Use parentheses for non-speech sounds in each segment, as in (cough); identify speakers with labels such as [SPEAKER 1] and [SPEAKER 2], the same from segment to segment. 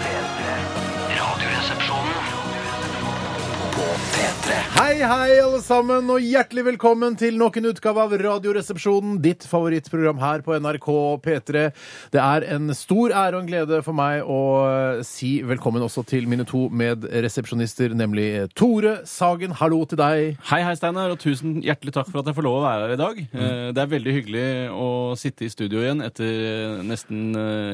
[SPEAKER 1] P3. Radioresepsjonen på P3.
[SPEAKER 2] Hei, hei, alle sammen, og hjertelig velkommen til nok en utgave av Radioresepsjonen, ditt favorittprogram her på NRK P3. Det er en stor ære og en glede for meg å eh, si velkommen også til mine to medresepsjonister, nemlig eh, Tore Sagen. Hallo til deg.
[SPEAKER 3] Hei, hei, Steinar, og tusen hjertelig takk for at jeg får lov å være her i dag. Eh, Det er veldig hyggelig å sitte i studio igjen etter nesten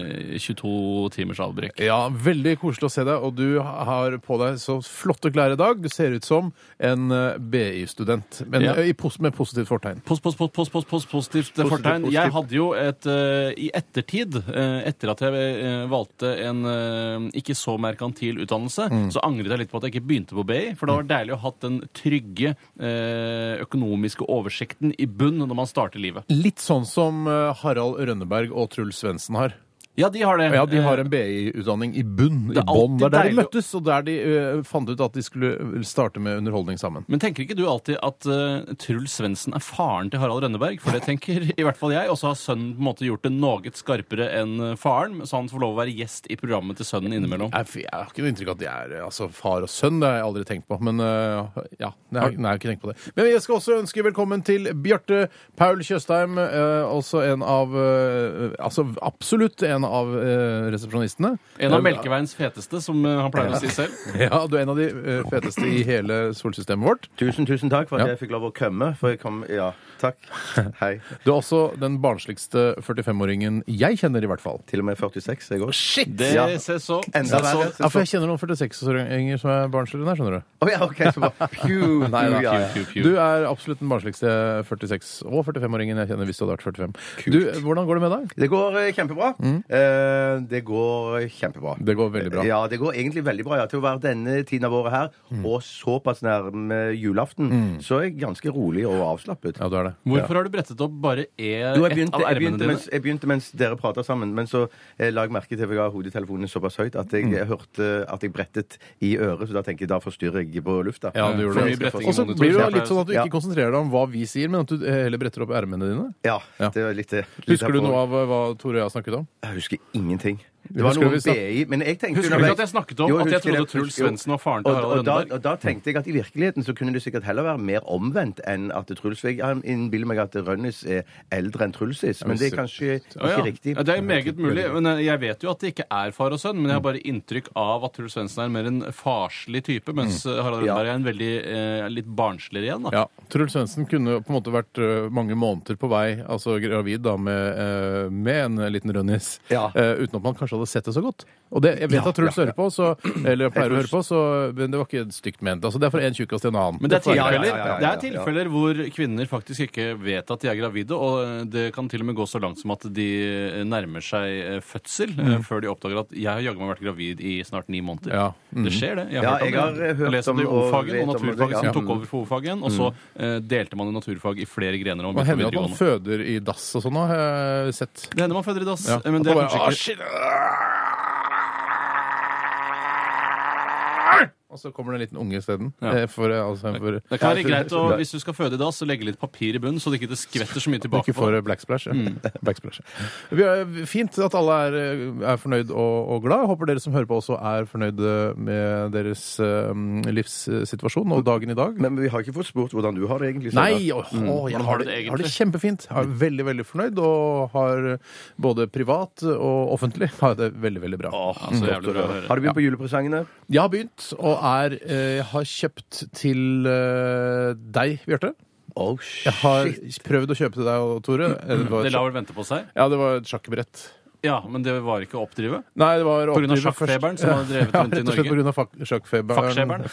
[SPEAKER 3] eh, 22 timers avbrekk.
[SPEAKER 2] Ja, veldig koselig å se deg, og du har på deg så flotte klær i dag. Du ser ut som en eh, BI-student, men
[SPEAKER 3] Ja.
[SPEAKER 2] eh, i pos med positivt fortegn.
[SPEAKER 3] Post, post, post, post, post, post, positivt eh, fortegn. Jeg hadde jo et eh, I ettertid, eh, etter at jeg eh, valgte en eh, ikke så merkantil utdannelse, så angret jeg litt på at jeg ikke begynte på BI, for det var deilig å ha hatt den trygge eh, økonomiske oversikten i bunn når man starter livet.
[SPEAKER 2] Litt sånn som eh, Harald Rønneberg og Truls Svendsen har.
[SPEAKER 3] Ja, de har det.
[SPEAKER 2] Ja, de har
[SPEAKER 3] Eh,
[SPEAKER 2] en BI-utdanning i bunn, i
[SPEAKER 3] Det er
[SPEAKER 2] bånn. Det
[SPEAKER 3] alltid
[SPEAKER 2] er der de
[SPEAKER 3] deilig å-
[SPEAKER 2] møttes, og der de ø, fant ut at de skulle eh, starte med underholdning sammen.
[SPEAKER 3] Men tenker ikke du alltid at eh, Truls Svendsen er faren til Harald Rønneberg? For det tenker (laughs) i hvert fall jeg. Og så har sønnen på en måte gjort det noe skarpere enn eh, faren, så han får lov å være gjest i programmet til sønnen innimellom.
[SPEAKER 2] Jeg, f- jeg har ikke noe inntrykk av at de er ø, altså, far og sønn, det har jeg aldri tenkt på. Men ø, ja, nei, jeg har- nei, jeg har ikke tenkt på det. Men jeg skal også ønske velkommen til Bjarte Paul Tjøstheim, ø, også en av ø, Altså absolutt en av ø, resepsjonistene.
[SPEAKER 3] En
[SPEAKER 2] Eh,
[SPEAKER 3] av Melkeveiens feteste, som eh, han pleier å si selv.
[SPEAKER 2] Ja, du er en av de ø, feteste i hele solsystemet vårt.
[SPEAKER 4] Tusen, tusen takk for at
[SPEAKER 2] Ja.
[SPEAKER 4] jeg fikk lov å komme. For jeg kom, ja, takk. Hei.
[SPEAKER 2] Du er også den barnsligste 45-åringen jeg kjenner, i hvert fall.
[SPEAKER 4] Til og med 46, jeg òg.
[SPEAKER 2] Shit!
[SPEAKER 3] Det
[SPEAKER 4] (laughs) Ja.
[SPEAKER 3] ser så
[SPEAKER 4] Enda verre.
[SPEAKER 2] Ja, for jeg kjenner noen 46-åringer som er barnsligere enn deg, skjønner du.
[SPEAKER 4] Å ja, OK, så
[SPEAKER 2] (laughs)
[SPEAKER 4] bare pju,
[SPEAKER 2] Nei, nei.
[SPEAKER 4] pju, ja, ja.
[SPEAKER 3] Pew, pew.
[SPEAKER 2] Du er absolutt den barnsligste 46- og 45-åringen jeg kjenner hvis du hadde vært 45. Du, hvordan går det med deg?
[SPEAKER 4] Det går eh, kjempebra. Eh, det går kjempebra.
[SPEAKER 2] Mm. Det går veldig bra.
[SPEAKER 4] Ja, det går egentlig veldig bra. Ja, til å være denne tiden av året her,
[SPEAKER 2] Mm.
[SPEAKER 4] og såpass nærme julaften, så er jeg ganske rolig og avslappet.
[SPEAKER 2] Ja, du er det.
[SPEAKER 3] Hvorfor har du brettet opp bare
[SPEAKER 4] Jo,
[SPEAKER 3] én
[SPEAKER 4] jeg
[SPEAKER 3] ett
[SPEAKER 4] begynte,
[SPEAKER 3] av
[SPEAKER 4] jeg,
[SPEAKER 3] ermene
[SPEAKER 4] begynte
[SPEAKER 3] dine?
[SPEAKER 4] mens, jeg begynte mens dere prata sammen, men så eh, la jeg merke til, for jeg har hodetelefonen såpass høyt, at
[SPEAKER 3] Mm.
[SPEAKER 4] jeg eh, hørte at jeg brettet i øret, så da tenker jeg da forstyrrer jeg på lufta.
[SPEAKER 2] Ja, du
[SPEAKER 3] For
[SPEAKER 2] gjorde
[SPEAKER 3] mye
[SPEAKER 2] det.
[SPEAKER 3] bretting i
[SPEAKER 2] Og så
[SPEAKER 3] monitor.
[SPEAKER 2] blir det jo
[SPEAKER 3] Ja.
[SPEAKER 2] litt sånn at du
[SPEAKER 4] Ja.
[SPEAKER 2] ikke konsentrerer deg om hva vi sier, men at du eh, heller bretter opp ermene dine.
[SPEAKER 4] Ja,
[SPEAKER 2] Ja.
[SPEAKER 4] det var litt, litt
[SPEAKER 2] Husker du
[SPEAKER 4] derfor.
[SPEAKER 2] noe av eh, hva Tore og jeg snakket om?
[SPEAKER 4] Jeg husker ingenting. Det
[SPEAKER 2] Husker
[SPEAKER 4] var
[SPEAKER 2] du
[SPEAKER 4] noe
[SPEAKER 2] vi
[SPEAKER 4] om
[SPEAKER 2] snak-
[SPEAKER 4] BI, men jeg tenkte
[SPEAKER 3] Husker du ikke at jeg snakket om at jeg
[SPEAKER 4] husker
[SPEAKER 3] trodde
[SPEAKER 4] det.
[SPEAKER 3] Truls
[SPEAKER 4] Jo.
[SPEAKER 3] Svendsen var faren til
[SPEAKER 4] Og-
[SPEAKER 3] Harald
[SPEAKER 4] og da-
[SPEAKER 3] Rønneberg?
[SPEAKER 4] Og da tenkte jeg at i virkeligheten så kunne det sikkert heller være mer omvendt enn at Truls Jeg innbiller meg at Rønnis er eldre enn Trulsis, men det er kanskje
[SPEAKER 3] Å, ja.
[SPEAKER 4] ikke riktig.
[SPEAKER 3] Ja, Det er meget mulig. men eh, Jeg vet jo at det ikke er far og sønn, men jeg har bare inntrykk av at Truls Svendsen er mer en farslig type, mens eh, Harald
[SPEAKER 4] Mm. Ja.
[SPEAKER 3] Rønneberg er en veldig eh, litt barnsligere (laughs) igjen. da.
[SPEAKER 2] Ja, Truls Svendsen kunne på en måte vært eh, mange måneder på vei, altså gravid da, med, eh, med en liten rønnis,
[SPEAKER 4] Ja.
[SPEAKER 2] Eh, uten at man kanskje hadde sett det så godt. Og det, jeg vet at Truls hører på, så, (clears throat) eller pleier å høre på, så, men det var ikke stygt ment. Altså, det er fra en tjukkast til en annen.
[SPEAKER 3] Men det er
[SPEAKER 2] Dette er-
[SPEAKER 4] ja,
[SPEAKER 3] tilfeller,
[SPEAKER 4] ja, ja, ja,
[SPEAKER 3] det
[SPEAKER 4] ja.
[SPEAKER 3] er tilfeller hvor kvinner faktisk ikke vet at de er gravide, og eh, det kan til og med gå så langt som at de eh, nærmer seg eh, fødsel
[SPEAKER 4] Mm.
[SPEAKER 3] eh, før de oppdager at 'jeg har jaggu meg vært gravid i snart ni måneder'.
[SPEAKER 2] Ja.
[SPEAKER 3] Det skjer, det.
[SPEAKER 4] Mm. Ja,
[SPEAKER 3] om
[SPEAKER 4] jeg har,
[SPEAKER 3] det.
[SPEAKER 4] eh, hørt
[SPEAKER 3] lest om det i
[SPEAKER 4] om og
[SPEAKER 3] ordfagen og
[SPEAKER 4] vet om det,
[SPEAKER 3] naturfaget
[SPEAKER 4] ja. Mm.
[SPEAKER 3] som tok over for ordfagen, og så eh, delte man i naturfag i flere grener. Og
[SPEAKER 2] Det
[SPEAKER 3] begynte på
[SPEAKER 2] hender at man
[SPEAKER 3] videregående.
[SPEAKER 2] føder i dass og sånn, har jeg sett.
[SPEAKER 3] det hender man føder i dass.
[SPEAKER 2] Ja.
[SPEAKER 3] eh, Men det er
[SPEAKER 2] At man
[SPEAKER 3] kanskje
[SPEAKER 2] bare,
[SPEAKER 3] ikke
[SPEAKER 2] Og så kommer det en liten unge isteden.
[SPEAKER 3] Ja.
[SPEAKER 2] Eh, For, eh, altså, for
[SPEAKER 3] Det kan være greit å, hvis du skal føde i dag, så legge litt papir i bunnen, så det ikke det skvetter så mye tilbake.
[SPEAKER 2] ikke
[SPEAKER 3] på
[SPEAKER 2] for
[SPEAKER 3] deg.
[SPEAKER 2] eh, blacksplash. Ja. (laughs) blacksplash. Vi er, fint at alle er, eh, er fornøyd og, og glad. Jeg Håper dere som hører på også er fornøyde med deres eh, livssituasjon og dagen i dag.
[SPEAKER 4] Men Mm. vi har ikke fått spurt hvordan du har det egentlig. Steinar.
[SPEAKER 2] Nei! Åh, åh, jeg
[SPEAKER 3] Hvordan
[SPEAKER 2] har
[SPEAKER 3] har du
[SPEAKER 2] det,
[SPEAKER 3] det egentlig?
[SPEAKER 2] har det kjempefint. Jeg er veldig, veldig fornøyd og har både privat og offentlig har jeg det veldig, veldig bra.
[SPEAKER 3] Åh, så jævlig bra å høre.
[SPEAKER 4] Har du begynt på julepresangene?
[SPEAKER 2] Jeg har begynt, og er, eh, jeg har kjøpt til eh, deg, Bjarte.
[SPEAKER 4] Oh,
[SPEAKER 2] Jeg har
[SPEAKER 4] shit.
[SPEAKER 2] prøvd å kjøpe til deg, Tore. Eh, Det var
[SPEAKER 3] Mm. Det
[SPEAKER 2] et,
[SPEAKER 3] lar
[SPEAKER 2] sjakk-
[SPEAKER 3] vel vente på seg?
[SPEAKER 2] ja, det var et sjakkbrett.
[SPEAKER 3] Ja, men det var ikke å oppdrive?
[SPEAKER 2] Nei, det var
[SPEAKER 3] På grunn av
[SPEAKER 2] oppdrivet først.
[SPEAKER 3] sjakkfeberen som hadde drevet rundt i
[SPEAKER 2] Ja, rett og slett
[SPEAKER 3] Norge?
[SPEAKER 2] på grunn av fak- (laughs) sjakkfeberen.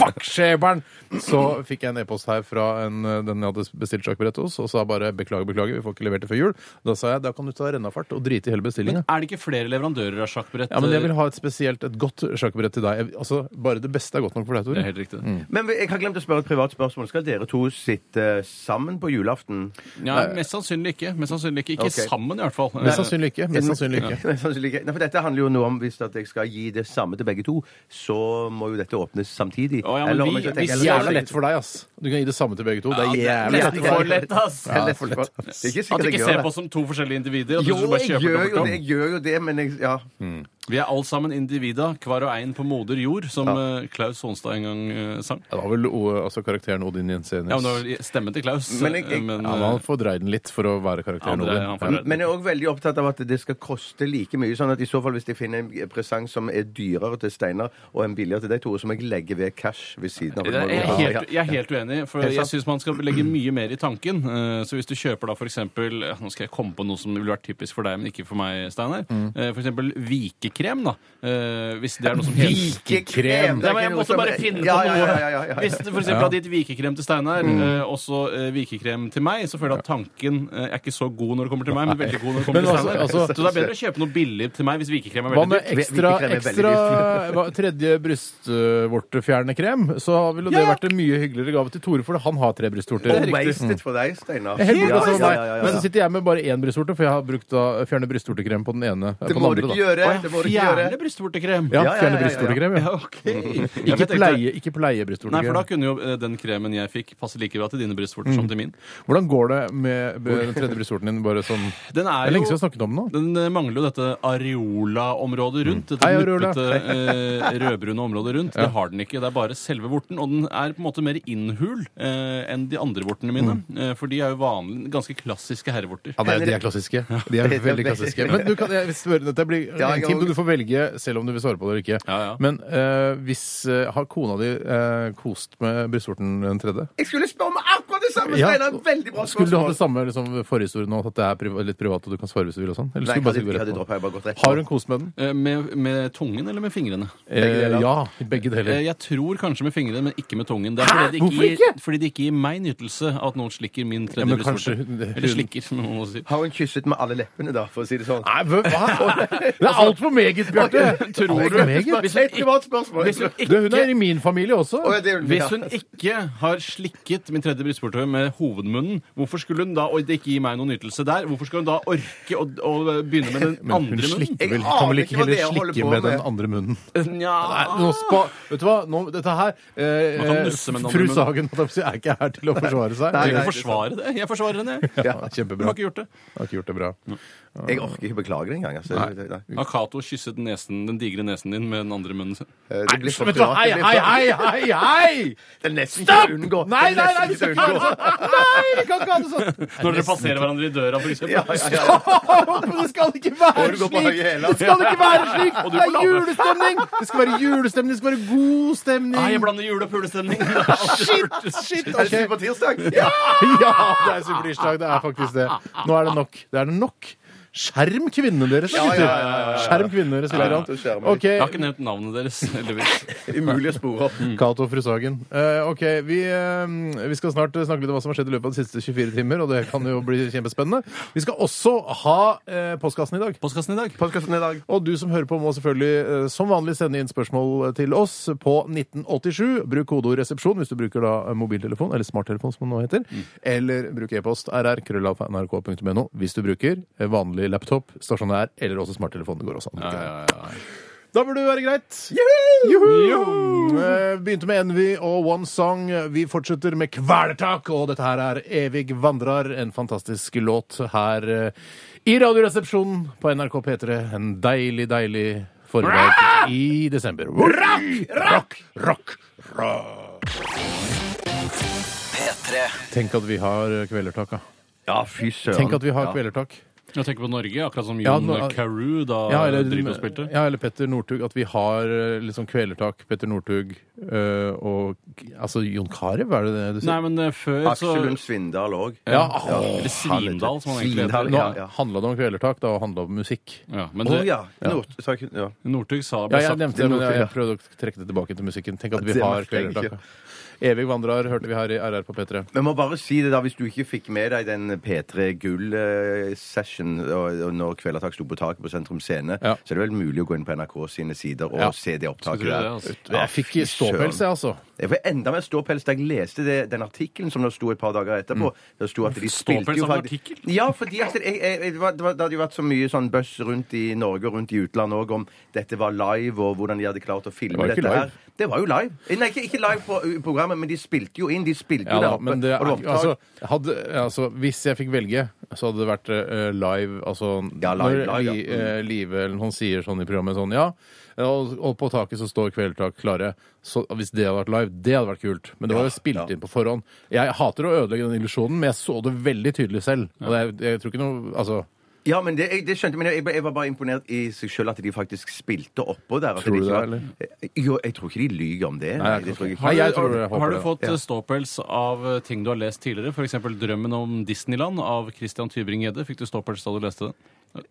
[SPEAKER 2] Fakkskjeberen! Så fikk jeg en e-post her fra en, eh, den jeg hadde bestilt sjakkbrett hos, og sa bare 'beklager, beklager, vi får ikke levert det før jul'. Da sa jeg da kan du ta rennafart og drite i hele
[SPEAKER 3] Men
[SPEAKER 2] bestillinga.
[SPEAKER 3] er det ikke flere leverandører av sjakkbrett? eh,
[SPEAKER 2] Ja, men jeg vil ha et spesielt, et godt sjakkbrett til deg. Jeg, altså, bare det beste er godt nok for deg,
[SPEAKER 3] Det
[SPEAKER 2] Tore.
[SPEAKER 3] er helt riktig.
[SPEAKER 4] Men jeg har glemt å spørre et privat spørsmål. Skal dere to sitte eh, sammen på julaften?
[SPEAKER 3] Ja, mest sannsynlig ikke. Mest sannsynlig ikke. ikke
[SPEAKER 4] Ok.
[SPEAKER 3] sammen, i hvert fall.
[SPEAKER 2] Mest sannsynlig ikke.
[SPEAKER 4] Er
[SPEAKER 2] Mest Mest sannsynlig ikke.
[SPEAKER 4] Mest sannsynlig ikke. Nei, for dette handler jo nå om hvis at jeg skal gi det samme til begge to, så må jo dette åpnes samtidig.
[SPEAKER 3] Å, ja, men vi-
[SPEAKER 4] om jeg skal
[SPEAKER 3] hvis
[SPEAKER 4] eller-
[SPEAKER 2] Jævla lett for deg, ass. Du kan gi det samme til begge to. Det er
[SPEAKER 4] Ja,
[SPEAKER 2] jævlig
[SPEAKER 4] det-
[SPEAKER 2] lett for deg.
[SPEAKER 3] ass!
[SPEAKER 4] Det er lett for lett. Det
[SPEAKER 3] At
[SPEAKER 4] er ikke sikkert
[SPEAKER 3] du
[SPEAKER 4] jeg
[SPEAKER 3] ikke
[SPEAKER 4] gjør
[SPEAKER 3] ser på
[SPEAKER 4] det.
[SPEAKER 3] oss som to forskjellige individer. At
[SPEAKER 4] Jo,
[SPEAKER 3] du bare
[SPEAKER 4] jeg
[SPEAKER 3] kjøper
[SPEAKER 4] gjør jo
[SPEAKER 3] dobbeltdom.
[SPEAKER 4] det, jeg gjør jo det, men jeg Ja.
[SPEAKER 3] Vi er alle sammen individa, hver og ein på moder jord, som eh, Klaus Sonstad en gang eh, sang.
[SPEAKER 2] Det var vel O- altså, karakteren Odin Jensenius.
[SPEAKER 3] Ja, men det var vel stemmen til Klaus. eh,
[SPEAKER 4] Men jeg- jeg-
[SPEAKER 3] men,
[SPEAKER 2] Ja, men han fordreide den litt for å være
[SPEAKER 3] Ja,
[SPEAKER 2] karakteren
[SPEAKER 3] men det er- han får
[SPEAKER 2] Odin.
[SPEAKER 3] det.
[SPEAKER 4] Men jeg er òg veldig opptatt av at det skal koste like mye. Sånn at i så fall hvis jeg finner en presang som er dyrere til Steinar og en billigere til deg, Tore, så må jeg legge ved cash ved siden av.
[SPEAKER 3] Jeg er, helt, jeg er helt uenig, for
[SPEAKER 4] Helt sant.
[SPEAKER 3] jeg syns man skal legge mye mer i tanken. Eh, Så hvis du kjøper da f.eks. Nå skal jeg komme på noe som ville vært typisk for deg, men ikke for meg, Steinar.
[SPEAKER 4] Mm.
[SPEAKER 3] Eh, For eksempel vikekrem, da. Eh, Hvis det er noe som heter
[SPEAKER 4] Vikekrem!
[SPEAKER 3] Nei, men jeg måtte bare finne på
[SPEAKER 4] ja,
[SPEAKER 3] noe.
[SPEAKER 4] ja, ja, ja, ja, ja. Mm.
[SPEAKER 3] Hvis du for eksempel hadde gitt vikekrem til Steinar, eh, og så eh, vikekrem til meg, så føler jeg at tanken eh, er ikke så god når det kommer til meg, men veldig god når det
[SPEAKER 2] Men
[SPEAKER 3] kommer til
[SPEAKER 2] altså-
[SPEAKER 3] Steinar.
[SPEAKER 2] altså-
[SPEAKER 3] så det er bedre å kjøpe noe billig til meg hvis vikekrem er
[SPEAKER 2] Hva
[SPEAKER 3] veldig
[SPEAKER 2] med
[SPEAKER 3] dyrt.
[SPEAKER 2] ekstra,
[SPEAKER 4] Hvilken krem er veldig
[SPEAKER 2] ekstra hva- tredje brystvortefjernekrem? Så ville det vært en mye hyggeligere gave til Tore, for han har tre brystvorter. Mm.
[SPEAKER 4] Og wasted for deg, Steinar.
[SPEAKER 2] Jeg er Helt
[SPEAKER 4] Ja,
[SPEAKER 2] altså,
[SPEAKER 4] ja,
[SPEAKER 2] nei.
[SPEAKER 4] ja, ja, ja.
[SPEAKER 2] Men så sitter jeg med bare én brystvorte, for jeg har brukt da, fjerne brystvortekrem på den ene. eh,
[SPEAKER 4] Det
[SPEAKER 2] på
[SPEAKER 4] må
[SPEAKER 2] den andre,
[SPEAKER 4] du ikke
[SPEAKER 2] da.
[SPEAKER 4] gjøre.
[SPEAKER 3] Å,
[SPEAKER 4] Det må du ikke
[SPEAKER 3] ja,
[SPEAKER 4] gjøre.
[SPEAKER 3] Fjerne brystvortekrem.
[SPEAKER 2] Ja,
[SPEAKER 4] Ja, ja,
[SPEAKER 2] fjerne
[SPEAKER 4] ja, ja, ja.
[SPEAKER 2] brystvortekrem.
[SPEAKER 3] Ja,
[SPEAKER 2] (laughs) Ja.
[SPEAKER 3] ok. (laughs) Jeg
[SPEAKER 2] Ikke
[SPEAKER 3] tenkte-
[SPEAKER 2] pleie, ikke pleie Mm.
[SPEAKER 3] Nei, for da
[SPEAKER 2] brystvortekrem.
[SPEAKER 3] kunne jo eh, den kremen jeg fikk, passe like bra til dine brystvorter som til min.
[SPEAKER 2] Hvordan går det med b- den tredje brystvorten din? Bare sånn Det
[SPEAKER 3] Den er
[SPEAKER 2] er lenge siden vi
[SPEAKER 3] jo
[SPEAKER 2] har snakket om den nå.
[SPEAKER 3] den eh, mangler jo dette areola-området rundt. Dette
[SPEAKER 2] Hei, areola.
[SPEAKER 3] nuppete, eh, rødbrune området rundt. Det har den ikke. Det er bare selve vorten. Og den er på en måte mer innhul eh, enn de andre vortene mine. Eh, for de er jo vanlig, ganske klassiske herrevorter.
[SPEAKER 2] Mm. Ja, nei, de er klassiske.
[SPEAKER 4] (laughs)
[SPEAKER 2] De er veldig klassiske. Men du kan jeg vil spørre dette blir
[SPEAKER 4] Ja, jeg
[SPEAKER 2] en ting
[SPEAKER 4] kan-
[SPEAKER 2] du får velge selv om du vil svare på det eller ikke.
[SPEAKER 3] Ja, ja.
[SPEAKER 2] Men eh, hvis eh, Har kona di eh, kost med brystvorten den tredje?
[SPEAKER 4] Jeg skulle spørre om akkurat det samme,
[SPEAKER 2] Ja.
[SPEAKER 4] Steinar! Veldig bra
[SPEAKER 2] Skulle du hatt
[SPEAKER 4] spørsmål.
[SPEAKER 2] det samme liksom, forhistorien nå, at det er priva- litt privat og du kan svare hvis du vil og sånn? Eller
[SPEAKER 4] Nei,
[SPEAKER 2] skulle
[SPEAKER 4] jeg
[SPEAKER 2] du bare
[SPEAKER 4] hadde- jeg
[SPEAKER 2] gå rett på?
[SPEAKER 4] hadde droppet, jeg bare gått rett på.
[SPEAKER 2] Har hun kost med den?
[SPEAKER 3] Eh, Med, med tungen eller med fingrene?
[SPEAKER 4] Begge
[SPEAKER 2] Eh,
[SPEAKER 4] deler.
[SPEAKER 2] ja, begge
[SPEAKER 3] Eh,
[SPEAKER 2] deler.
[SPEAKER 3] Jeg tror kanskje med fingrene, men ikke med tungen. Det er fordi det ikke,
[SPEAKER 2] Hvorfor
[SPEAKER 3] gir, fordi det ikke gir meg nytelse at noen slikker min
[SPEAKER 2] Ja,
[SPEAKER 3] tredje
[SPEAKER 2] men kanskje
[SPEAKER 3] brystvorte.
[SPEAKER 2] hun-
[SPEAKER 3] Eller slikker, som noen må si.
[SPEAKER 4] Har hun kysset med alle leppene, da, for å si det sånn?
[SPEAKER 2] Nei, hva? hva?
[SPEAKER 4] (laughs)
[SPEAKER 2] Det er altfor meget, Bjarte!
[SPEAKER 3] Tror
[SPEAKER 2] Alt
[SPEAKER 3] du-
[SPEAKER 2] for meget?
[SPEAKER 4] Det er et privat spørsmål.
[SPEAKER 3] Hvis hun
[SPEAKER 2] Du, hun
[SPEAKER 3] ikke
[SPEAKER 2] er i min familie også.
[SPEAKER 4] Å, ja, det er jo-
[SPEAKER 3] Hvis hun ikke har slikket min tredje brystvorte med hovedmunnen, hvorfor skulle hun da og det ikke gi meg noen nytelse der, hvorfor skal hun da orke å, å begynne med den
[SPEAKER 2] (laughs) Men hun
[SPEAKER 3] andre munnen?
[SPEAKER 2] slikker vel,
[SPEAKER 4] Jeg
[SPEAKER 2] kan vel
[SPEAKER 4] aner
[SPEAKER 2] ikke
[SPEAKER 4] ikke hva
[SPEAKER 2] heller
[SPEAKER 4] dere holder
[SPEAKER 2] slikke
[SPEAKER 4] på
[SPEAKER 2] med den
[SPEAKER 4] med.
[SPEAKER 2] andre munnen?
[SPEAKER 3] Nja
[SPEAKER 2] Nei, nå spa, vet du hva? Nå, dette her eh,
[SPEAKER 3] Man kan nusse med den andre
[SPEAKER 2] Fru
[SPEAKER 3] munnen.
[SPEAKER 2] Sagen holdt jeg på å si, er ikke her til å forsvare seg.
[SPEAKER 3] Jeg
[SPEAKER 4] nei,
[SPEAKER 3] kan
[SPEAKER 4] det er
[SPEAKER 3] forsvare det. Jeg forsvarer
[SPEAKER 2] (laughs)
[SPEAKER 3] henne. jeg.
[SPEAKER 2] Ja,
[SPEAKER 3] Hun
[SPEAKER 2] kjempebra.
[SPEAKER 3] har ikke gjort det.
[SPEAKER 2] Har ikke gjort det bra.
[SPEAKER 4] Jeg orker ikke beklage det engang. Altså. Nei. Nei.
[SPEAKER 3] Har Cato kysset nesen, den digre nesen din med den andre munnen sin?
[SPEAKER 4] Det blir for
[SPEAKER 2] Vet du, hva?
[SPEAKER 4] privat,
[SPEAKER 2] hei,
[SPEAKER 4] det blir
[SPEAKER 2] hei, hei,
[SPEAKER 4] for-
[SPEAKER 2] hei! hei!
[SPEAKER 4] Det er nesten ikke
[SPEAKER 2] Stopp!
[SPEAKER 4] å unngå. Det er
[SPEAKER 2] Nei, nei, nei, vi
[SPEAKER 4] nesten
[SPEAKER 2] skal
[SPEAKER 4] ikke
[SPEAKER 2] ikke
[SPEAKER 4] å
[SPEAKER 2] ha det
[SPEAKER 4] unngå.
[SPEAKER 2] sånn! Nei, vi kan ikke ha det sånn!
[SPEAKER 3] Når dere passerer hverandre i døra, for eksempel.
[SPEAKER 4] Ja, ja, ja.
[SPEAKER 2] Men (laughs) det skal ikke være
[SPEAKER 4] Og du går på
[SPEAKER 2] slik!
[SPEAKER 4] høye hæler.
[SPEAKER 2] Det skal ikke være slik!
[SPEAKER 3] Og du
[SPEAKER 2] Det
[SPEAKER 3] får
[SPEAKER 2] er
[SPEAKER 3] lave.
[SPEAKER 2] julestemning! Det skal være julestemning, det skal være god stemning!
[SPEAKER 3] Nei, jeg blander jule- og pulestemning.
[SPEAKER 2] (laughs) Shit!
[SPEAKER 3] (laughs)
[SPEAKER 2] Shit!
[SPEAKER 4] Er det
[SPEAKER 2] ok.
[SPEAKER 4] på tirsdag? Ja!
[SPEAKER 2] (laughs) Ja, det er supertirsdag. Det er faktisk det. Nå er det nok. Det er det nok. Skjerm kvinnene deres, da,
[SPEAKER 4] Ja,
[SPEAKER 2] gutter.
[SPEAKER 4] ja, ja, ja, ja.
[SPEAKER 2] Skjerm kvinnene deres,
[SPEAKER 4] Ja, ja.
[SPEAKER 2] lite grann.
[SPEAKER 3] Jeg har ikke
[SPEAKER 2] OK.
[SPEAKER 3] nevnt navnet deres, (laughs) heldigvis.
[SPEAKER 4] Umulig å spore opp.
[SPEAKER 2] Cato og fru Sagen. Eh, OK, vi, eh, vi skal snart snakke litt om hva som har skjedd i løpet av de siste 24 timer, og det kan jo bli kjempespennende. Vi skal også ha eh, postkassen i dag.
[SPEAKER 3] Postkassen i dag.
[SPEAKER 4] Podkasten i dag.
[SPEAKER 2] Og du som hører på må selvfølgelig eh, som vanlig sende inn spørsmål til oss på 1987. Bruk kodeord 'resepsjon' hvis du bruker da eh, mobiltelefon, eller smarttelefon som det nå heter. Eller bruk e-post rr.krøllalfa.nrk.no hvis du bruker eh, vanlig laptop, stasjonær eller også smarttelefon. Det går også an. å bruke det. Da burde det være greit. Juhu! Eh, Begynte med Envy og One Song. Vi fortsetter med Kvelertak, og dette her er Evig vandrar, en fantastisk låt her eh, i Radioresepsjonen på NRK P3. En deilig, deilig formiddag i desember. Rock! Rock! Rock!
[SPEAKER 1] P3
[SPEAKER 2] Tenk at vi har eh, Kvelertak, ja.
[SPEAKER 4] Ja, fy søren.
[SPEAKER 2] Tenk at vi har Kvelertak.
[SPEAKER 3] Jeg tenker på Norge, akkurat som
[SPEAKER 2] Ja,
[SPEAKER 3] Jon
[SPEAKER 2] nå-
[SPEAKER 3] Carew da
[SPEAKER 2] Ja, eller,
[SPEAKER 3] Drillo spilte.
[SPEAKER 2] ja, eller Petter Northug. At vi har eh, liksom Kvelertak, Petter Northug eh, og Altså Jon Carew, er det det du sier?
[SPEAKER 3] Nei, men eh, før så
[SPEAKER 4] Aksel Lund Svindal òg.
[SPEAKER 2] Ja,
[SPEAKER 3] Eller Svindal, som han egentlig heter.
[SPEAKER 4] Svindal,
[SPEAKER 2] Nå
[SPEAKER 4] ja. ja.
[SPEAKER 2] handla det om kvelertak, da handla det om musikk.
[SPEAKER 3] Ja, men
[SPEAKER 4] Å
[SPEAKER 3] det,
[SPEAKER 4] ja. Nord, sa jeg ikke- ja.
[SPEAKER 3] Northug sa
[SPEAKER 2] Ja,
[SPEAKER 3] ble
[SPEAKER 2] jeg
[SPEAKER 3] sagt
[SPEAKER 2] nevnte
[SPEAKER 4] det
[SPEAKER 2] det, men
[SPEAKER 4] noe,
[SPEAKER 2] jeg,
[SPEAKER 4] ja.
[SPEAKER 2] jeg prøvde å trekke det tilbake til musikken. Tenk at vi
[SPEAKER 4] Det
[SPEAKER 2] har
[SPEAKER 4] merker jeg
[SPEAKER 2] kvelertak. ja. Evig vandrer hørte vi her i RR på P3.
[SPEAKER 4] Men jeg må bare si det da, hvis du ikke fikk med deg den P3 Gull-session og, og når Kvelertak sto på taket på Sentrum Scene,
[SPEAKER 2] Ja.
[SPEAKER 4] så er det vel mulig å gå inn på NRK sine sider og
[SPEAKER 2] Ja.
[SPEAKER 4] se det
[SPEAKER 3] Skulle
[SPEAKER 4] opptaket
[SPEAKER 3] tro
[SPEAKER 4] der.
[SPEAKER 3] det, altså.
[SPEAKER 4] Ja,
[SPEAKER 2] Jeg fikk
[SPEAKER 4] fy
[SPEAKER 2] ståpels,
[SPEAKER 4] søren.
[SPEAKER 2] jeg, altså.
[SPEAKER 4] Jeg får enda mer ståpels da jeg leste det, den artikkelen som det sto et par dager etterpå.
[SPEAKER 2] Mm.
[SPEAKER 4] Det sto at de spilte
[SPEAKER 3] Ståpels
[SPEAKER 4] jo
[SPEAKER 2] sånn
[SPEAKER 3] av en
[SPEAKER 4] faktisk-
[SPEAKER 3] artikkel?
[SPEAKER 4] Ja, fordi at jeg, jeg, jeg, det var- det var- det hadde jo vært så mye sånn buzz rundt i Norge og rundt i utlandet òg om dette var live, og hvordan de hadde klart å filme
[SPEAKER 2] Det var jo ikke
[SPEAKER 4] dette her.
[SPEAKER 2] live.
[SPEAKER 4] Det var jo live. Nei, ikke, ikke live på i programmet, men de spilte jo inn. De spilte jo
[SPEAKER 2] Ja,
[SPEAKER 4] der
[SPEAKER 2] da,
[SPEAKER 4] oppe.
[SPEAKER 2] men det er,
[SPEAKER 4] og var opptak.
[SPEAKER 2] altså, hadde, altså, hvis jeg fikk velge, så hadde det vært eh, live altså,
[SPEAKER 4] Ja,
[SPEAKER 2] Når
[SPEAKER 4] live, live,
[SPEAKER 2] Li-
[SPEAKER 4] ja. Mm.
[SPEAKER 2] eh, Live eller noen sier sånn i programmet sånn Ja, og, og på taket så står Kvelertak klare. Så, hvis det hadde vært live, det hadde vært kult. Men det var jo spilt inn på forhånd. Jeg hater å ødelegge den illusjonen, men jeg så det veldig tydelig selv. Og det, er- jeg tror ikke noe Altså
[SPEAKER 4] Ja, men det, jeg, det skjønte men jeg, jeg var bare imponert i seg sjøl at de faktisk spilte oppå der. at
[SPEAKER 2] Tror du
[SPEAKER 4] de
[SPEAKER 2] det,
[SPEAKER 4] ikke var- Eh,
[SPEAKER 2] eller?
[SPEAKER 4] Jo, jeg tror ikke de lyver om det.
[SPEAKER 2] Nei, jeg
[SPEAKER 4] det
[SPEAKER 2] tror ikke.
[SPEAKER 4] jeg
[SPEAKER 2] Nei, jeg tror det. håper
[SPEAKER 3] Har du
[SPEAKER 2] det.
[SPEAKER 3] fått
[SPEAKER 4] Ja.
[SPEAKER 3] eh, ståpels av eh, ting du har lest tidligere? F.eks. 'Drømmen om Disneyland' av Christian Tybring-Gjedde. Fikk du ståpels da du leste den?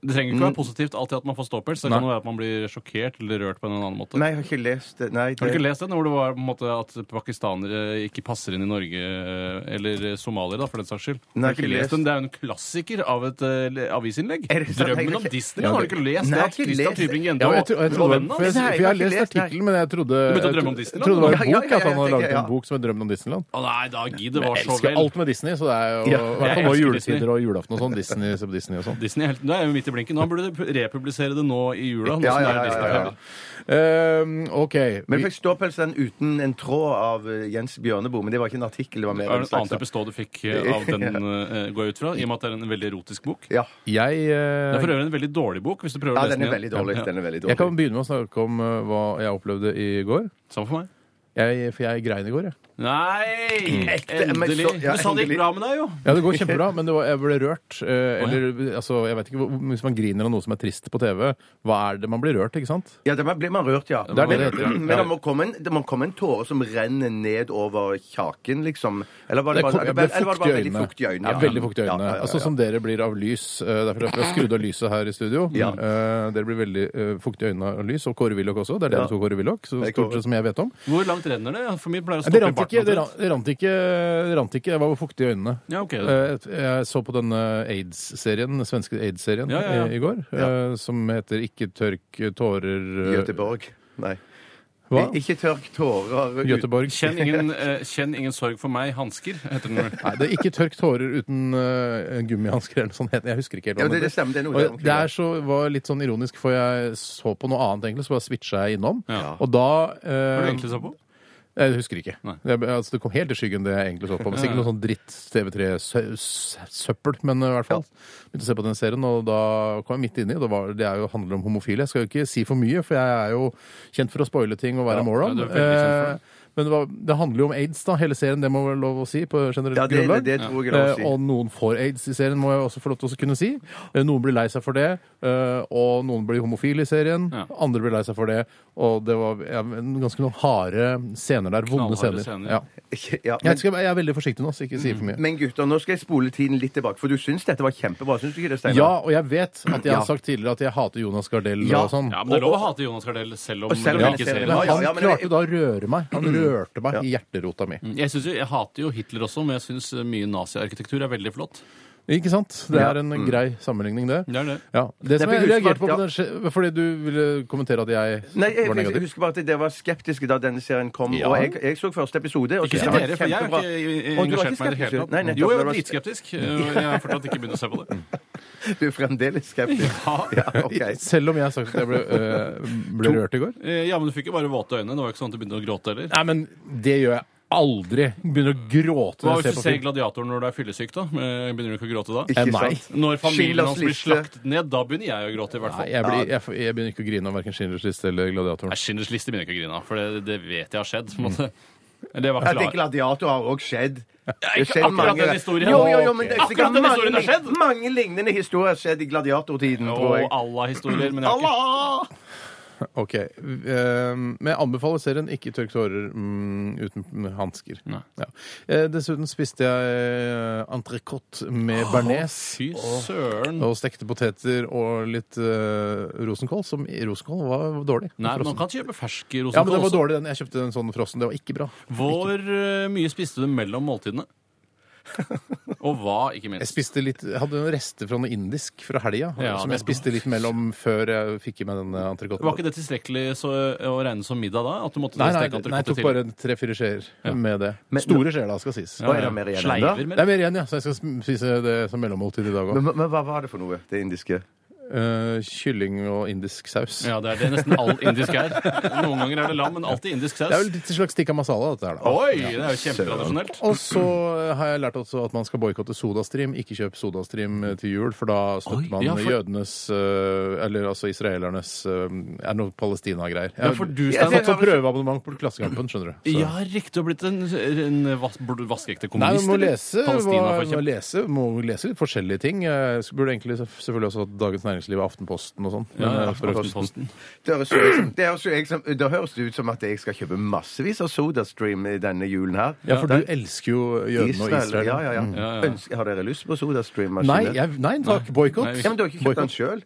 [SPEAKER 3] Det trenger ikke være positivt alltid at man får ståpels.
[SPEAKER 2] Mm.
[SPEAKER 3] Det
[SPEAKER 2] Nei.
[SPEAKER 3] kan jo være at man blir sjokkert eller rørt på en annen måte.
[SPEAKER 4] Nei, jeg har ikke lest det. Nei, det.
[SPEAKER 3] Har du ikke lest den hvor det var på en måte at pakistanere ikke passer inn i Norge, eh, eller somaliere, da, for den saks skyld?
[SPEAKER 4] Nei,
[SPEAKER 3] Har du
[SPEAKER 4] ikke lest.
[SPEAKER 3] den. Det er jo en klassiker av et eh, le- avisinnlegg.
[SPEAKER 4] Er det sant? Nei, jeg
[SPEAKER 3] Drømmen
[SPEAKER 4] har
[SPEAKER 3] om
[SPEAKER 4] ikke-
[SPEAKER 3] Disney
[SPEAKER 4] Ja,
[SPEAKER 3] har du
[SPEAKER 4] det-
[SPEAKER 3] ikke lest?
[SPEAKER 4] Nei,
[SPEAKER 3] det er
[SPEAKER 4] jeg har
[SPEAKER 3] at
[SPEAKER 4] ikke
[SPEAKER 3] Christian
[SPEAKER 4] lest-
[SPEAKER 3] Tybring-Gjedde
[SPEAKER 2] Ja,
[SPEAKER 3] og
[SPEAKER 2] jeg, tror- jeg, tror-
[SPEAKER 3] og vennene
[SPEAKER 2] for jeg,
[SPEAKER 3] hans.
[SPEAKER 4] Nei,
[SPEAKER 2] for
[SPEAKER 4] jeg
[SPEAKER 2] jeg
[SPEAKER 4] har
[SPEAKER 2] har
[SPEAKER 4] ikke
[SPEAKER 2] lest
[SPEAKER 4] lest, nei.
[SPEAKER 2] artikkelen, men jeg trodde
[SPEAKER 3] Du begynte å
[SPEAKER 2] jeg
[SPEAKER 3] drømme om
[SPEAKER 2] tro-
[SPEAKER 3] Disney,
[SPEAKER 2] trodde det
[SPEAKER 4] da?
[SPEAKER 2] var en
[SPEAKER 4] Ja, ja,
[SPEAKER 2] bok,
[SPEAKER 4] ja,
[SPEAKER 2] at han hadde
[SPEAKER 4] jeg
[SPEAKER 2] laget
[SPEAKER 4] tenker,
[SPEAKER 2] en bok som het 'Drømmen om Disneyland'.
[SPEAKER 3] Å nei, Dagi, det var
[SPEAKER 2] Jeg
[SPEAKER 3] så
[SPEAKER 2] elsker
[SPEAKER 3] vel.
[SPEAKER 2] alt med Disney, så det er jo
[SPEAKER 4] Ja,
[SPEAKER 2] i hvert fall
[SPEAKER 3] jeg
[SPEAKER 2] nå i
[SPEAKER 3] elsker
[SPEAKER 2] juletider
[SPEAKER 3] Disney.
[SPEAKER 2] og julaften og sånn. Disney, se på Disney og sånn.
[SPEAKER 3] Disney er helt, Nå er jeg jo midt i blinken. Han burde du republisere det nå i jula. Nå
[SPEAKER 4] Ja,
[SPEAKER 3] som
[SPEAKER 4] ja,
[SPEAKER 3] det
[SPEAKER 4] ja,
[SPEAKER 3] er
[SPEAKER 4] ja, ja.
[SPEAKER 3] Disney-feber.
[SPEAKER 2] Ehm, OK.
[SPEAKER 4] Men
[SPEAKER 2] Vi,
[SPEAKER 4] jeg fikk ståpels den uten en tråd av eh, Jens Bjørneboe. Men det var ikke en artikkel. det var mer
[SPEAKER 3] Er det
[SPEAKER 4] en
[SPEAKER 3] en annen
[SPEAKER 4] slags...
[SPEAKER 3] type stå du fikk eh, av
[SPEAKER 4] (laughs)
[SPEAKER 3] den, eh, går jeg ut fra? I og med at det er en veldig erotisk bok.
[SPEAKER 4] Ja.
[SPEAKER 2] jeg,
[SPEAKER 3] Det er for
[SPEAKER 2] eh,
[SPEAKER 3] øvrig en veldig dårlig bok. hvis du prøver
[SPEAKER 4] ja,
[SPEAKER 3] å lese
[SPEAKER 4] den er
[SPEAKER 3] igjen.
[SPEAKER 4] veldig dårlig.
[SPEAKER 3] Ja.
[SPEAKER 4] Den er veldig
[SPEAKER 2] jeg kan
[SPEAKER 4] dårlig.
[SPEAKER 2] begynne med å snakke om eh, hva jeg opplevde i går.
[SPEAKER 3] Samme for meg.
[SPEAKER 2] Jeg, for jeg grein i går, jeg.
[SPEAKER 3] Nei!
[SPEAKER 4] Ekte, men
[SPEAKER 3] Endelig.
[SPEAKER 4] så- ja,
[SPEAKER 3] du sa det
[SPEAKER 4] endelig.
[SPEAKER 3] gikk bra med deg, jo.
[SPEAKER 2] Ja,
[SPEAKER 3] (laughs)
[SPEAKER 2] det går kjempebra, men det var, jeg ble rørt. eh, eller altså, jeg vet ikke hvor- Hvis man griner av noe som er trist på TV, hva er det man blir rørt, ikke sant?
[SPEAKER 4] Ja, da blir man rørt, ja.
[SPEAKER 2] Det er det
[SPEAKER 4] men
[SPEAKER 2] det heter.
[SPEAKER 4] men det, må komme en, det må komme en tåre som renner ned over kjaken, liksom. Eller var
[SPEAKER 2] Det
[SPEAKER 4] det
[SPEAKER 2] kom,
[SPEAKER 4] bare,
[SPEAKER 2] jeg ble
[SPEAKER 4] eller var
[SPEAKER 2] fuktig
[SPEAKER 4] det bare
[SPEAKER 2] i
[SPEAKER 4] veldig
[SPEAKER 2] øynene.
[SPEAKER 4] fuktig i øynene?
[SPEAKER 2] Ja, veldig fuktig i øynene.
[SPEAKER 4] Ja, ja, ja,
[SPEAKER 2] Altså
[SPEAKER 4] ja.
[SPEAKER 2] som dere blir av lys. eh, Derfor har jeg skrudd av lyset her i studio.
[SPEAKER 4] Ja.
[SPEAKER 2] Eh, Dere blir veldig eh, fuktige i øynene av lys. Og Kåre Willoch også. Det er dere
[SPEAKER 4] Ja.
[SPEAKER 2] to Kåre Willoch, så
[SPEAKER 4] Det er
[SPEAKER 2] stort
[SPEAKER 4] Kåre.
[SPEAKER 2] sett som jeg vet om.
[SPEAKER 3] Hvor langt renner det? For mye pleier å
[SPEAKER 2] Det
[SPEAKER 3] stoppe i
[SPEAKER 2] rant ikke.
[SPEAKER 3] barten.
[SPEAKER 2] Det rant, det rant ikke. Det rant ikke. Jeg var fuktig i øynene.
[SPEAKER 3] Ja, ok.
[SPEAKER 2] Eh, Jeg så på denne AIDS-serien, den svenske AIDS-serien
[SPEAKER 3] Ja, ja, ja.
[SPEAKER 2] eh, i går, eh, som heter Ikke tørk tårer eh,
[SPEAKER 4] Göteborg. Nei.
[SPEAKER 2] Hva?
[SPEAKER 4] Ik- Ikke tørk tårer ut.
[SPEAKER 2] Göteborg.
[SPEAKER 3] Kjenn ingen, eh, kjenn ingen sorg for meg, hansker, heter den vel.
[SPEAKER 2] Nei, det er ikke tørk tårer uten eh, gummihansker eller noe sånt. Jeg husker ikke helt
[SPEAKER 4] Ja,
[SPEAKER 2] hva den
[SPEAKER 4] det, det
[SPEAKER 2] heter.
[SPEAKER 4] stemmer. Det er noe der
[SPEAKER 2] Og
[SPEAKER 4] omkring.
[SPEAKER 2] det er så, var litt sånn ironisk, for jeg så på noe annet, egentlig, så bare switcha jeg innom.
[SPEAKER 3] Ja.
[SPEAKER 2] Og da
[SPEAKER 3] Hva er det du
[SPEAKER 2] eh,
[SPEAKER 3] egentlig så på?
[SPEAKER 2] Jeg husker ikke.
[SPEAKER 3] Nei.
[SPEAKER 2] Det, altså, det kom helt i skyggen, det jeg egentlig så på. Men sikkert noe sånn dritt TV3-søppel, men eh, i hvert fall. Begynte å se på den serien, og da kom jeg midt inni. og Det, var, det er jo, handler om homofile. Jeg skal jo ikke si for mye, for jeg er jo kjent for å spoile ting og være moron.
[SPEAKER 3] ja, du er veldig kjent for det.
[SPEAKER 2] Eh, men det, var, det handler jo om aids, da, hele serien. Det må være lov å si på generelt
[SPEAKER 4] Ja, det, det,
[SPEAKER 2] grunnlag.
[SPEAKER 4] det tror jeg
[SPEAKER 2] Eh,
[SPEAKER 4] også.
[SPEAKER 2] og noen får aids i serien, må jeg også få lov til å kunne si. Eh, Noen blir lei seg for det, eh, og noen blir homofile i serien.
[SPEAKER 3] Ja.
[SPEAKER 2] Andre blir lei seg for det. Og det var ja, men ganske noen harde scener der. Vonde
[SPEAKER 3] Knallharde
[SPEAKER 2] scener.
[SPEAKER 3] scener.
[SPEAKER 2] Ja.
[SPEAKER 4] Ja, men,
[SPEAKER 2] Jeg, skal, jeg er veldig forsiktig nå, så ikke si for mye.
[SPEAKER 4] men gutter, nå skal jeg spole tiden litt tilbake, for du syns dette var kjempebra. Syns du ikke det, Steinar?
[SPEAKER 2] Ja, og jeg vet at jeg
[SPEAKER 4] Ja.
[SPEAKER 2] har sagt tidligere at jeg hater Jonas Gardell
[SPEAKER 4] Ja.
[SPEAKER 2] og sånn.
[SPEAKER 3] Ja, men Det er lov å hate Jonas Gardell selv om
[SPEAKER 4] Og selv
[SPEAKER 3] du
[SPEAKER 4] om jeg
[SPEAKER 3] ikke ser
[SPEAKER 4] ser det.
[SPEAKER 2] Men
[SPEAKER 3] det.
[SPEAKER 4] Ja, ja,
[SPEAKER 2] han
[SPEAKER 4] ja, men- Mm.
[SPEAKER 2] klarte jo da å røre meg. Han rørte meg i hjerterota mi.
[SPEAKER 3] Jeg, synes jo, jeg hater jo Hitler også, men jeg syns mye naziarkitektur er veldig flott.
[SPEAKER 2] Ikke sant? Det er en grei sammenligning, det.
[SPEAKER 3] Det er det.
[SPEAKER 2] Ja. Det som
[SPEAKER 4] Mm. Det er
[SPEAKER 2] jeg reagerte på,
[SPEAKER 4] ja.
[SPEAKER 2] på den, skje- fordi du ville kommentere at jeg
[SPEAKER 4] Nei, jeg,
[SPEAKER 2] var
[SPEAKER 4] jeg,
[SPEAKER 2] negativ.
[SPEAKER 4] husker bare at dere var skeptiske da denne serien kom.
[SPEAKER 2] Ja.
[SPEAKER 4] Og jeg, jeg så første episode. Og
[SPEAKER 3] Ikke
[SPEAKER 4] syntes
[SPEAKER 3] si
[SPEAKER 4] det var
[SPEAKER 3] dere, for jeg
[SPEAKER 4] kjempebra.
[SPEAKER 3] har ikke eh,
[SPEAKER 4] Og du var
[SPEAKER 3] engasjert meg i det
[SPEAKER 4] skeptisk,
[SPEAKER 3] hele
[SPEAKER 4] Nei,
[SPEAKER 3] tatt.
[SPEAKER 4] nettopp,
[SPEAKER 3] Jo, jeg
[SPEAKER 4] du
[SPEAKER 3] var
[SPEAKER 4] var-
[SPEAKER 3] dritskeptisk. eh, og Jeg har fortsatt ikke begynt å se på det.
[SPEAKER 4] Du er fremdeles skeptisk.
[SPEAKER 3] (laughs)
[SPEAKER 4] Ja, ok.
[SPEAKER 2] Selv om jeg har sagt at jeg ble, øh, ble rørt i går?
[SPEAKER 3] Eh, Ja, men du fikk jo bare våte øyne. Det var jo ikke sånn at du begynte å gråte heller.
[SPEAKER 2] Nei, men det gjør jeg aldri. Begynner å gråte når jeg
[SPEAKER 3] Hva hvis du
[SPEAKER 2] ser på
[SPEAKER 3] ser
[SPEAKER 2] film.
[SPEAKER 3] Gladiatoren når du er fyllesyk, da? Eh, Begynner du ikke å gråte da?
[SPEAKER 4] Ikke
[SPEAKER 2] Eh, nei.
[SPEAKER 4] sant?
[SPEAKER 3] Når familien
[SPEAKER 4] Schindlers
[SPEAKER 3] hans blir
[SPEAKER 4] liste.
[SPEAKER 3] slaktet ned, da begynner jeg å gråte, i hvert
[SPEAKER 2] Nei,
[SPEAKER 3] fall.
[SPEAKER 2] jeg, blir, jeg, får- jeg begynner ikke å grine av verken Schindlers liste eller
[SPEAKER 3] Nei,
[SPEAKER 2] Gladiatoren.
[SPEAKER 3] Schindlers liste begynner jeg ikke å grine av, for det, det vet jeg har skjedd. på en måte.
[SPEAKER 2] Mm.
[SPEAKER 3] Det var
[SPEAKER 4] Jeg tenker
[SPEAKER 3] klar.
[SPEAKER 4] gladiator har òg skjedd. Det
[SPEAKER 3] ikke
[SPEAKER 4] skjedde
[SPEAKER 3] akkurat
[SPEAKER 4] mange-
[SPEAKER 3] den historien.
[SPEAKER 4] Jo, jo, jo, men det er
[SPEAKER 3] Akkurat
[SPEAKER 4] sikkert
[SPEAKER 3] den historien
[SPEAKER 4] mange,
[SPEAKER 3] har skjedd.
[SPEAKER 4] mange lignende historier har skjedd i gladiatortiden, tror jeg.
[SPEAKER 3] Og Allah-historier. Men jeg har ikke
[SPEAKER 2] Ok, ehm, Men jeg anbefaler serien Ikke tørk tårer mm, uten hansker.
[SPEAKER 3] Nei.
[SPEAKER 2] Ja. Eh, Dessuten spiste jeg entrecôte med bearnés.
[SPEAKER 3] Fy søren.
[SPEAKER 2] Og stekte poteter og litt eh, rosenkål, som rosenkål var dårlig.
[SPEAKER 3] Nei,
[SPEAKER 2] Frossen.
[SPEAKER 3] man kan kjøpe fersk
[SPEAKER 2] ja, men
[SPEAKER 3] rosenkål
[SPEAKER 2] det var
[SPEAKER 3] også.
[SPEAKER 2] dårlig den. Jeg kjøpte en sånn frossen. Det var ikke bra. (laughs)
[SPEAKER 3] Hvor eh, mye spiste du mellom måltidene? Og hva, ikke
[SPEAKER 2] Jeg
[SPEAKER 3] minst.
[SPEAKER 2] spiste litt, jeg hadde noen rester fra noe indisk fra helga
[SPEAKER 3] Ja,
[SPEAKER 2] som
[SPEAKER 3] det
[SPEAKER 2] jeg
[SPEAKER 3] er
[SPEAKER 2] spiste litt mellom før jeg fikk i meg den eh, entrecôten.
[SPEAKER 3] Var ikke det tilstrekelig så, å regne som middag da? At du måtte
[SPEAKER 2] Nei, nei, nei, jeg
[SPEAKER 3] steke entrecôte
[SPEAKER 2] tok
[SPEAKER 3] til?
[SPEAKER 2] bare tre-fire skjeer med det. Store skjeer, da, skal sies.
[SPEAKER 4] Hva er det mer igjen enda?
[SPEAKER 3] Sleiver,
[SPEAKER 2] Det
[SPEAKER 3] men
[SPEAKER 2] er mer igjen, ja, så jeg skal sm- spise det som mellommåltid i dag òg.
[SPEAKER 4] Men, men hva var det for noe, det indiske?
[SPEAKER 2] kylling og indisk saus.
[SPEAKER 3] Ja, det er det nesten all indisk er. Noen ganger er det lam, men alltid indisk saus.
[SPEAKER 2] Det er vel litt slags tikka masala, dette her, da.
[SPEAKER 3] Oi, det er jo kjempetradisjonelt.
[SPEAKER 2] Og så har jeg lært også at man skal boikotte Sodastream. Ikke kjøp Sodastream eh, til jul, for da støtter
[SPEAKER 3] Oi,
[SPEAKER 2] man
[SPEAKER 3] ja, for-
[SPEAKER 2] jødenes øh, Eller altså israelernes øh, Er det noe Palestina-greier? Jeg
[SPEAKER 3] Ja, for du,
[SPEAKER 2] jeg har
[SPEAKER 3] Stein-
[SPEAKER 2] fått sånn prøveabonnement på Klassekampen, skjønner du. Så-
[SPEAKER 3] Ja, riktig. Du har blitt en, en vas vaskeekte
[SPEAKER 2] Nei, man
[SPEAKER 3] kommunist.
[SPEAKER 2] må
[SPEAKER 3] eller?
[SPEAKER 2] lese,
[SPEAKER 3] Palestina,
[SPEAKER 2] hva-
[SPEAKER 3] for
[SPEAKER 2] må,
[SPEAKER 3] eksempel.
[SPEAKER 2] lese, må lese litt forskjellige ting. Jeg burde egentlig selv- selvfølgelig også hatt Dagens Næringsliv og Aftenposten og sånn.
[SPEAKER 3] Ja,
[SPEAKER 2] men,
[SPEAKER 3] ja,
[SPEAKER 2] øh, for å-
[SPEAKER 3] Aftenposten.
[SPEAKER 4] Det høres, jo ut som, det, høres jo jeg som, det høres jo ut som at jeg skal kjøpe massevis av SodaStream i denne julen her.
[SPEAKER 2] ja, for du elsker jo jødene og Israel.
[SPEAKER 4] Ja, ja, ja.
[SPEAKER 3] Ja, ja.
[SPEAKER 4] Ønsker- Har dere lyst på SodaStream-maskiner?
[SPEAKER 2] Nei, jeg, nei takk. Boikott.
[SPEAKER 3] Nei,
[SPEAKER 4] Ja, men du har ikke kjøpt den sjøl?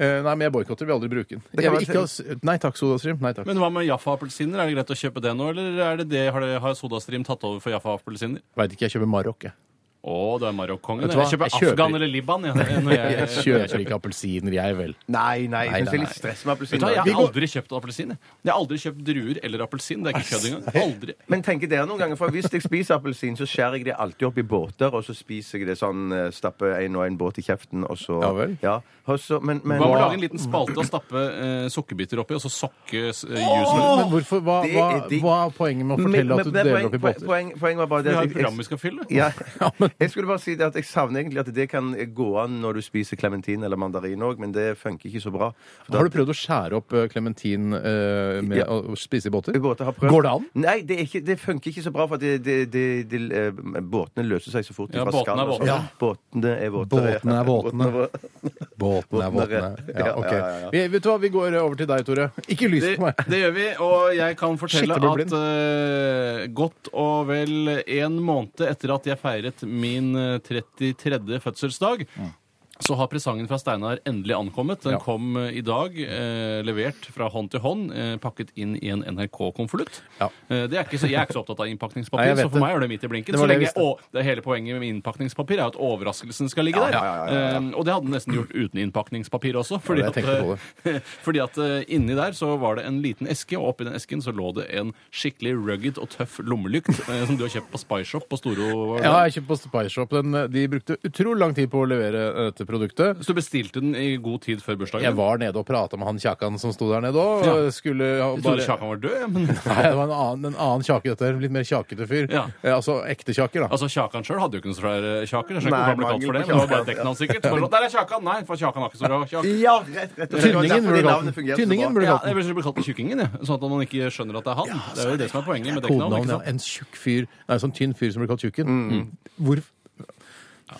[SPEAKER 2] Eh, Nei, men jeg boikotter. Vil aldri bruke den.
[SPEAKER 4] kan
[SPEAKER 2] Jeg vil
[SPEAKER 4] være
[SPEAKER 2] ikke ha s- Nei takk, Sodastream. Nei takk.
[SPEAKER 3] Men hva med Jaffa-appelsiner? Er det greit å kjøpe det nå, eller er det det, har, det, har Sodastream tatt over for Jaffa-appelsiner?
[SPEAKER 2] Veit ikke, jeg kjøper Marokk, jeg.
[SPEAKER 3] Å, du er Marokkongen.
[SPEAKER 2] Vet du hva?
[SPEAKER 3] Jeg kjøper
[SPEAKER 2] Jeg kjøper-
[SPEAKER 3] Afghan eller Liban.
[SPEAKER 2] (laughs)
[SPEAKER 3] Ja, når jeg,
[SPEAKER 2] Jeg kjøper ikke appelsiner, jeg vel.
[SPEAKER 4] Nei, nei.
[SPEAKER 2] Nei,
[SPEAKER 4] Jeg syns det er
[SPEAKER 2] nei.
[SPEAKER 4] litt stress
[SPEAKER 3] Vet du hva,
[SPEAKER 4] med appelsiner.
[SPEAKER 3] Jeg
[SPEAKER 4] Vi
[SPEAKER 3] har
[SPEAKER 4] går-
[SPEAKER 3] aldri kjøpt appelsin. jeg. Jeg har aldri kjøpt druer eller appelsin. Det er ikke kødd engang.
[SPEAKER 2] (laughs)
[SPEAKER 3] Aldri.
[SPEAKER 4] Men tenker dere noen ganger, for Hvis jeg spiser appelsin, så skjærer jeg det alltid opp i båter, og så spiser jeg det sånn eh, Stapper en og en båt i kjeften, og så
[SPEAKER 2] Ja vel.
[SPEAKER 4] Ja, og så, men, men
[SPEAKER 3] Hva med å lage en liten spalte og stappe eh, sukkerbiter oppi, og så sokke eh, juicen
[SPEAKER 2] Men
[SPEAKER 3] ut?
[SPEAKER 2] hvorfor, hva,
[SPEAKER 4] Det er
[SPEAKER 2] hva,
[SPEAKER 4] digg.
[SPEAKER 2] hva er poenget med å
[SPEAKER 4] Men-
[SPEAKER 2] fortelle
[SPEAKER 4] men-
[SPEAKER 2] at du
[SPEAKER 4] men
[SPEAKER 2] deler
[SPEAKER 4] poeng-
[SPEAKER 2] opp i
[SPEAKER 4] poeng-
[SPEAKER 2] båter?
[SPEAKER 4] Poeng, poenget var bare det
[SPEAKER 3] Vi
[SPEAKER 4] at
[SPEAKER 3] har et
[SPEAKER 4] jeg-
[SPEAKER 3] program vi skal fylle.
[SPEAKER 4] Ja. Jeg skulle bare si det at jeg savner egentlig at det kan gå an når du spiser klementin eller mandarin òg, men det funker ikke så bra. For da-
[SPEAKER 2] Har du prøvd å skjære opp eh, klementin eh, med
[SPEAKER 4] Ja.
[SPEAKER 2] å spise i båter?
[SPEAKER 4] Jeg båter har prøvd.
[SPEAKER 2] Går det an?
[SPEAKER 4] Nei, det, er ikke, det funker ikke så bra, for det, det, det, det, eh, båtene løser seg så fort.
[SPEAKER 3] Ja,
[SPEAKER 4] fra
[SPEAKER 3] båtene
[SPEAKER 4] skallet
[SPEAKER 3] er
[SPEAKER 4] og sånt.
[SPEAKER 2] Ja.
[SPEAKER 3] båtene.
[SPEAKER 4] Båtene er våtere.
[SPEAKER 2] Båtene er båtene.
[SPEAKER 4] Båtene er vå-
[SPEAKER 2] Båtene er
[SPEAKER 4] Båtene er-
[SPEAKER 2] båtene. Ja,
[SPEAKER 4] Ja,
[SPEAKER 2] ok.
[SPEAKER 4] ja, ja, ja.
[SPEAKER 2] Vi, vet du hva, vi går eh, over til deg, Tore. Ikke lys
[SPEAKER 3] Det,
[SPEAKER 2] på meg.
[SPEAKER 3] det gjør vi, og jeg kan fortelle
[SPEAKER 2] Shit, jeg blir
[SPEAKER 3] at eh, godt og vel en måned etter at jeg feiret min eh, 33. fødselsdag, så har presangen fra Steinar endelig ankommet. Den
[SPEAKER 2] Ja.
[SPEAKER 3] kom eh, i dag, eh, levert fra hånd til hånd, eh, pakket inn i en NRK-konvolutt.
[SPEAKER 2] Ja.
[SPEAKER 3] Eh, det er ikke så, jeg er ikke så opptatt av innpakningspapir,
[SPEAKER 2] Nei, jeg vet
[SPEAKER 3] så for
[SPEAKER 2] det.
[SPEAKER 3] meg er det midt i blinken.
[SPEAKER 2] Det
[SPEAKER 3] Så
[SPEAKER 2] var det
[SPEAKER 3] lenge
[SPEAKER 2] jeg
[SPEAKER 3] jeg, å, det hele poenget med innpakningspapir er jo at overraskelsen skal ligge der. Eh, og det hadde den nesten gjort uten innpakningspapir også. Fordi,
[SPEAKER 2] Ja, det tenkte jeg på det.
[SPEAKER 3] at, eh, (laughs) fordi at eh, inni der så var det en liten eske, og oppi den esken så lå det en skikkelig rugged og tøff lommelykt (laughs) eh, som du har kjøpt på Spy Shop på Storo.
[SPEAKER 2] Ja, jeg kjøpte på Spy Shop. Den, eh, de brukte utrolig lang tid på å levere eh, dette produktet.
[SPEAKER 3] Så du bestilte den i god tid før bursdagen?
[SPEAKER 2] Jeg var nede og prata med han kjakan som sto der nede òg.
[SPEAKER 3] Ja.
[SPEAKER 2] Skulle ja,
[SPEAKER 3] Jeg trodde
[SPEAKER 2] bare
[SPEAKER 3] Kjakan var død, ja, men (laughs)
[SPEAKER 2] Nei, det var en annen, en annen kjake, dette her. Litt mer kjakete fyr.
[SPEAKER 3] Ja.
[SPEAKER 2] Eh, Altså ekte kjaker, da.
[SPEAKER 3] Altså, Kjakan sjøl hadde jo ikke noe så svær eh, kjaker. Jeg skjønner
[SPEAKER 4] Nei,
[SPEAKER 3] ikke hva han ble kalt
[SPEAKER 4] mangel
[SPEAKER 3] for det, men det
[SPEAKER 4] på
[SPEAKER 3] var
[SPEAKER 4] Kjakan,
[SPEAKER 3] bare teksten hans sikkert. Så var det sånn, Der er Kjakan! Nei, for Kjakan har ikke så bra kjak.
[SPEAKER 4] Ja, rett, rett. og slett.
[SPEAKER 2] Tynningen burde
[SPEAKER 4] Derfor de
[SPEAKER 2] kalt
[SPEAKER 4] navnene
[SPEAKER 2] den.
[SPEAKER 4] fungerer så
[SPEAKER 2] Tynningen
[SPEAKER 4] bra.
[SPEAKER 2] burde
[SPEAKER 3] Ja,
[SPEAKER 2] kalt den.
[SPEAKER 3] jeg blir så blir kalt for Tjukkingen, jeg. Sånn at man ikke skjønner at det er han. Det er jo det som er poenget med dekknavn.
[SPEAKER 2] Kodenavn,
[SPEAKER 3] ikke
[SPEAKER 2] ja.
[SPEAKER 3] sant?
[SPEAKER 2] En tjukk fyr Nei, sånn tynn fyr som blir kalt tjukken. Mm. Hvor ja,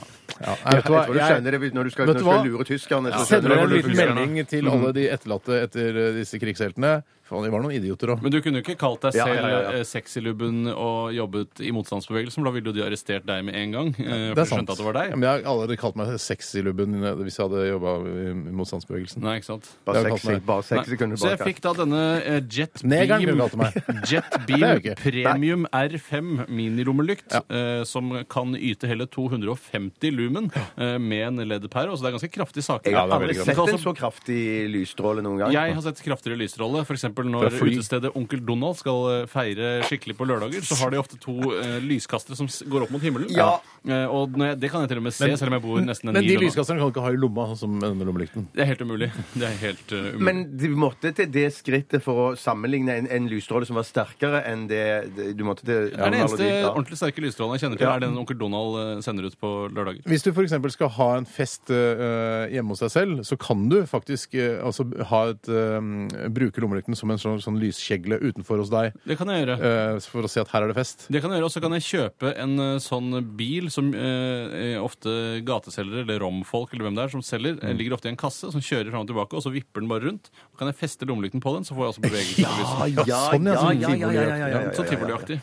[SPEAKER 2] nei,
[SPEAKER 4] Mm. Jeg tror du skjønner det når du skal,
[SPEAKER 2] Vet
[SPEAKER 4] når
[SPEAKER 2] du
[SPEAKER 4] du skal
[SPEAKER 2] hva?
[SPEAKER 4] lure tyskerne. så
[SPEAKER 2] Jeg
[SPEAKER 4] skjønner
[SPEAKER 2] sender en
[SPEAKER 4] du hvordan det
[SPEAKER 2] liten
[SPEAKER 4] Mm. fungerer.
[SPEAKER 2] melding til alle de etterlatte etter eh, disse krigsheltene. Faen, de var noen idioter òg.
[SPEAKER 3] Men du kunne jo ikke kalt deg
[SPEAKER 4] Ja,
[SPEAKER 3] selv
[SPEAKER 4] ja, ja, ja.
[SPEAKER 3] eh, sexylubben og jobbet i motstandsbevegelsen, for da ville jo de arrestert deg med en gang. eh, For de skjønte at det var
[SPEAKER 2] Ja,
[SPEAKER 3] deg.
[SPEAKER 2] Men jeg har allerede kalt meg sexylubben eh, hvis jeg hadde jobba i i motstandsbevegelsen.
[SPEAKER 3] Nei, ikke sant?
[SPEAKER 4] Bare
[SPEAKER 2] Det har
[SPEAKER 4] seks
[SPEAKER 2] kalt meg-
[SPEAKER 4] bare seks
[SPEAKER 3] Nei.
[SPEAKER 4] sekunder
[SPEAKER 3] Så jeg
[SPEAKER 4] bak.
[SPEAKER 3] fikk da denne eh, Jet
[SPEAKER 2] Negeren kunne
[SPEAKER 3] Beam,
[SPEAKER 2] du kalte meg.
[SPEAKER 3] (laughs)
[SPEAKER 2] (laughs)
[SPEAKER 3] Jet
[SPEAKER 2] er
[SPEAKER 3] Beam
[SPEAKER 2] jo ikke-
[SPEAKER 3] Premium R5 minilommelykt, eh, som kan yte hele 250 lumen eh, med en LED-pære. Så det er ganske kraftig saker. Altså,
[SPEAKER 4] Jeg
[SPEAKER 2] Ja,
[SPEAKER 4] har
[SPEAKER 2] det er
[SPEAKER 4] aldri
[SPEAKER 2] veldig
[SPEAKER 4] sett
[SPEAKER 3] godt.
[SPEAKER 4] en så kraftig lysstråle noen gang.
[SPEAKER 3] Jeg har sett kraftigere lysrolle. F.eks.
[SPEAKER 2] Fra
[SPEAKER 3] når
[SPEAKER 2] fly.
[SPEAKER 3] utestedet Onkel Donald skal eh, feire skikkelig på lørdager, så har de ofte to eh, lyskastere som s- går opp mot himmelen.
[SPEAKER 4] Ja.
[SPEAKER 3] Eh, og når jeg, det kan jeg til og med se, selv om jeg bor nesten en
[SPEAKER 2] Men de
[SPEAKER 3] mil unna.
[SPEAKER 2] lyskasterne kan du ikke ha i lomma, sånn som denne lommelykten.
[SPEAKER 3] Det er helt umulig. (laughs) Det er helt eh, umulig.
[SPEAKER 4] Men du måtte til det skrittet for å sammenligne en, en lysstråle som var sterkere enn det, det du måtte til
[SPEAKER 3] det er den eneste
[SPEAKER 4] Ja.
[SPEAKER 3] ordentlig sterke lysstrålen jeg kjenner til, er den Onkel Donald eh, sender ut på lørdager.
[SPEAKER 2] Hvis du f.eks. skal ha en fest eh, hjemme hos deg selv, så kan du faktisk eh, altså, ha et, eh, bruke lommelykten som en sånn, sånn lyskjegle utenfor hos deg
[SPEAKER 3] Det kan jeg gjøre.
[SPEAKER 2] eh, for å si at her er det fest.
[SPEAKER 3] Det kan jeg gjøre, Og så kan jeg kjøpe en eh, sånn bil som eh, eh, ofte gateselgere eller romfolk eller hvem det er som selger,
[SPEAKER 2] Mm.
[SPEAKER 3] eh, ligger ofte i en kasse som kjører fram og tilbake, og så vipper den bare rundt. Så kan jeg feste lommelykten på den, så får jeg også
[SPEAKER 2] (laughs)
[SPEAKER 3] bevegelse. på lyset.
[SPEAKER 2] sånn, ja, Mm. sånn
[SPEAKER 3] Så tivoliaktig.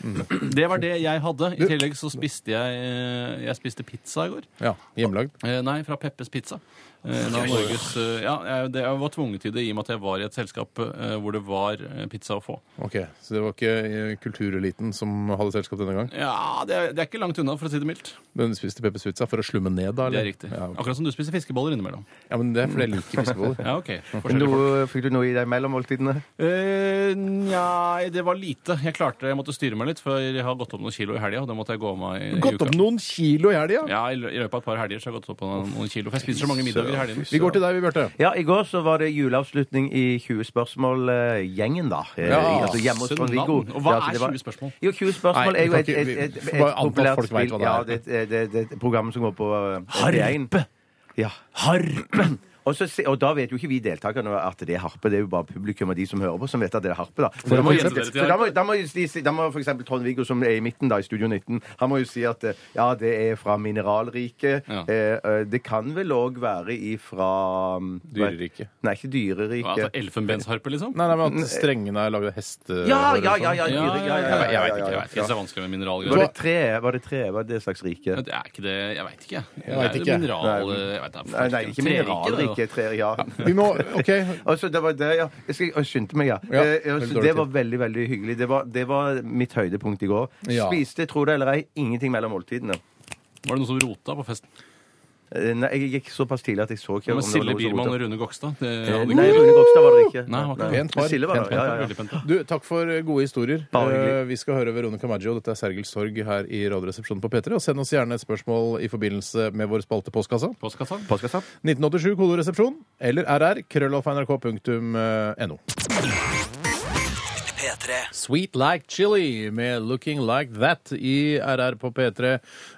[SPEAKER 3] Det var det jeg hadde. I tillegg så eh, spiste jeg Jeg spiste pizza i går.
[SPEAKER 2] Ja, Hjemmelagd.
[SPEAKER 3] Eh, nei, fra Peppes Pizza. Eh, da Norges, eh, ja, jeg, det, jeg var tvunget til det i og med at jeg var i et selskap eh, hvor det var eh, pizza å få.
[SPEAKER 2] Ok, Så det var ikke eh, kultureliten som hadde selskap denne gang?
[SPEAKER 3] Ja, det, er- det er ikke langt unna, for å si det mildt.
[SPEAKER 2] Men spiste Peppers Pizza for å slumme ned, da? eller?
[SPEAKER 3] Det er riktig.
[SPEAKER 2] Ja, ok.
[SPEAKER 3] Akkurat som du spiser fiskeboller innimellom.
[SPEAKER 2] ja men det er fordi jeg (laughs) liker fiskeboller.
[SPEAKER 3] Ja, ok. Forskjellige folk.
[SPEAKER 4] Noe, fikk du noe i de mellommåltidene?
[SPEAKER 3] Eh, Nei, det var lite. Jeg klarte, jeg måtte styre meg litt, for jeg har gått opp noen kilo i helga. og Det måtte jeg gå av meg i, i
[SPEAKER 2] Gått
[SPEAKER 3] uka.
[SPEAKER 2] opp noen kilo i helga!
[SPEAKER 3] Ja, i lø- i løpet av et par helger så har jeg gått opp på noen noen kilo. For jeg spiser så mange middager i helgene.
[SPEAKER 2] Vi går til deg, vi, Bjarte.
[SPEAKER 4] Ja, I går så var det juleavslutning i 20 spørsmål-gjengen, da. Eh,
[SPEAKER 2] Ja,
[SPEAKER 4] i- altså hjemme hos
[SPEAKER 3] sønnan.
[SPEAKER 4] Trond-Viggo.
[SPEAKER 3] Og hva
[SPEAKER 4] Ja, så
[SPEAKER 3] er
[SPEAKER 4] det var-
[SPEAKER 3] 20 spørsmål?
[SPEAKER 4] Jo, 20 spørsmål
[SPEAKER 2] Nei,
[SPEAKER 4] er jo
[SPEAKER 2] vi
[SPEAKER 4] et,
[SPEAKER 2] kan
[SPEAKER 4] et,
[SPEAKER 2] ikke-
[SPEAKER 4] et, et,
[SPEAKER 2] vi får bare anta at
[SPEAKER 4] populært
[SPEAKER 2] folk vet hva
[SPEAKER 4] spill.
[SPEAKER 2] det
[SPEAKER 4] Ja,
[SPEAKER 2] er.
[SPEAKER 4] det, er et- det, det er et program som går på eh, P1. Ja.
[SPEAKER 3] Harpe!
[SPEAKER 4] (clears throat) Og, så, se- og da vet jo ikke vi deltakerne at det er harpe. Det er jo bare publikum og de som hører på, som vet at det er harpe. da. Så
[SPEAKER 3] dere
[SPEAKER 4] da må,
[SPEAKER 3] må
[SPEAKER 4] jo-
[SPEAKER 3] gjette dere til
[SPEAKER 4] så da må, da må, jo de si- da må for eksempel Trond-Viggo, som er i midten da, i Studio 19, han må jo si at eh, ja, det er fra mineralriket.
[SPEAKER 3] Ja.
[SPEAKER 4] Eh, eh, det kan vel òg være ifra mm,
[SPEAKER 2] Dyreriket.
[SPEAKER 4] Nei, ikke dyreriket.
[SPEAKER 3] Altså elfenbensharpe, liksom?
[SPEAKER 2] Nei, nei, men at strengene er lagd av eh, heste...
[SPEAKER 4] Ja, ja, ja,
[SPEAKER 3] Ja,
[SPEAKER 4] ja, dyre,
[SPEAKER 3] Jeg vet
[SPEAKER 4] ja, ja, ja, ja,
[SPEAKER 3] ikke.
[SPEAKER 4] ja,
[SPEAKER 3] Jeg vet ikke. Det er vanskelig med
[SPEAKER 4] Var det
[SPEAKER 3] mineralgreier.
[SPEAKER 4] tre? Var det tre? Var det det slags rike?
[SPEAKER 3] Men Det er ikke det Jeg veit ikke. Det
[SPEAKER 2] vet
[SPEAKER 3] er
[SPEAKER 2] ikke.
[SPEAKER 3] Mineral... eh, Jeg vet, da,
[SPEAKER 4] Nei, nei, ikke
[SPEAKER 3] trerike,
[SPEAKER 4] mineralrike.
[SPEAKER 3] det, da.
[SPEAKER 4] Tre, ja. (laughs)
[SPEAKER 2] Vi må OK.
[SPEAKER 4] Og så det var det, ja. Jeg, skal, jeg skyndte meg, ja.
[SPEAKER 2] Ja,
[SPEAKER 4] Eh,
[SPEAKER 2] veldig
[SPEAKER 4] så
[SPEAKER 2] dårlig
[SPEAKER 4] det
[SPEAKER 2] tid.
[SPEAKER 4] var veldig veldig hyggelig. Det var, det var mitt høydepunkt i går.
[SPEAKER 2] Ja.
[SPEAKER 4] Spiste, tro det eller ei, ingenting mellom måltidene.
[SPEAKER 3] Var det noen som rota på festen?
[SPEAKER 4] Eh, Nei, Jeg gikk såpass tidlig at jeg så ikke
[SPEAKER 3] Med
[SPEAKER 4] om det var
[SPEAKER 3] Silje
[SPEAKER 4] noe som
[SPEAKER 3] Biermann og
[SPEAKER 4] rotet.
[SPEAKER 3] Rune Gokstad? Det
[SPEAKER 4] Eh,
[SPEAKER 3] hadde
[SPEAKER 4] Nei,
[SPEAKER 3] ikke
[SPEAKER 4] Rune Gokstad var det ikke.
[SPEAKER 3] Nei, han var ikke det.
[SPEAKER 4] Men
[SPEAKER 2] Pent par.
[SPEAKER 4] Silje var
[SPEAKER 2] Pent
[SPEAKER 4] det,
[SPEAKER 2] par.
[SPEAKER 4] ja, ja, ja.
[SPEAKER 3] Veldig pent, da.
[SPEAKER 2] Du, takk for gode historier.
[SPEAKER 4] Bare hyggelig.
[SPEAKER 2] Eh, Vi skal høre Veronica Maggio. Dette er Sergels sorg her i Radioresepsjonen på P3. Og send oss gjerne et spørsmål i forbindelse med vår spalte Postkassa.
[SPEAKER 3] Postkassa?
[SPEAKER 4] Postkassa.
[SPEAKER 2] 1987 kodoresepsjon eller rr krøllalfa.nrk.no.
[SPEAKER 1] P3
[SPEAKER 2] Sweet Like Chili med 'Looking Like That' i RR på P3.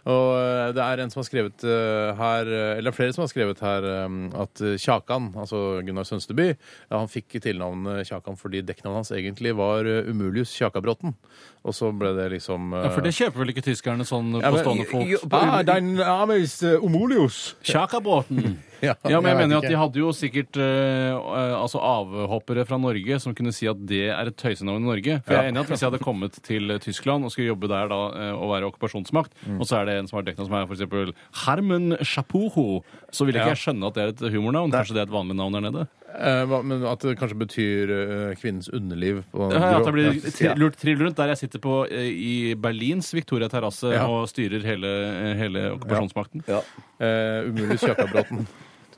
[SPEAKER 2] Og eh, det er en som har skrevet eh, her eh, Eller det er flere som har skrevet her eh, at eh, Kjakan, altså Gunnar Sønsteby, ja, han fikk tilnavnet Kjakan fordi dekknavnet hans egentlig var eh, Umulius Kjakabråten. Og så ble det liksom eh,
[SPEAKER 3] Ja, for det kjøper vel ikke tyskerne sånn
[SPEAKER 2] Ja,
[SPEAKER 3] på
[SPEAKER 2] men-
[SPEAKER 3] stående fot?
[SPEAKER 2] Ah, dein Name ist eh, Umulius.
[SPEAKER 3] Sjakabåten!
[SPEAKER 2] (laughs) Ja,
[SPEAKER 3] Ja, men jeg
[SPEAKER 2] vet
[SPEAKER 3] mener jo
[SPEAKER 2] ikke.
[SPEAKER 3] at de hadde jo sikkert eh, eh, altså avhoppere fra Norge som kunne si at det er et tøysenavn i Norge. For jeg er enig i at hvis jeg hadde kommet til eh, Tyskland og skulle jobbe der da eh, og være okkupasjonsmakt,
[SPEAKER 2] Mm.
[SPEAKER 3] og så er det en som har dekna som er for eksempel Hermen Chapuho, så ville ikke jeg skjønne at det er et humornavn. Kanskje det er et vanlig navn der nede?
[SPEAKER 2] Eh, hva- Men at det kanskje betyr eh, kvinnens underliv. På
[SPEAKER 3] Ja, ja, at jeg blir
[SPEAKER 2] Ja.
[SPEAKER 3] tri- lurt trill rundt der jeg sitter på eh, i Berlins Victoria terrasse
[SPEAKER 2] Ja.
[SPEAKER 3] og styrer hele, eh, hele okkupasjonsmakten.
[SPEAKER 2] Eh, umulig Kjakabråten.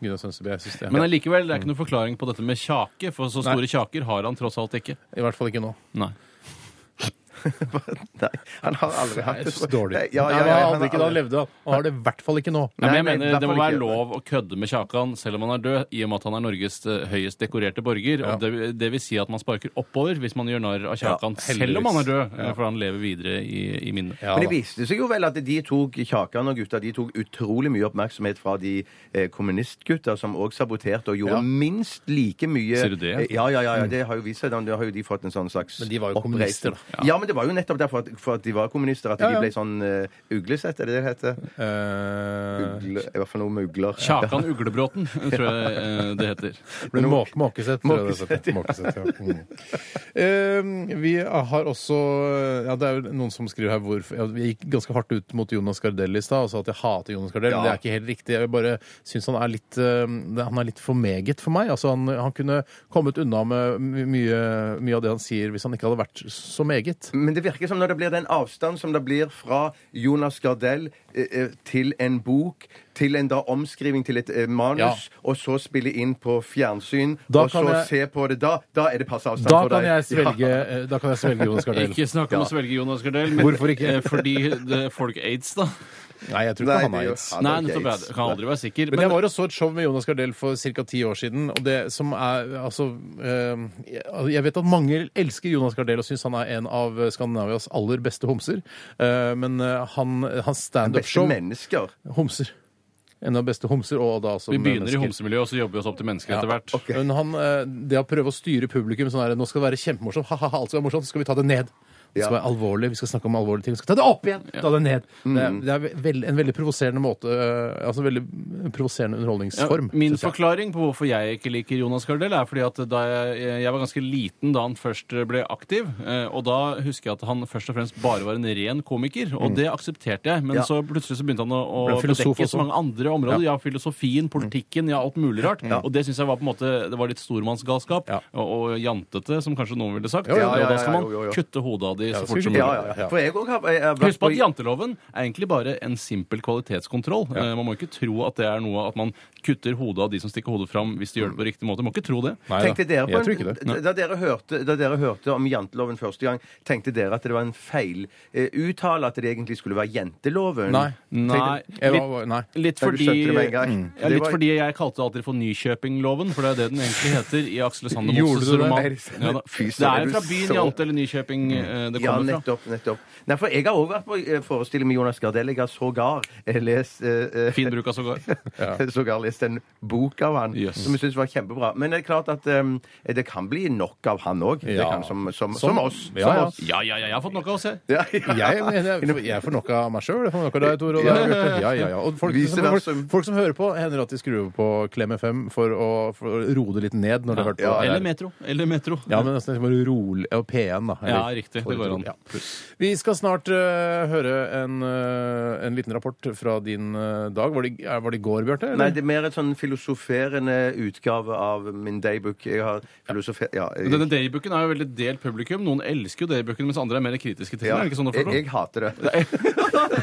[SPEAKER 2] Gunnar Sønsteby. Jeg synes det er
[SPEAKER 3] Men allikevel, det er ikke noen forklaring på dette med kjake, for så store kjaker har han tross alt ikke.
[SPEAKER 2] I hvert fall ikke nå.
[SPEAKER 3] Nei.
[SPEAKER 4] Nei, han har aldri hatt
[SPEAKER 2] Jeg
[SPEAKER 4] det.
[SPEAKER 2] synes det er dårlig.
[SPEAKER 4] Nei, Ja, ja,
[SPEAKER 2] Nei,
[SPEAKER 4] ja,
[SPEAKER 2] men han
[SPEAKER 4] han
[SPEAKER 2] hadde
[SPEAKER 4] har
[SPEAKER 2] ikke da han
[SPEAKER 4] aldri-
[SPEAKER 2] levde, da. og har det i hvert fall ikke nå.
[SPEAKER 3] Nei, men jeg
[SPEAKER 4] Nei, nei,
[SPEAKER 3] mener Det må
[SPEAKER 4] derfor
[SPEAKER 3] være
[SPEAKER 4] ikke.
[SPEAKER 3] lov å kødde med Kjakan selv om han er død, i og med at han er Norges eh, høyest dekorerte borger. Og det, det vil si at man sparker oppover hvis man gjør narr av Kjakan selv om han er død, eh, for han lever videre i, i minnet.
[SPEAKER 2] Ja,
[SPEAKER 4] Men
[SPEAKER 2] da.
[SPEAKER 4] det viste seg jo vel at de tok Kjakan og gutta de tok utrolig mye oppmerksomhet fra de eh, kommunistgutta som òg saboterte og gjorde
[SPEAKER 2] Ja. Mm.
[SPEAKER 4] minst like mye
[SPEAKER 3] Sier du det?
[SPEAKER 4] Eh, Ja, ja, ja, ja, det har jo vist seg. da, Det har jo de fått en sånn slags
[SPEAKER 2] Men de var jo
[SPEAKER 4] oppreisning.
[SPEAKER 2] kommunister, da.
[SPEAKER 4] Ja. men det var jo nettopp derfor at, for at de var kommunister, at
[SPEAKER 2] Ja, ja.
[SPEAKER 4] de ble sånn eh, uglesett, er det det det heter?
[SPEAKER 2] Eh,
[SPEAKER 4] Ugle, I hvert fall noe med ugler.
[SPEAKER 3] Kjakan Uglebråten, tror jeg eh, det heter.
[SPEAKER 2] men måk, måkesett. tror jeg det heter. Måkesett, ja.
[SPEAKER 4] (laughs)
[SPEAKER 2] Mm. Eh, vi har også ja, Det er jo noen som skriver her hvorfor ja, Vi gikk ganske hardt ut mot Jonas Gardell i stad og sa at jeg hater Jonas Gardell. Men det
[SPEAKER 4] Ja.
[SPEAKER 2] er ikke helt riktig. Jeg bare syns han er litt eh, Han er litt for meget for meg. Altså, han, han kunne kommet unna med my- mye, mye av det han sier, hvis han ikke hadde vært så meget.
[SPEAKER 4] Men det virker som når det blir den avstand som det blir fra Jonas Gardell eh, eh, til en bok, til en da omskriving til et eh, manus,
[SPEAKER 2] Ja.
[SPEAKER 4] og så spille inn på fjernsyn,
[SPEAKER 2] Da
[SPEAKER 4] og så
[SPEAKER 2] kan jeg-
[SPEAKER 4] se på det da, da er det passe avstand
[SPEAKER 2] Da
[SPEAKER 4] for
[SPEAKER 2] kan
[SPEAKER 4] deg.
[SPEAKER 2] jeg svelge,
[SPEAKER 4] Ja.
[SPEAKER 2] eh, da kan jeg svelge Jonas
[SPEAKER 4] (laughs)
[SPEAKER 2] Gardell.
[SPEAKER 3] Ikke snakk om å svelge Jonas Gardell, men
[SPEAKER 2] Hvorfor ikke?
[SPEAKER 3] eh, fordi det, folk aids, da.
[SPEAKER 2] Nei, jeg tror
[SPEAKER 4] Nei,
[SPEAKER 2] ikke han
[SPEAKER 4] det
[SPEAKER 2] har
[SPEAKER 4] gjør
[SPEAKER 2] aids.
[SPEAKER 4] han.
[SPEAKER 3] Nei,
[SPEAKER 4] det er ikke
[SPEAKER 3] nettopp,
[SPEAKER 4] aids.
[SPEAKER 3] jeg kan aldri være sikker.
[SPEAKER 2] Men jeg var og så et show med Jonas Gardell for ca. ti år siden. Og det som er Altså eh, Jeg vet at mange elsker Jonas Gardell og syns han er en av Skandinavias aller beste homser. Eh, Men eh, han, hans
[SPEAKER 4] Beste
[SPEAKER 2] standup-show
[SPEAKER 4] mennesker.
[SPEAKER 2] Homser. En av de beste homser, og da altså
[SPEAKER 3] Vi begynner i
[SPEAKER 2] mennesker.
[SPEAKER 3] homsemiljøet, og så jobber vi oss opp til mennesker
[SPEAKER 2] Ja,
[SPEAKER 3] etter hvert.
[SPEAKER 4] ok.
[SPEAKER 2] Men han, eh, det å prøve å styre publikum sånn her Nå skal det være kjempemorsomt, ha-ha, alt skal være morsomt, så skal vi ta det ned. Det skal
[SPEAKER 4] Ja.
[SPEAKER 2] være alvorlig, vi skal snakke om alvorlige ting. Vi skal ta det opp igjen! Ta det ned. Det er, det er vel- en veldig provoserende måte eh, Altså en veldig provoserende
[SPEAKER 3] Ja,
[SPEAKER 2] underholdningsform.
[SPEAKER 3] min
[SPEAKER 2] synes jeg.
[SPEAKER 3] forklaring på hvorfor jeg ikke liker Jonas Gardell, er fordi at da jeg, jeg var ganske liten da han først ble aktiv. eh, Og da husker jeg at han først og fremst bare var en ren komiker, og det aksepterte jeg. Men
[SPEAKER 4] Mm. Ja.
[SPEAKER 3] så plutselig så begynte han å, å
[SPEAKER 2] Ble filosof
[SPEAKER 3] bedekke
[SPEAKER 2] også.
[SPEAKER 3] så mange andre områder. Ja, filosofien, politikken, ja, alt mulig
[SPEAKER 4] Mm.
[SPEAKER 3] rart. Og det syns jeg var på en måte Det var litt stormannsgalskap.
[SPEAKER 2] Ja.
[SPEAKER 3] Og, og jantete, som kanskje noen ville sagt.
[SPEAKER 4] Ja, ja, ja,
[SPEAKER 3] og da skal
[SPEAKER 4] ja,
[SPEAKER 3] man
[SPEAKER 4] jo, jo, jo.
[SPEAKER 3] kutte hodet av de så
[SPEAKER 2] skal vi
[SPEAKER 3] fort som
[SPEAKER 2] ikke-
[SPEAKER 3] mulig.
[SPEAKER 4] Ja, ja, ja. For jeg òg har jeg har vært
[SPEAKER 3] Husk på at janteloven er egentlig bare en simpel kvalitetskontroll. Eh, Man må ikke tro at det er noe at man kutter hodet av de som stikker hodet fram, hvis de gjør det på riktig måte. Man må ikke tro det.
[SPEAKER 2] Nei da,
[SPEAKER 4] Tenkte dere på
[SPEAKER 2] jeg tror ikke det.
[SPEAKER 4] en, da, dere hørte, da dere hørte om janteloven første gang, tenkte dere at det var en feil eh, uttale, at det egentlig skulle være jenteloven?
[SPEAKER 2] Nei.
[SPEAKER 3] Nei,
[SPEAKER 2] Jeg
[SPEAKER 3] litt,
[SPEAKER 2] var, nei.
[SPEAKER 3] litt
[SPEAKER 4] Ja, du
[SPEAKER 3] fordi Mm.
[SPEAKER 4] skjønte det med en gang.
[SPEAKER 3] ja,
[SPEAKER 4] Det
[SPEAKER 3] litt
[SPEAKER 4] var-
[SPEAKER 3] fordi jeg kalte det alltid for Nykjøpingloven, for det er det den egentlig heter i Aksel Sander
[SPEAKER 2] Gjorde
[SPEAKER 3] Moses
[SPEAKER 2] du det?
[SPEAKER 3] roman.
[SPEAKER 2] Nei,
[SPEAKER 3] Ja, da.
[SPEAKER 4] fy
[SPEAKER 3] det
[SPEAKER 4] søren,
[SPEAKER 3] er jo
[SPEAKER 4] du
[SPEAKER 3] fra byen
[SPEAKER 4] så- Mm.
[SPEAKER 3] Jante eller Nykjøping eh, det
[SPEAKER 4] Ja,
[SPEAKER 3] kommer fra.
[SPEAKER 4] nettopp. nettopp. Nei, for jeg har òg vært på eh, forestilling med Jonas Gardell. Jeg har sågar eh, lest eh, eh,
[SPEAKER 3] Fin bruk av sågar.
[SPEAKER 4] (laughs) Sågar lest en bok av han
[SPEAKER 3] Yes.
[SPEAKER 4] som jeg syntes var kjempebra. Men det er klart at eh, det kan bli nok av han òg.
[SPEAKER 2] Ja.
[SPEAKER 4] Som, som,
[SPEAKER 2] Som-
[SPEAKER 4] som oss.
[SPEAKER 2] Ja,
[SPEAKER 4] som
[SPEAKER 2] ja.
[SPEAKER 4] oss.
[SPEAKER 3] Ja, ja, ja, jeg har fått nok av å se. (laughs)
[SPEAKER 4] Ja, ja.
[SPEAKER 2] Jeg,
[SPEAKER 4] (laughs)
[SPEAKER 2] mener, jeg får nok av meg sjøl. Jeg får nok av deg, Tor. Og, deg, Bjarte. ja, ja, ja. og folk,
[SPEAKER 4] Vice
[SPEAKER 2] som, folk,
[SPEAKER 4] versa.
[SPEAKER 2] folk som hører på, hender at de skrur over på Klem FM for å, for å roe det litt ned når de har hørt på.
[SPEAKER 4] Ja,
[SPEAKER 2] RR.
[SPEAKER 3] Eller Metro. Eller Metro.
[SPEAKER 2] Ja, men nesten bare rolig Og P1, da.
[SPEAKER 3] Ja, riktig. Det går an.
[SPEAKER 2] Ja. Vi skal snart eh, høre en, eh, en liten rapport fra din eh, dag. Var det, eh, var det i går, Bjarte? eller?
[SPEAKER 4] Nei, det er mer et sånn filosoferende utgave av min daybook. Jeg har filosofer... Ja, jeg,
[SPEAKER 3] Denne daybooken er jo veldig delt publikum. Noen elsker jo daybooken, mens andre er mer kritiske til den.
[SPEAKER 4] ja,
[SPEAKER 3] Er det ikke sånn å
[SPEAKER 4] jeg,
[SPEAKER 3] forstå?
[SPEAKER 4] jeg hater det.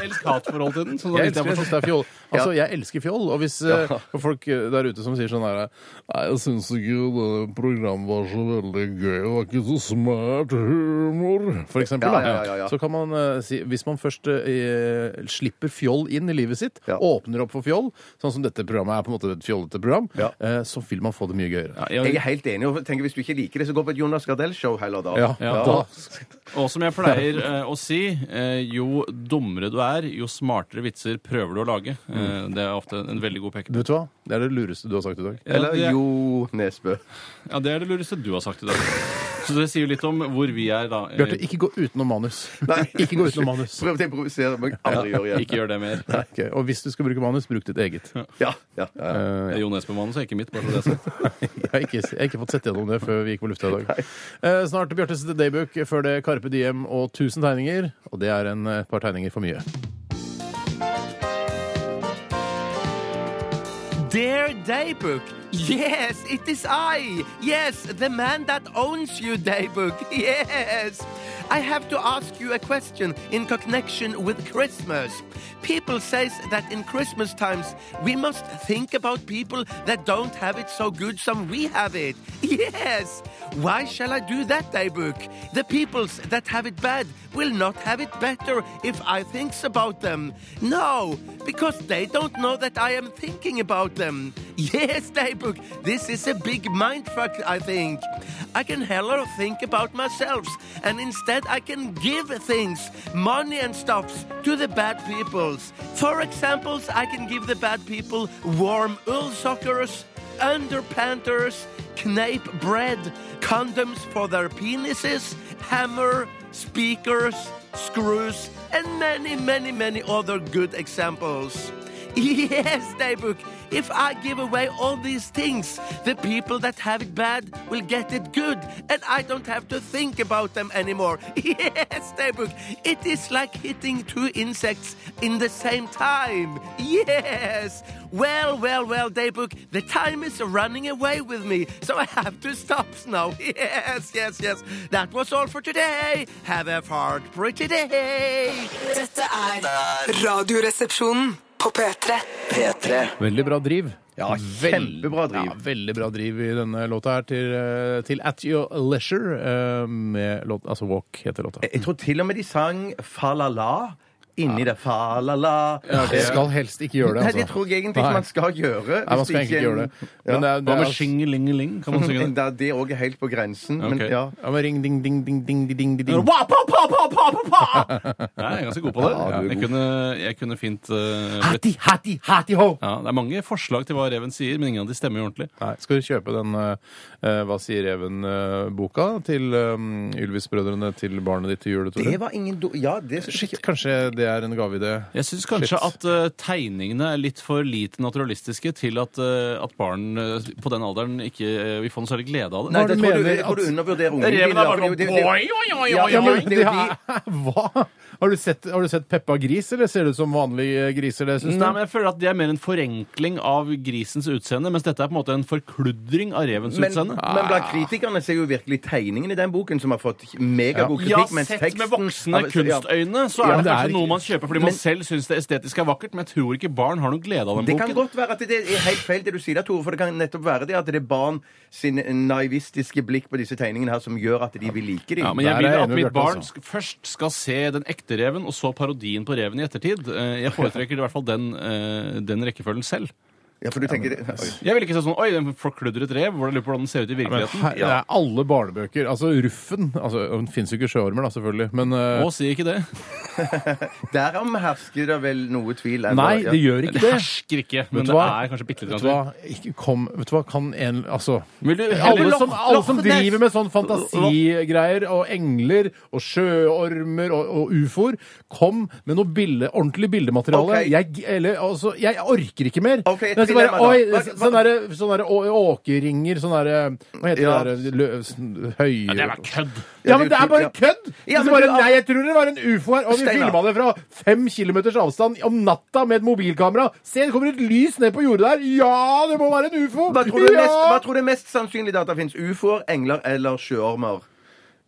[SPEAKER 3] Elsk hatforhold til den. Sånn
[SPEAKER 2] Jeg
[SPEAKER 3] jeg
[SPEAKER 2] elsker, jeg synes det er fjoll. Altså, jeg elsker fjoll. Og hvis eh, folk eh, der ute som sier sånn her Nei, jeg syns ikke det programmet var så veldig gøy. Det var ikke så smart humor. For eksempel,
[SPEAKER 4] Ja,
[SPEAKER 2] da.
[SPEAKER 4] ja, ja, ja.
[SPEAKER 2] Så kan man eh, si Hvis man først eh, slipper fjoll inn i livet sitt,
[SPEAKER 4] Ja.
[SPEAKER 2] åpner opp for fjoll, sånn som dette programmet er på en måte et fjollete program,
[SPEAKER 4] Ja.
[SPEAKER 2] eh, så vil man få det mye gøyere.
[SPEAKER 3] sånn-
[SPEAKER 4] Jeg er helt enig. og tenker Hvis du ikke liker det, så gå på et Jonas Gardell-show heller, da.
[SPEAKER 2] Ja,
[SPEAKER 3] Ja.
[SPEAKER 2] da
[SPEAKER 3] Og som jeg pleier eh, å si, eh, jo dummere du er, jo smartere vitser prøver du å lage. Eh, det er ofte en veldig god pekepinn.
[SPEAKER 2] Vet du hva? Det er det lureste du har sagt i dag.
[SPEAKER 4] Eller
[SPEAKER 3] ja, det,
[SPEAKER 4] Jo Nesbø.
[SPEAKER 3] ja, det er det lureste du har sagt i dag. (laughs) Så det sier jo litt om hvor vi er, da. Eh,
[SPEAKER 2] Bjarte, ikke gå utenom manus.
[SPEAKER 4] Nei.
[SPEAKER 2] Ikke gå
[SPEAKER 4] (laughs)
[SPEAKER 2] utenom manus.
[SPEAKER 4] Prøvde å provosere, men aldri gjør igjen.
[SPEAKER 3] Eh, ikke gjør det mer.
[SPEAKER 2] Ok, Og hvis du skal bruke manus, bruk ditt eget.
[SPEAKER 4] Ja, ja.
[SPEAKER 2] Eh,
[SPEAKER 3] Det er Jo Nesbø-mannen, så er ikke mitt. Bare for (laughs) det jeg sa.
[SPEAKER 2] Jeg har, ikke, jeg har ikke fått sett gjennom det før vi gikk på lufta i dag. Eh, snart Bjartes daybook, før det Karpe Diem og 1000 tegninger. Og det er en eh, par tegninger for mye.
[SPEAKER 4] Dear Daybook. Yes, it is I. Yes, the man that owns you, Daybook. (laughs) Yes. I have to ask you a question in connection with Christmas. People says that in Christmas times we must think about people that don't have it so good some we have it. (laughs) Yes. Why shall I do that, Daybook? The peoples that have it bad will not have it better if I thinks about them. No, because they don't know that I am thinking about them. (laughs) Yes, Daybook, this is a big mindfuck, I think. I can hello think about myself, and instead I can give things, money and stuffs, to the bad peoples. For examples, I can give the bad people warm wool suckers, underpanters, knape bread, condoms for their penises, hammer, speakers, screws, and many, many, many other good examples. (laughs) Yes, Daybook, if I give away all these things, the people that have it bad will get it good, and I don't have to think about them anymore. (laughs) Yes, Daybook, it is like hitting two insects in the same time. Yes! Well, well, well, Daybook, the time is running away with me, so I have to stop now. (laughs) Yes, yes, yes. That was all for today. Have a fart pretty day.
[SPEAKER 5] Dette er Radioresepsjonen på P3.
[SPEAKER 1] P3.
[SPEAKER 2] Veldig bra driv.
[SPEAKER 4] Ja, kjempebra driv.
[SPEAKER 2] Ja, veldig bra driv i denne låta her til, eh, til At Your Leisure eh, med låt, altså Walk heter låta.
[SPEAKER 4] Jeg tror til og med de sang Falala inni det. Fa-la-la.
[SPEAKER 2] Du skal helst ikke gjøre det.
[SPEAKER 4] eh, Nei,
[SPEAKER 2] Altså.
[SPEAKER 4] det tror jeg egentlig
[SPEAKER 2] Nei.
[SPEAKER 4] ikke man skal gjøre.
[SPEAKER 2] Nei, man skal egentlig ikke gjøre det. Men det er, altså- det
[SPEAKER 3] Hva
[SPEAKER 2] er,
[SPEAKER 3] med shingelingeling? Kan man (laughs) synge det?
[SPEAKER 4] (laughs) Da, det òg er helt på grensen. Men
[SPEAKER 3] Ok.
[SPEAKER 4] ja.
[SPEAKER 2] ja, men ring, ding, ding, ding, ding, ding, ding, ding.
[SPEAKER 3] Wa, pa, pa, pa, pa, pa, pa! Nei, Jeg er ganske god på det.
[SPEAKER 4] Ja, du er
[SPEAKER 3] jeg,
[SPEAKER 4] god.
[SPEAKER 3] kunne, jeg kunne fint eh, blitt
[SPEAKER 2] Hatti, hatti, hatti, ho!
[SPEAKER 3] ja, Det er mange forslag til hva reven sier, men ingen av de stemmer jo ordentlig.
[SPEAKER 2] Nei, skal du kjøpe den eh, eh, Hva sier reven-boka til eh, Ylvis-brødrene til barnet ditt til jul? Tore?
[SPEAKER 4] Det var ingen do... Ja, det
[SPEAKER 2] Shit, kanskje det er en gaveidé.
[SPEAKER 3] Jeg syns kanskje
[SPEAKER 2] Shit.
[SPEAKER 3] at eh, tegningene er litt for lite naturalistiske til at, eh, at barn eh, på den alderen ikke eh, vil få noe særlig glede av det.
[SPEAKER 4] Nei,
[SPEAKER 2] Hva
[SPEAKER 4] det
[SPEAKER 2] du
[SPEAKER 4] tror du,
[SPEAKER 2] mener
[SPEAKER 4] jeg tror du
[SPEAKER 2] at-
[SPEAKER 4] undervurderer ungene.
[SPEAKER 3] Reven er
[SPEAKER 4] dine,
[SPEAKER 3] bare
[SPEAKER 4] for det-
[SPEAKER 3] noe
[SPEAKER 4] det-
[SPEAKER 3] boing, oing, oing,
[SPEAKER 4] Ja,
[SPEAKER 3] oing,
[SPEAKER 2] Ja,
[SPEAKER 4] ja,
[SPEAKER 2] men
[SPEAKER 4] men det
[SPEAKER 2] det
[SPEAKER 4] er jo
[SPEAKER 2] her, (laughs) hva? Har du, sett, har du sett Peppa Gris, eller ser det ut som vanlige eh, griser? det synes
[SPEAKER 3] Nei, men jeg føler at Det er mer en forenkling av grisens utseende, mens dette er på en måte en forkludring av revens
[SPEAKER 4] Men,
[SPEAKER 3] utseende.
[SPEAKER 4] men blant kritikerne så er jo virkelig tegningen i den boken som har fått megagod
[SPEAKER 3] Ah.
[SPEAKER 4] kritikk.
[SPEAKER 3] Ja,
[SPEAKER 4] mens
[SPEAKER 3] sett
[SPEAKER 4] teksten-
[SPEAKER 3] med voksne
[SPEAKER 4] Ja, men-
[SPEAKER 3] kunstøyne, så
[SPEAKER 4] Ja,
[SPEAKER 3] er
[SPEAKER 4] men
[SPEAKER 3] det
[SPEAKER 2] det er
[SPEAKER 3] kanskje
[SPEAKER 2] ikke-
[SPEAKER 3] noe man kjøper fordi man selv syns det estetiske er vakkert, men jeg tror ikke barn har noen glede av den
[SPEAKER 4] Det kan
[SPEAKER 3] boken.
[SPEAKER 4] godt være at det er helt feil det du sier, der, Tore. For det kan nettopp være det at det er barn sin naivistiske blikk på disse tegningene her som gjør at de vil like dem.
[SPEAKER 3] Ja, men jeg
[SPEAKER 2] Der er
[SPEAKER 3] vil
[SPEAKER 2] jeg
[SPEAKER 3] at
[SPEAKER 2] enig med
[SPEAKER 3] mitt
[SPEAKER 2] Bjarte,
[SPEAKER 3] barn
[SPEAKER 2] altså.
[SPEAKER 3] sk først skal se den ekte reven, og så parodien på reven i ettertid. Eh, Jeg foretrekker i hvert fall den, eh, den rekkefølgen selv.
[SPEAKER 4] Ja, for du tenker det. Oi.
[SPEAKER 3] Jeg vil ikke se sånn Oi, den forkludret rev. Hvordan lurer på hvordan den ser ut i
[SPEAKER 2] Men
[SPEAKER 3] virkeligheten.
[SPEAKER 2] her, det er alle barnebøker. Altså Ruffen altså, Den fins jo ikke sjøormer, da, selvfølgelig. Men eh,
[SPEAKER 3] Å, si ikke det.
[SPEAKER 4] Derom hersker det vel noe tvil ennå.
[SPEAKER 2] Nei, det gjør
[SPEAKER 3] Det
[SPEAKER 2] ikke det.
[SPEAKER 3] hersker ikke, men
[SPEAKER 2] du
[SPEAKER 3] det
[SPEAKER 2] hva?
[SPEAKER 3] er kanskje bitte litt.
[SPEAKER 2] Vet du hva? Ikke kom Vet du hva, kan en Altså
[SPEAKER 3] Vil du
[SPEAKER 2] alle
[SPEAKER 3] heller
[SPEAKER 2] som,
[SPEAKER 3] Loch-
[SPEAKER 2] alle som
[SPEAKER 3] Loch Ness?
[SPEAKER 2] driver med sånn fantasigreier og engler og sjøormer og, og ufoer, kom med noe bilde, ordentlig bildemateriale.
[SPEAKER 4] Ok.
[SPEAKER 2] Jeg, eller, altså, jeg orker ikke mer.
[SPEAKER 4] Ok, et
[SPEAKER 2] Det er så bare,
[SPEAKER 4] dilemma da.
[SPEAKER 2] oi, sånn
[SPEAKER 4] Hva- hva-
[SPEAKER 2] sånne der, sånne der å- åkerringer, sånne der Hva heter
[SPEAKER 4] Ja.
[SPEAKER 2] det der lø- sn- høy...
[SPEAKER 3] Det er bare kødd.
[SPEAKER 2] Ja, men det er bare kødd!
[SPEAKER 4] Ja,
[SPEAKER 2] Så
[SPEAKER 4] men
[SPEAKER 2] bare,
[SPEAKER 4] du-
[SPEAKER 2] nei, jeg tror det var en ufo her, og vi
[SPEAKER 4] Steinar.
[SPEAKER 2] filma det fra fem kilometers avstand om natta med et mobilkamera. Se, det kommer et lys ned på jordet der! Ja, det må være en ufo!
[SPEAKER 4] Hva tror du er
[SPEAKER 2] ja!
[SPEAKER 4] mest, hva tror du er mest sannsynlig da at det fins? Ufoer, engler eller sjøormer?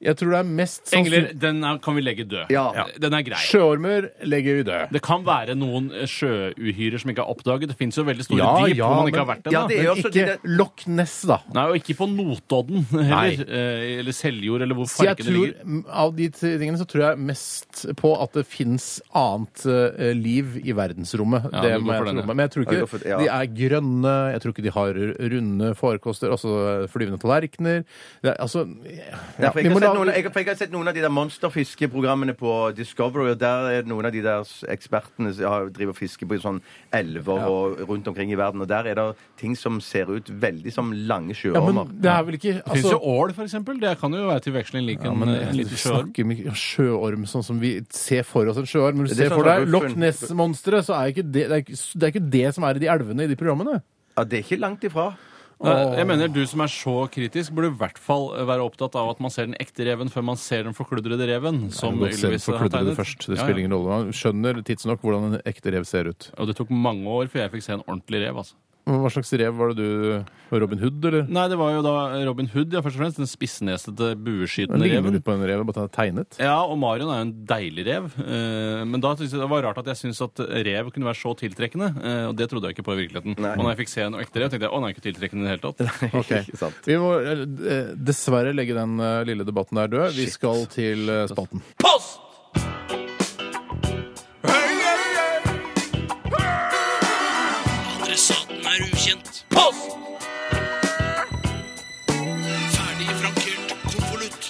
[SPEAKER 2] Jeg tror det er mest
[SPEAKER 3] Engler,
[SPEAKER 2] sannsynlig
[SPEAKER 3] den er, kan vi legge død.
[SPEAKER 4] Ja.
[SPEAKER 3] Den er grei.
[SPEAKER 2] Sjøormer legger vi død.
[SPEAKER 3] Det kan være noen eh, sjøuhyrer som ikke er oppdaget. Det fins jo veldig store
[SPEAKER 2] Ja,
[SPEAKER 3] dyp
[SPEAKER 2] ja,
[SPEAKER 3] hvor man ikke
[SPEAKER 2] men-
[SPEAKER 3] har vært ennå.
[SPEAKER 4] Ja, det er jo
[SPEAKER 2] Men
[SPEAKER 4] også
[SPEAKER 2] ikke
[SPEAKER 4] det-
[SPEAKER 2] Loch Ness, da.
[SPEAKER 3] Nei, og ikke på Notodden heller. eh, Eller Seljord, eller hvor
[SPEAKER 2] Så jeg
[SPEAKER 3] farken det
[SPEAKER 2] tror,
[SPEAKER 3] ligger.
[SPEAKER 2] Av de tingene så tror jeg mest på at det fins annet eh, liv i verdensrommet.
[SPEAKER 3] Ja,
[SPEAKER 2] det
[SPEAKER 3] du går
[SPEAKER 2] må jeg
[SPEAKER 3] for den,
[SPEAKER 2] tro meg.
[SPEAKER 3] ja.
[SPEAKER 2] Men jeg tror
[SPEAKER 4] Ja, du
[SPEAKER 2] ikke
[SPEAKER 4] går for- ja.
[SPEAKER 2] de er grønne, jeg tror ikke de har runde forekoster, altså eh, flyvende tallerkener det er, Altså
[SPEAKER 4] Ja,
[SPEAKER 2] ja, vi
[SPEAKER 4] for jeg,
[SPEAKER 2] må
[SPEAKER 4] har sett
[SPEAKER 2] la-
[SPEAKER 4] noen, jeg, for jeg har sett noen av de der monsterfiskeprogrammene på Discovery, og der er noen av de der s- ekspertene som har- driver og fisker på sånn elver og rundt omkring i verden, og der er det ting som ser ut veldig som lange
[SPEAKER 2] ja, men
[SPEAKER 4] sjøormer.
[SPEAKER 2] det er vel ikke
[SPEAKER 3] Det fins
[SPEAKER 2] altså,
[SPEAKER 3] jo ål, for eksempel. Det kan jo være til veksling lik en,
[SPEAKER 2] men,
[SPEAKER 3] en liten
[SPEAKER 2] vi
[SPEAKER 3] sjøorm.
[SPEAKER 2] snakker mye om sjøorm, sånn som vi ser for oss en sjøorm. Når du
[SPEAKER 4] Det
[SPEAKER 2] ser
[SPEAKER 4] er sånn
[SPEAKER 2] for
[SPEAKER 4] som
[SPEAKER 2] deg Loch
[SPEAKER 4] Ruffen-
[SPEAKER 2] Ness-monsteret, så er ikke det, det, er ikke, det er ikke det som er i de elvene i de programmene.
[SPEAKER 4] Ja, det er ikke langt ifra.
[SPEAKER 3] Nei, Jeg mener Du som er så kritisk, burde i hvert fall være opptatt av at man ser den ekte reven før man ser den forkludrede reven. Som
[SPEAKER 2] Godt selv
[SPEAKER 3] Ylvis har
[SPEAKER 2] forkludre det
[SPEAKER 3] tegnet.
[SPEAKER 2] først. Det
[SPEAKER 3] Ja, ja.
[SPEAKER 2] spiller ingen rolle. Man skjønner tidsnok hvordan en ekte rev ser ut.
[SPEAKER 3] Og det tok mange år før jeg fikk se en ordentlig rev. altså.
[SPEAKER 2] Men Hva slags rev var det du Robin Hood, eller?
[SPEAKER 3] Nei, det var jo da Robin Hood, ja, først og fremst. Den spissnesete,
[SPEAKER 2] Den
[SPEAKER 3] bueskytende
[SPEAKER 2] ligner
[SPEAKER 3] reven.
[SPEAKER 2] litt på en rev, bare at den er tegnet.
[SPEAKER 3] Ja, og Marion er jo en deilig rev. eh, Men da syntes jeg det var rart at jeg syntes at rev kunne være så tiltrekkende. eh, Og det trodde jeg ikke på i virkeligheten.
[SPEAKER 4] Nei.
[SPEAKER 3] Og når jeg fikk se en ekte rev, tenkte jeg å, den er (laughs) ikke tiltrekkende i det hele tatt.
[SPEAKER 2] Ok.
[SPEAKER 4] Ikke sant.
[SPEAKER 2] Vi må eh, dessverre legge den eh, lille debatten der død. Vi skal til eh, spalten.
[SPEAKER 3] Post!
[SPEAKER 6] Adressaten er ukjent. Post! Ferdig frankert konvolutt.